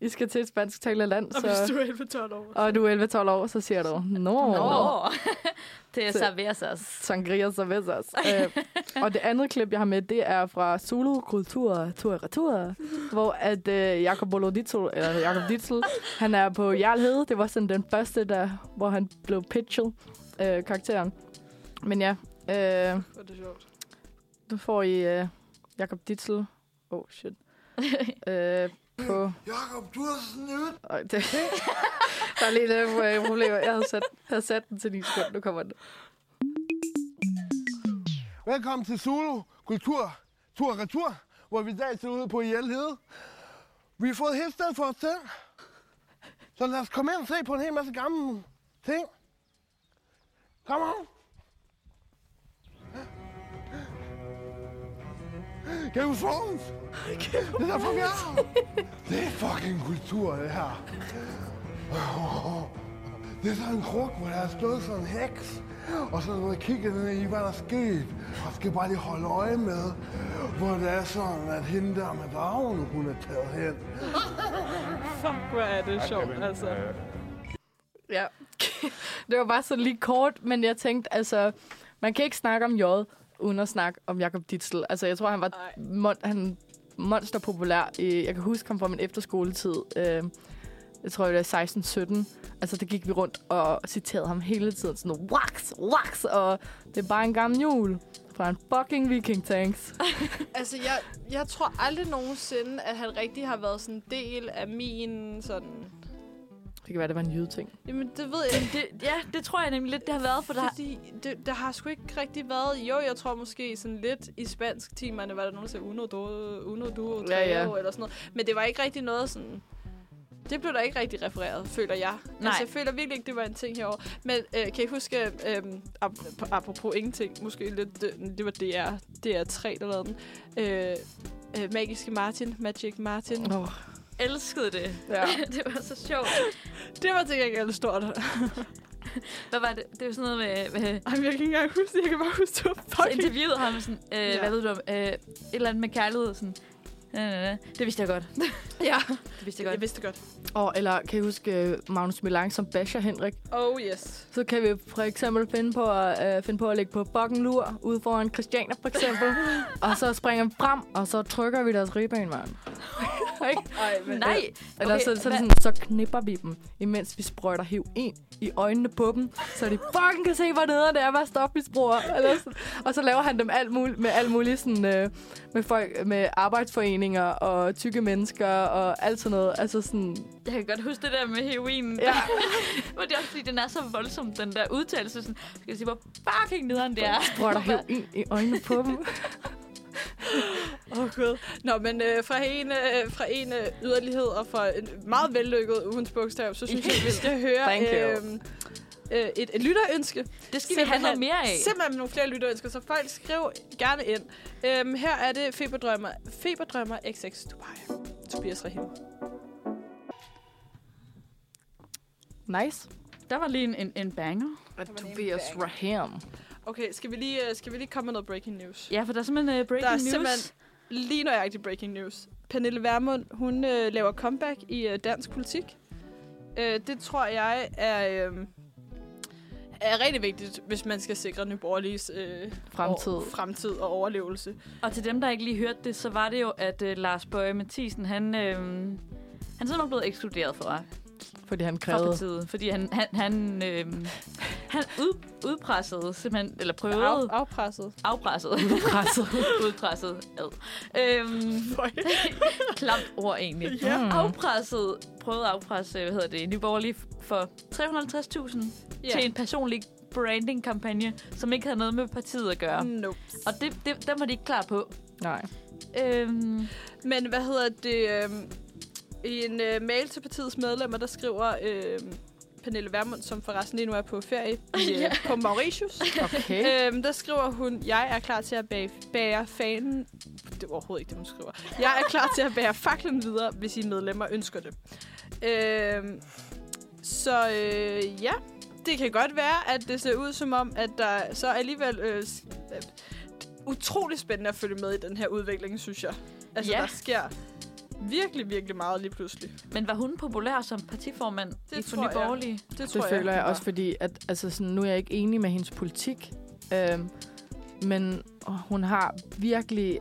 I skal til et spansktalende land,
Og hvis du
så,
er 11 12 år.
og du er 11-12 år, så siger du, no.
Nå. [LAUGHS] det er
Så-
Saversas.
Sangria cervezas. øh, og det andet klip, jeg har med, det er fra Zulu Kultur Tur Retur, hvor at øh, Jakob Bolodito, eller Jakob Ditzel, han er på Jarlhede. Det var sådan den første, der, hvor han blev pitchet, øh, karakteren. Men ja, øh,
Hvor er det sjovt.
nu får I øh, Jakob Ditzel. Oh, shit. øh, på...
Jakob, du har snydt.
Øj, det, [LAUGHS] der er lige lidt øh, problemer. Jeg havde sat, havde sat den til 9 sekunder. Nu kommer den.
Velkommen til Zulu Kultur Tur og Retur, hvor vi i dag ser ude på Hjelhede. Vi har fået helt sted for os selv. Så lad os komme ind og se på en hel masse gamle ting. Kom on. Game of Thrones! Det er derfor, vi er her. Det er fucking kultur, det her. Det er sådan en kruk, hvor der er stået sådan en heks, og så har man kigget ned i, hvad der er sket, og skal bare lige holde øje med, hvor det er sådan, at hende der med dragen, hun er taget hen.
Fuck, hvor er det sjovt, altså.
Ja. [LAUGHS] det var bare så lige kort, men jeg tænkte, altså, man kan ikke snakke om J, uden at snakke om Jakob Ditzel. Altså, jeg tror, han var
Ej.
mon- han monster populær. Jeg kan huske ham fra min efterskoletid. Øh, jeg tror, det er 16-17. Altså, der gik vi rundt og citerede ham hele tiden. Sådan, wax, wax, og det er bare en gammel jul fra en fucking viking tanks.
Altså, jeg, jeg tror aldrig nogensinde, at han rigtig har været sådan en del af min sådan...
Det kan være, det var en jydeting.
Jamen, det ved jeg ikke.
Det, ja, det tror jeg nemlig lidt, det har været for dig.
Fordi det, der har sgu ikke rigtig været... Jo, jeg tror måske sådan lidt i spansk timerne var der nogen, der sagde uno, do, uno duo,
Ja,
ja,
ja.
ja. eller sådan noget. Men det var ikke rigtig noget sådan... Det blev der ikke rigtig refereret, føler jeg.
Nej.
Altså, jeg føler virkelig ikke, det var en ting herovre. Men øh, kan I huske, øh, ap- apropos ingenting, måske lidt, øh, det, det var DR, DR3, der lavede den. Øh, øh, Magiske Martin, Magic Martin.
Oh,
elskede det.
ja.
[LAUGHS] det var så sjovt.
Det var til gengæld stort.
Hvad var det? Det var sådan noget med... med
Ej, men jeg kan ikke engang huske det. Jeg kan bare huske, det var
så
fucking...
interviewede ham sådan, øh,
Ja.
ja. hvad ved du om, øh, et eller andet med kærlighed, sådan, "Na, na, na." det vidste jeg godt.
[LAUGHS] Ja,
Det vidste jeg
jeg
godt.
vidste det godt.
Og, eller kan I huske øh, Magnus Milang som basher Henrik?
Oh yes.
Så kan vi for eksempel finde på, at, øh, finde på at lægge på bokken lur ude foran Christiania for eksempel.
[LAUGHS]
og så springer vi frem, og så trykker vi deres ribben,
[LAUGHS]
mand. Ikke?
Ej, men...
Nej,
Eller
Okay,
så, så, er det
hvad-
sådan, så knipper vi dem, imens vi sprøjter hiv en i øjnene på dem, så de fucking kan se, hvor nederen det er at være stofmisbruger. Eller sådan. Og så laver han dem alt muligt, med alt muligt sådan, øh, med, folk, med arbejdsforeninger og tykke mennesker og alt sådan noget. Altså sådan,
jeg kan godt huske det der med heroinen.
ja.
[LAUGHS] Men det er også fordi, den er så voldsom, den der udtalelse. Sådan, skal jeg sige, hvor fucking nederen det er.
sprøjter hiv en i øjnene på dem.
[LAUGHS]
Åh, oh, gud. Nå, men øh, fra, en, øh, fra en øh, [LAUGHS] yderlighed og fra en meget vellykket ugens bogstav, så synes jeg, vi skal høre...
Thank you.
øhm, øh, et, et lytterønske.
Det skal vi have noget mere af.
Simpelthen nogle flere lytterønsker, så folk skriv gerne ind. Øhm, her er det Feberdrømmer, Feberdrømmer XX Dubai. Tobias Rahim.
Nice.
Der var lige en, en, en banger.
Og Tobias Raham.
Okay, skal vi, lige, øh, skal vi lige komme med noget breaking news?
Ja, for der er simpelthen uh, breaking
Der er
news.
simpelthen- Lige nøjagtigt breaking news. Pernille Vermund, hun øh, laver comeback i øh, dansk politik. Øh, det tror jeg er, øh, er rigtig vigtigt, hvis man skal sikre Nye Borgerliges øh,
Fremtid.
Og, fremtid og overlevelse.
Og til dem, der ikke lige hørte det, så var det jo, at uh, Lars Bøge Mathisen, han, øh, han er simpelthen blevet ekskluderet fra,
Fordi han
fra
krævede
partiet. Fordi han, han, han, øh, han ud, udpressede simpelthen, eller
Af,
prøvede,
afpresset.
afpressede,
presset.
[LAUGHS] udpresset, ad. Øhm, [LAUGHS] klamt ord egentlig.
Ja. Mm.
Afpresset, prøvede at afpresse, hvad hedder det, Nye Borgerlige for 350.000
Ja.
til en personlig branding-kampagne, som ikke havde noget med partiet at gøre. Mm.
Nope.
Og det, det, dem var de ikke klar på.
Nej.
Øhm,
Men hvad hedder det? øhm, I en øh, mail til partiets medlemmer, der skriver øh, Pernille Vermund, som forresten lige nu er på ferie i, øh, på Mauritius. [LAUGHS]
Okay.
Øhm, der skriver hun, jeg er klar til at bage, bære fanen... Det var overhovedet ikke det, hun skriver. Jeg er klar til at bære faklen videre, hvis I medlemmer ønsker det. Øhm, så øh, ja, det kan godt være, at det ser ud som om, at der så alligevel... Øh, s- øh, utrolig spændende at følge med i den her udvikling, synes jeg. Altså,
Ja.
ja. der sker virkelig, virkelig meget lige pludselig.
Men var hun populær som partiformand
Det
det i for
tror
Nye
jeg.
Borgerlige?
Det tror
Det
jeg.
føler jeg
hun
også,
var.
fordi at, altså sådan, nu er jeg ikke enig med hendes politik, øhm, men åh, hun har virkelig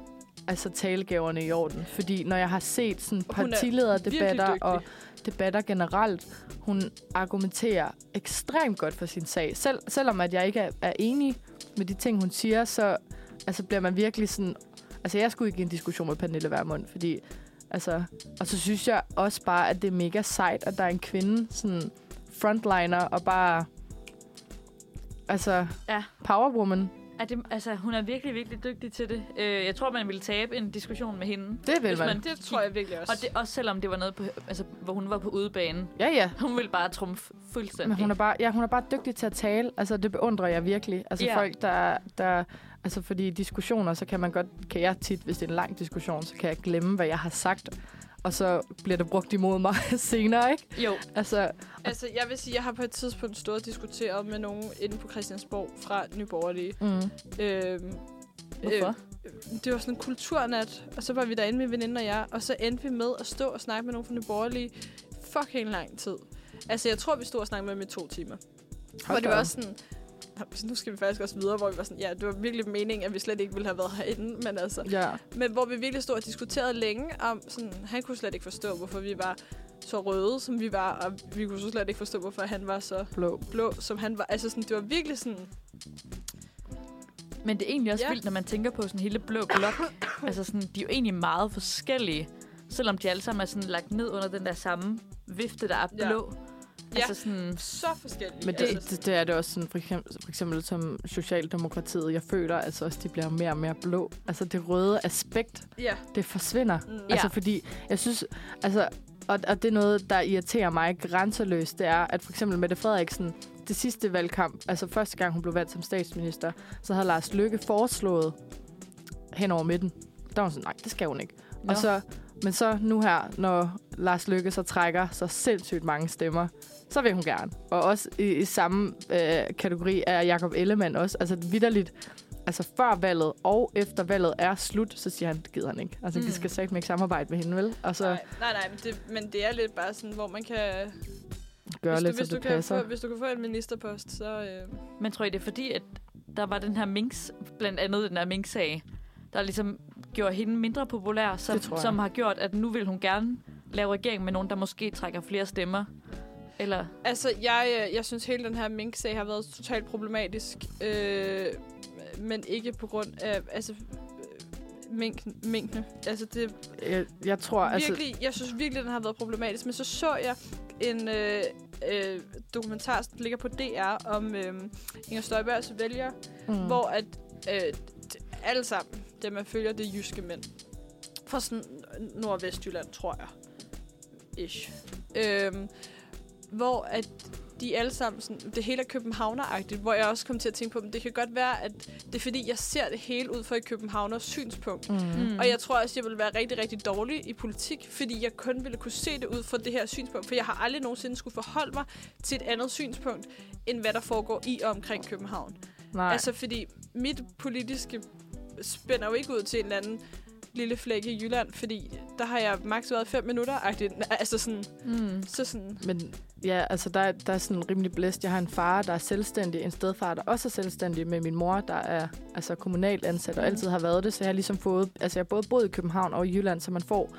altså talegaverne i orden, fordi når jeg har set sådan
Og hun er
partilederdebatter
virkelig dygtig.
og debatter generelt, hun argumenterer ekstremt godt for sin sag. Selv, selvom at jeg ikke er, er enig med de ting, hun siger, så altså, bliver man virkelig sådan... Altså, jeg skulle ikke i en diskussion med Pernille Vermund, fordi... Altså, og så synes jeg også bare, at det er mega sejt, at der er en kvinde, sådan frontliner og bare... Altså,
Ja.
powerwoman.
Er det, altså, hun er virkelig, virkelig dygtig til det. Øh, jeg tror, man ville tabe en diskussion med hende.
Det vil
Hvis
man.
man-
Det tror jeg virkelig også.
Og det, også selvom det var noget, på, altså, hvor hun var på udebane.
Ja, ja.
Hun ville bare trumfe
Men
fuldstændig.
hun er, bare, ja, hun er bare dygtig til at tale. Altså, det beundrer jeg virkelig. Altså,
Ja.
yeah. folk, der, der... Altså, fordi i diskussioner, så kan man godt... Kan jeg tit, hvis det er en lang diskussion, så kan jeg glemme, hvad jeg har sagt. Og så bliver det brugt imod mig [LAUGHS] senere, ikke?
Jo,
Altså,
Altså, jeg vil sige, jeg har på et tidspunkt stået og diskuteret med nogen inde på Christiansborg fra Nyborgerlige.
mm.
Øhm,
hvorfor?
Øh, det var sådan en kulturnat, og så var vi derinde med veninde og jeg, og så endte vi med at stå og snakke med nogen fra Nyborgerlige fucking lang tid. Altså, jeg tror, vi stod og snakkede med dem i to timer. Hvor det
da
var
op.
også sådan, "Nå, så nu skal vi faktisk også videre, hvor vi var sådan, ja, det var virkelig meningen, at vi slet ikke ville have været herinde, men altså,
Ja.
men hvor vi virkelig stod og diskuterede længe om, sådan, han kunne slet ikke forstå, hvorfor vi var så røde, som vi var, og vi kunne så slet ikke forstå, hvorfor han var så
Blå.
blå, som han var. Altså, sådan, det var virkelig sådan,
Men det er egentlig også
Ja.
ja. vildt, når man tænker på sådan hele blå blok. altså, sådan, de er jo egentlig meget forskellige. Selvom de alle sammen er sådan lagt ned under den der samme vifte, der er
Ja.
blå.
Ja.
Altså sådan,
så forskellige.
Men
altså,
det, det, det er det også sådan, for eksempel, for eksempel som Socialdemokratiet. Jeg føler altså også, de bliver mere og mere blå. Altså, det røde aspekt,
ja.
det forsvinder.
Mm.
Ja. Altså, fordi jeg synes... Altså, og, og det er noget, der irriterer mig grænseløst, det er, at for eksempel Mette Frederiksen, det sidste valgkamp, altså første gang hun blev valgt som statsminister, så havde Lars Løkke foreslået hen over midten. Der var hun sådan, nej, det skal hun ikke.
Nå.
Og så, men så nu her, når Lars Løkke så trækker så sindssygt mange stemmer, så vil hun gerne. Og også i, i samme øh, kategori er Jakob Ellemann også. Altså vidderligt, altså før valget og efter valget er slut, så siger han, det gider han ikke. Altså mm.
Mm.
de skal sagt ikke samarbejde med hende, vel? Og så
Nej, nej, nej men, det, men det er lidt bare sådan, hvor man kan...
gøre
hvis, du,
lidt,
hvis, du
så det
kan
passer.
få, hvis du kan få en ministerpost, så... Øh,
Men tror I, det er fordi, at der var den her minks, blandt andet den her minksag, der ligesom gjorde hende mindre populær, som,
Det tror jeg.
som har gjort, at nu vil hun gerne lave regering med nogen, der måske trækker flere stemmer? Eller
altså, jeg, øh, jeg synes, hele den her mink-sag har været totalt problematisk. Øh, men ikke på grund af... Altså, øh, mink, minkene. Altså, det,
Jeg, jeg tror, altså...
virkelig, jeg synes virkelig, den har været problematisk. Men så så jeg en øh, øh, dokumentar, som ligger på DR, om øh, Inger Støjbergs vælgere, mm. hvor at øh, d- alle sammen, dem man følger, det er jyske mænd. Fra sådan øh, Nord- og Vestjylland, tror jeg. Ish. Øhm, hvor at de er alle sammen sådan, det hele er københavneragtigt, hvor jeg også kom til at tænke på, men det kan godt være, at det er fordi, jeg ser det hele ud fra et københavners synspunkt.
Mm.
Mm. Og jeg tror også, jeg ville være rigtig, rigtig dårlig i politik, fordi jeg kun ville kunne se det ud fra det her synspunkt. For jeg har aldrig nogensinde skulle forholde mig til et andet synspunkt, end hvad der foregår i og omkring København.
Nej.
Nej. Altså, fordi mit politiske spænder jo ikke ud til en eller anden lille flække i Jylland, fordi der har jeg maks været fem minutter. -agtigt. Altså sådan,
Mm.
så sådan,
Men ja, altså der, er- der er sådan rimelig blæst. Jeg har en far, der er selvstændig, en stedfar, der også er selvstændig, med min mor, der er altså kommunalt ansat og altid har været det. Så jeg har ligesom fået, altså jeg har både boet i København og i Jylland, så man får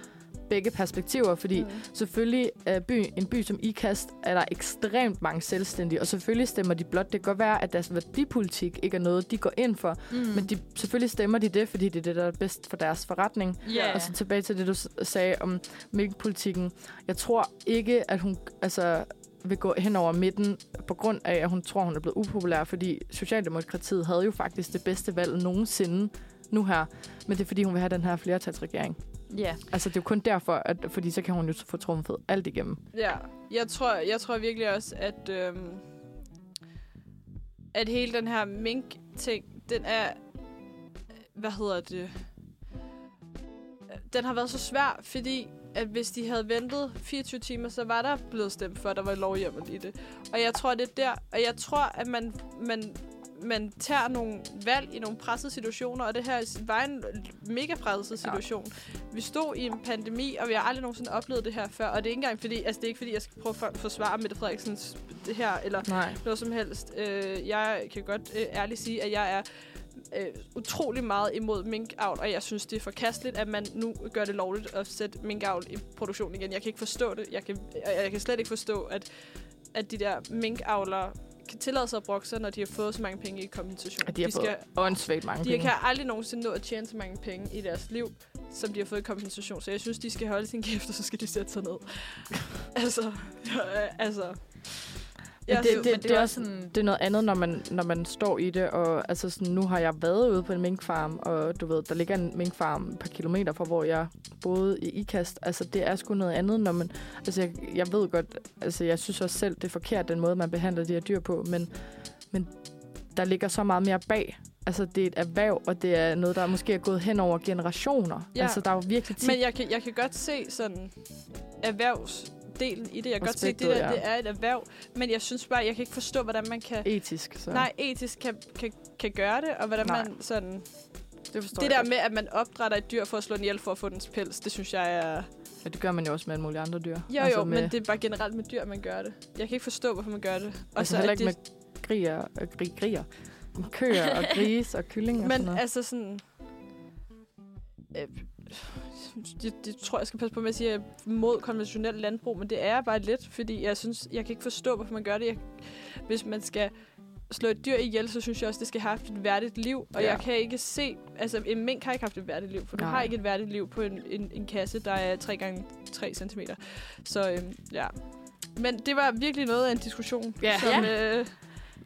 begge perspektiver, fordi mm. selvfølgelig er by, en by som IKAST, er der ekstremt mange selvstændige, og selvfølgelig stemmer de blot. Det kan godt være, at deres værdipolitik ikke er noget, de går ind
Mhm.
for, mm. men de, selvfølgelig stemmer de det, fordi det er det, der er bedst for deres forretning.
Ja.
Og så tilbage til det, du s- sagde om mælkepolitikken. Jeg tror ikke, at hun altså, vil gå hen over midten, på grund af, at hun tror, hun er blevet upopulær, fordi Socialdemokratiet havde jo faktisk det bedste valg nogensinde nu her. Men det er, fordi hun vil have den her flertalsregering.
Ja.
Altså, det er jo kun derfor, at, fordi så kan hun jo få trumfet alt igennem.
ja. Jeg tror, jeg tror virkelig også, at, øhm, at hele den her mink-ting, den er, hvad hedder det, den har været så svær, fordi at hvis de havde ventet 24 timer, så var der blevet stemt for, at der var lovhjemmel i det. Og jeg tror, det er der. Og jeg tror, at man, man, man tager nogle valg i nogle pressede situationer, og det her var en mega presset situation. Ja. Vi stod i en pandemi, og vi har aldrig nogensinde oplevet det her før. Og det er ikke engang fordi, altså det er ikke fordi, jeg skal prøve at forsvare Mette Frederiksens det her, eller
Nej.
noget som helst. Øh, jeg kan godt øh, ærligt sige, at jeg er øh, utrolig meget imod minkavl, og jeg synes, det er forkasteligt, at man nu gør det lovligt at sætte minkavl i produktion igen. Jeg kan ikke forstå det. Jeg kan, og jeg kan slet ikke forstå, at, at de der minkavlere kan tillade sig at brokke sig, når de har fået så mange penge i kompensation.
At de har
de,
fået
skal,
åndssvagt mange
de
penge.
kan aldrig nogensinde nå at tjene så mange penge i deres liv, som de har fået i kompensation. Så jeg synes, de skal holde sin kæft, og så skal de sætte sig ned. [LAUGHS] altså, øh, altså...
Men
Jeg
det,
synes-
det,
men
det, det, er også sådan, det er noget andet, når man, når man står i det, og altså sådan, nu har jeg været ude på en minkfarm, og du ved, der ligger en minkfarm et par kilometer fra, hvor jeg boede i IKAST. Altså, det er sgu noget andet, når man... Altså, jeg, jeg ved godt, altså, jeg synes også selv, det er forkert, den måde, man behandler de her dyr på, men, men der ligger så meget mere bag. Altså, det er et erhverv, og det er noget, der måske er gået hen over generationer.
Ja.
Ja. Altså, der er jo virkelig tit...
Men jeg kan, jeg kan godt se sådan erhvervsdelen i det. Jeg kan godt se, at det
Aspektet,
der
ja.
det er et erhverv, men jeg synes bare, jeg kan ikke forstå, hvordan man kan...
Etisk, så...
Nej, etisk kan, kan, kan gøre det, og hvordan
Nej.
Nej. man sådan...
det forstår
Det
jeg
der
godt.
med, at man opdrætter et dyr for at slå den ihjel for at få dens pels, det synes jeg er...
Ja, det gør man jo også med alle mulige andre dyr.
Jo, altså jo,
med,
men det er bare generelt med dyr, man gør det. Jeg kan ikke forstå, hvorfor man gør det.
Og altså
at
heller ikke
det,
med grier og gri, grier. Køer og gris og kyllinger og sådan
Men
noget.
altså sådan... Øh, det, det tror jeg skal passe på med at sige, at jeg er mod konventionel landbrug, men det er jeg bare lidt, fordi jeg synes, jeg kan ikke forstå, hvorfor man gør det. Jeg, hvis man skal slå et dyr ihjel, så synes jeg også, det skal have haft et værdigt liv. Og
Ja.
ja. jeg kan ikke se... Altså, en mink har ikke haft et værdigt liv, for du
Nej.
har ikke et værdigt liv på en, en, en kasse, der er 3 gange 3 cm. Så øhm, ja. Men det var virkelig noget af en diskussion,
Ja.
som, øh,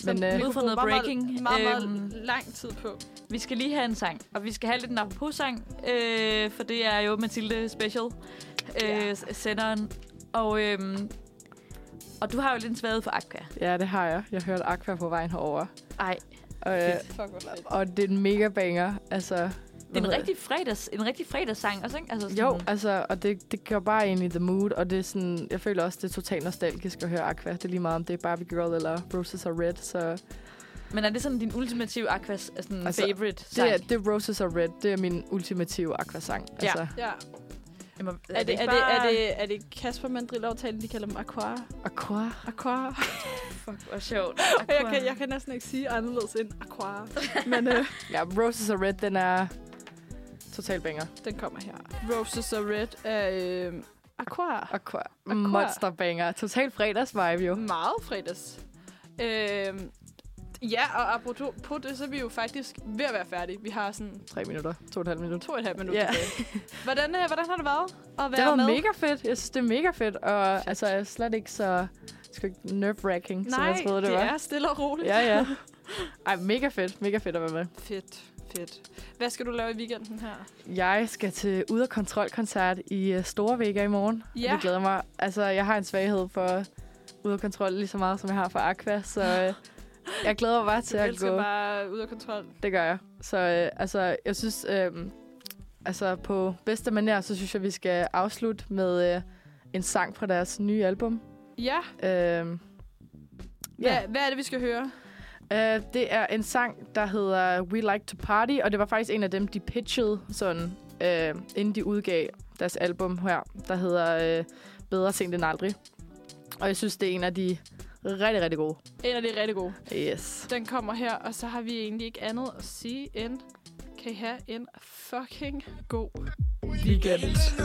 som
Men, øh,
vi
Ud
kunne
fra
bruge
noget
meget,
breaking,
meget, meget,
øhm,
meget lang tid på.
Vi skal lige have en sang, og vi skal have lidt en apropos-sang, øh, for det er jo Mathilde Special, øh, s- senderen. Og, øh, og du har jo lidt en svaghed for Akka.
Ja, det har jeg. Jeg hørte Aqua på vejen herover.
Ej,
Og, øh,
Fuck, hvor fedt.
og det er en mega banger. Altså,
det er en rigtig, fredags, en rigtig fredagssang også, ikke? Altså sådan,
Jo, altså, og det, det gør bare ind i the mood, og det er sådan, jeg føler også, det er totalt nostalgisk at høre Aqua. Det er lige meget, om det er Barbie Girl eller Roses Are Red, så
Men er det sådan din ultimative Aquas sådan
Altså,
altså, favorite sang?
det er, det er Roses Are Red, det er min ultimative Aqua-sang.
Ja.
Altså,
Ja.
Jamen,
Er det, er, det, er, det, er det Kasper Mandrill-aftalen, de kalder dem Aqua?
Aqua.
Aqua.
Fuck, hvor [LAUGHS] sjovt.
Jeg kan, jeg kan næsten ikke sige anderledes end Aqua. Men øh,
Ja, Roses Are Red, den er totalt banger.
[LAUGHS] den kommer her. Roses are red af øh, Aqua.
Aqua. Aqua. Monster banger. Total fredagsvibe jo.
Meget fredags. Øh, ja, og apropos det, så er vi jo faktisk ved at være færdige. Vi har sådan
Tre minutter. To og et halvt minut.
to og et halvt minut
Ja. [LAUGHS]
tilbage. Hvordan, øh, hvordan har det været at være
det var
med?
mega fedt. Jeg synes, det er mega fedt. Og altså, jeg er slet ikke så sgu ikke nerve-wracking, som
Nej,
jeg troede, det,
det
var.
er stille og roligt.
Ja, ja. Ej, mega fedt. Mega fedt at være med.
Fedt, fedt. Hvad skal du lave i weekenden her?
Jeg skal til Ude og Kontrol-koncert i øh, Store Vega i morgen.
Ja.
Det glæder mig. Altså, jeg har en svaghed for ude af kontrol lige så meget, som jeg har for Aqua, så øh, jeg glæder mig bare til
Jeg
at
elsker
gå.
bare ud af kontrol.
Det gør jeg. Så øh, altså, jeg synes, øh, altså på bedste manér, så synes jeg, vi skal afslutte med øh, en sang fra deres nye album.
Ja,
Øh,
hvad, hvad er det, vi skal høre?
Øh, det er en sang, der hedder We Like to Party, og det var faktisk en af dem, de pitchede, sådan, øh, inden de udgav deres album her, der hedder øh, Bedre sent end aldrig. Og jeg synes, det er en af de rigtig, rigtig gode.
En af de rigtig gode.
Yes.
Den kommer her, og så har vi egentlig ikke andet at sige end, kan I have en fucking god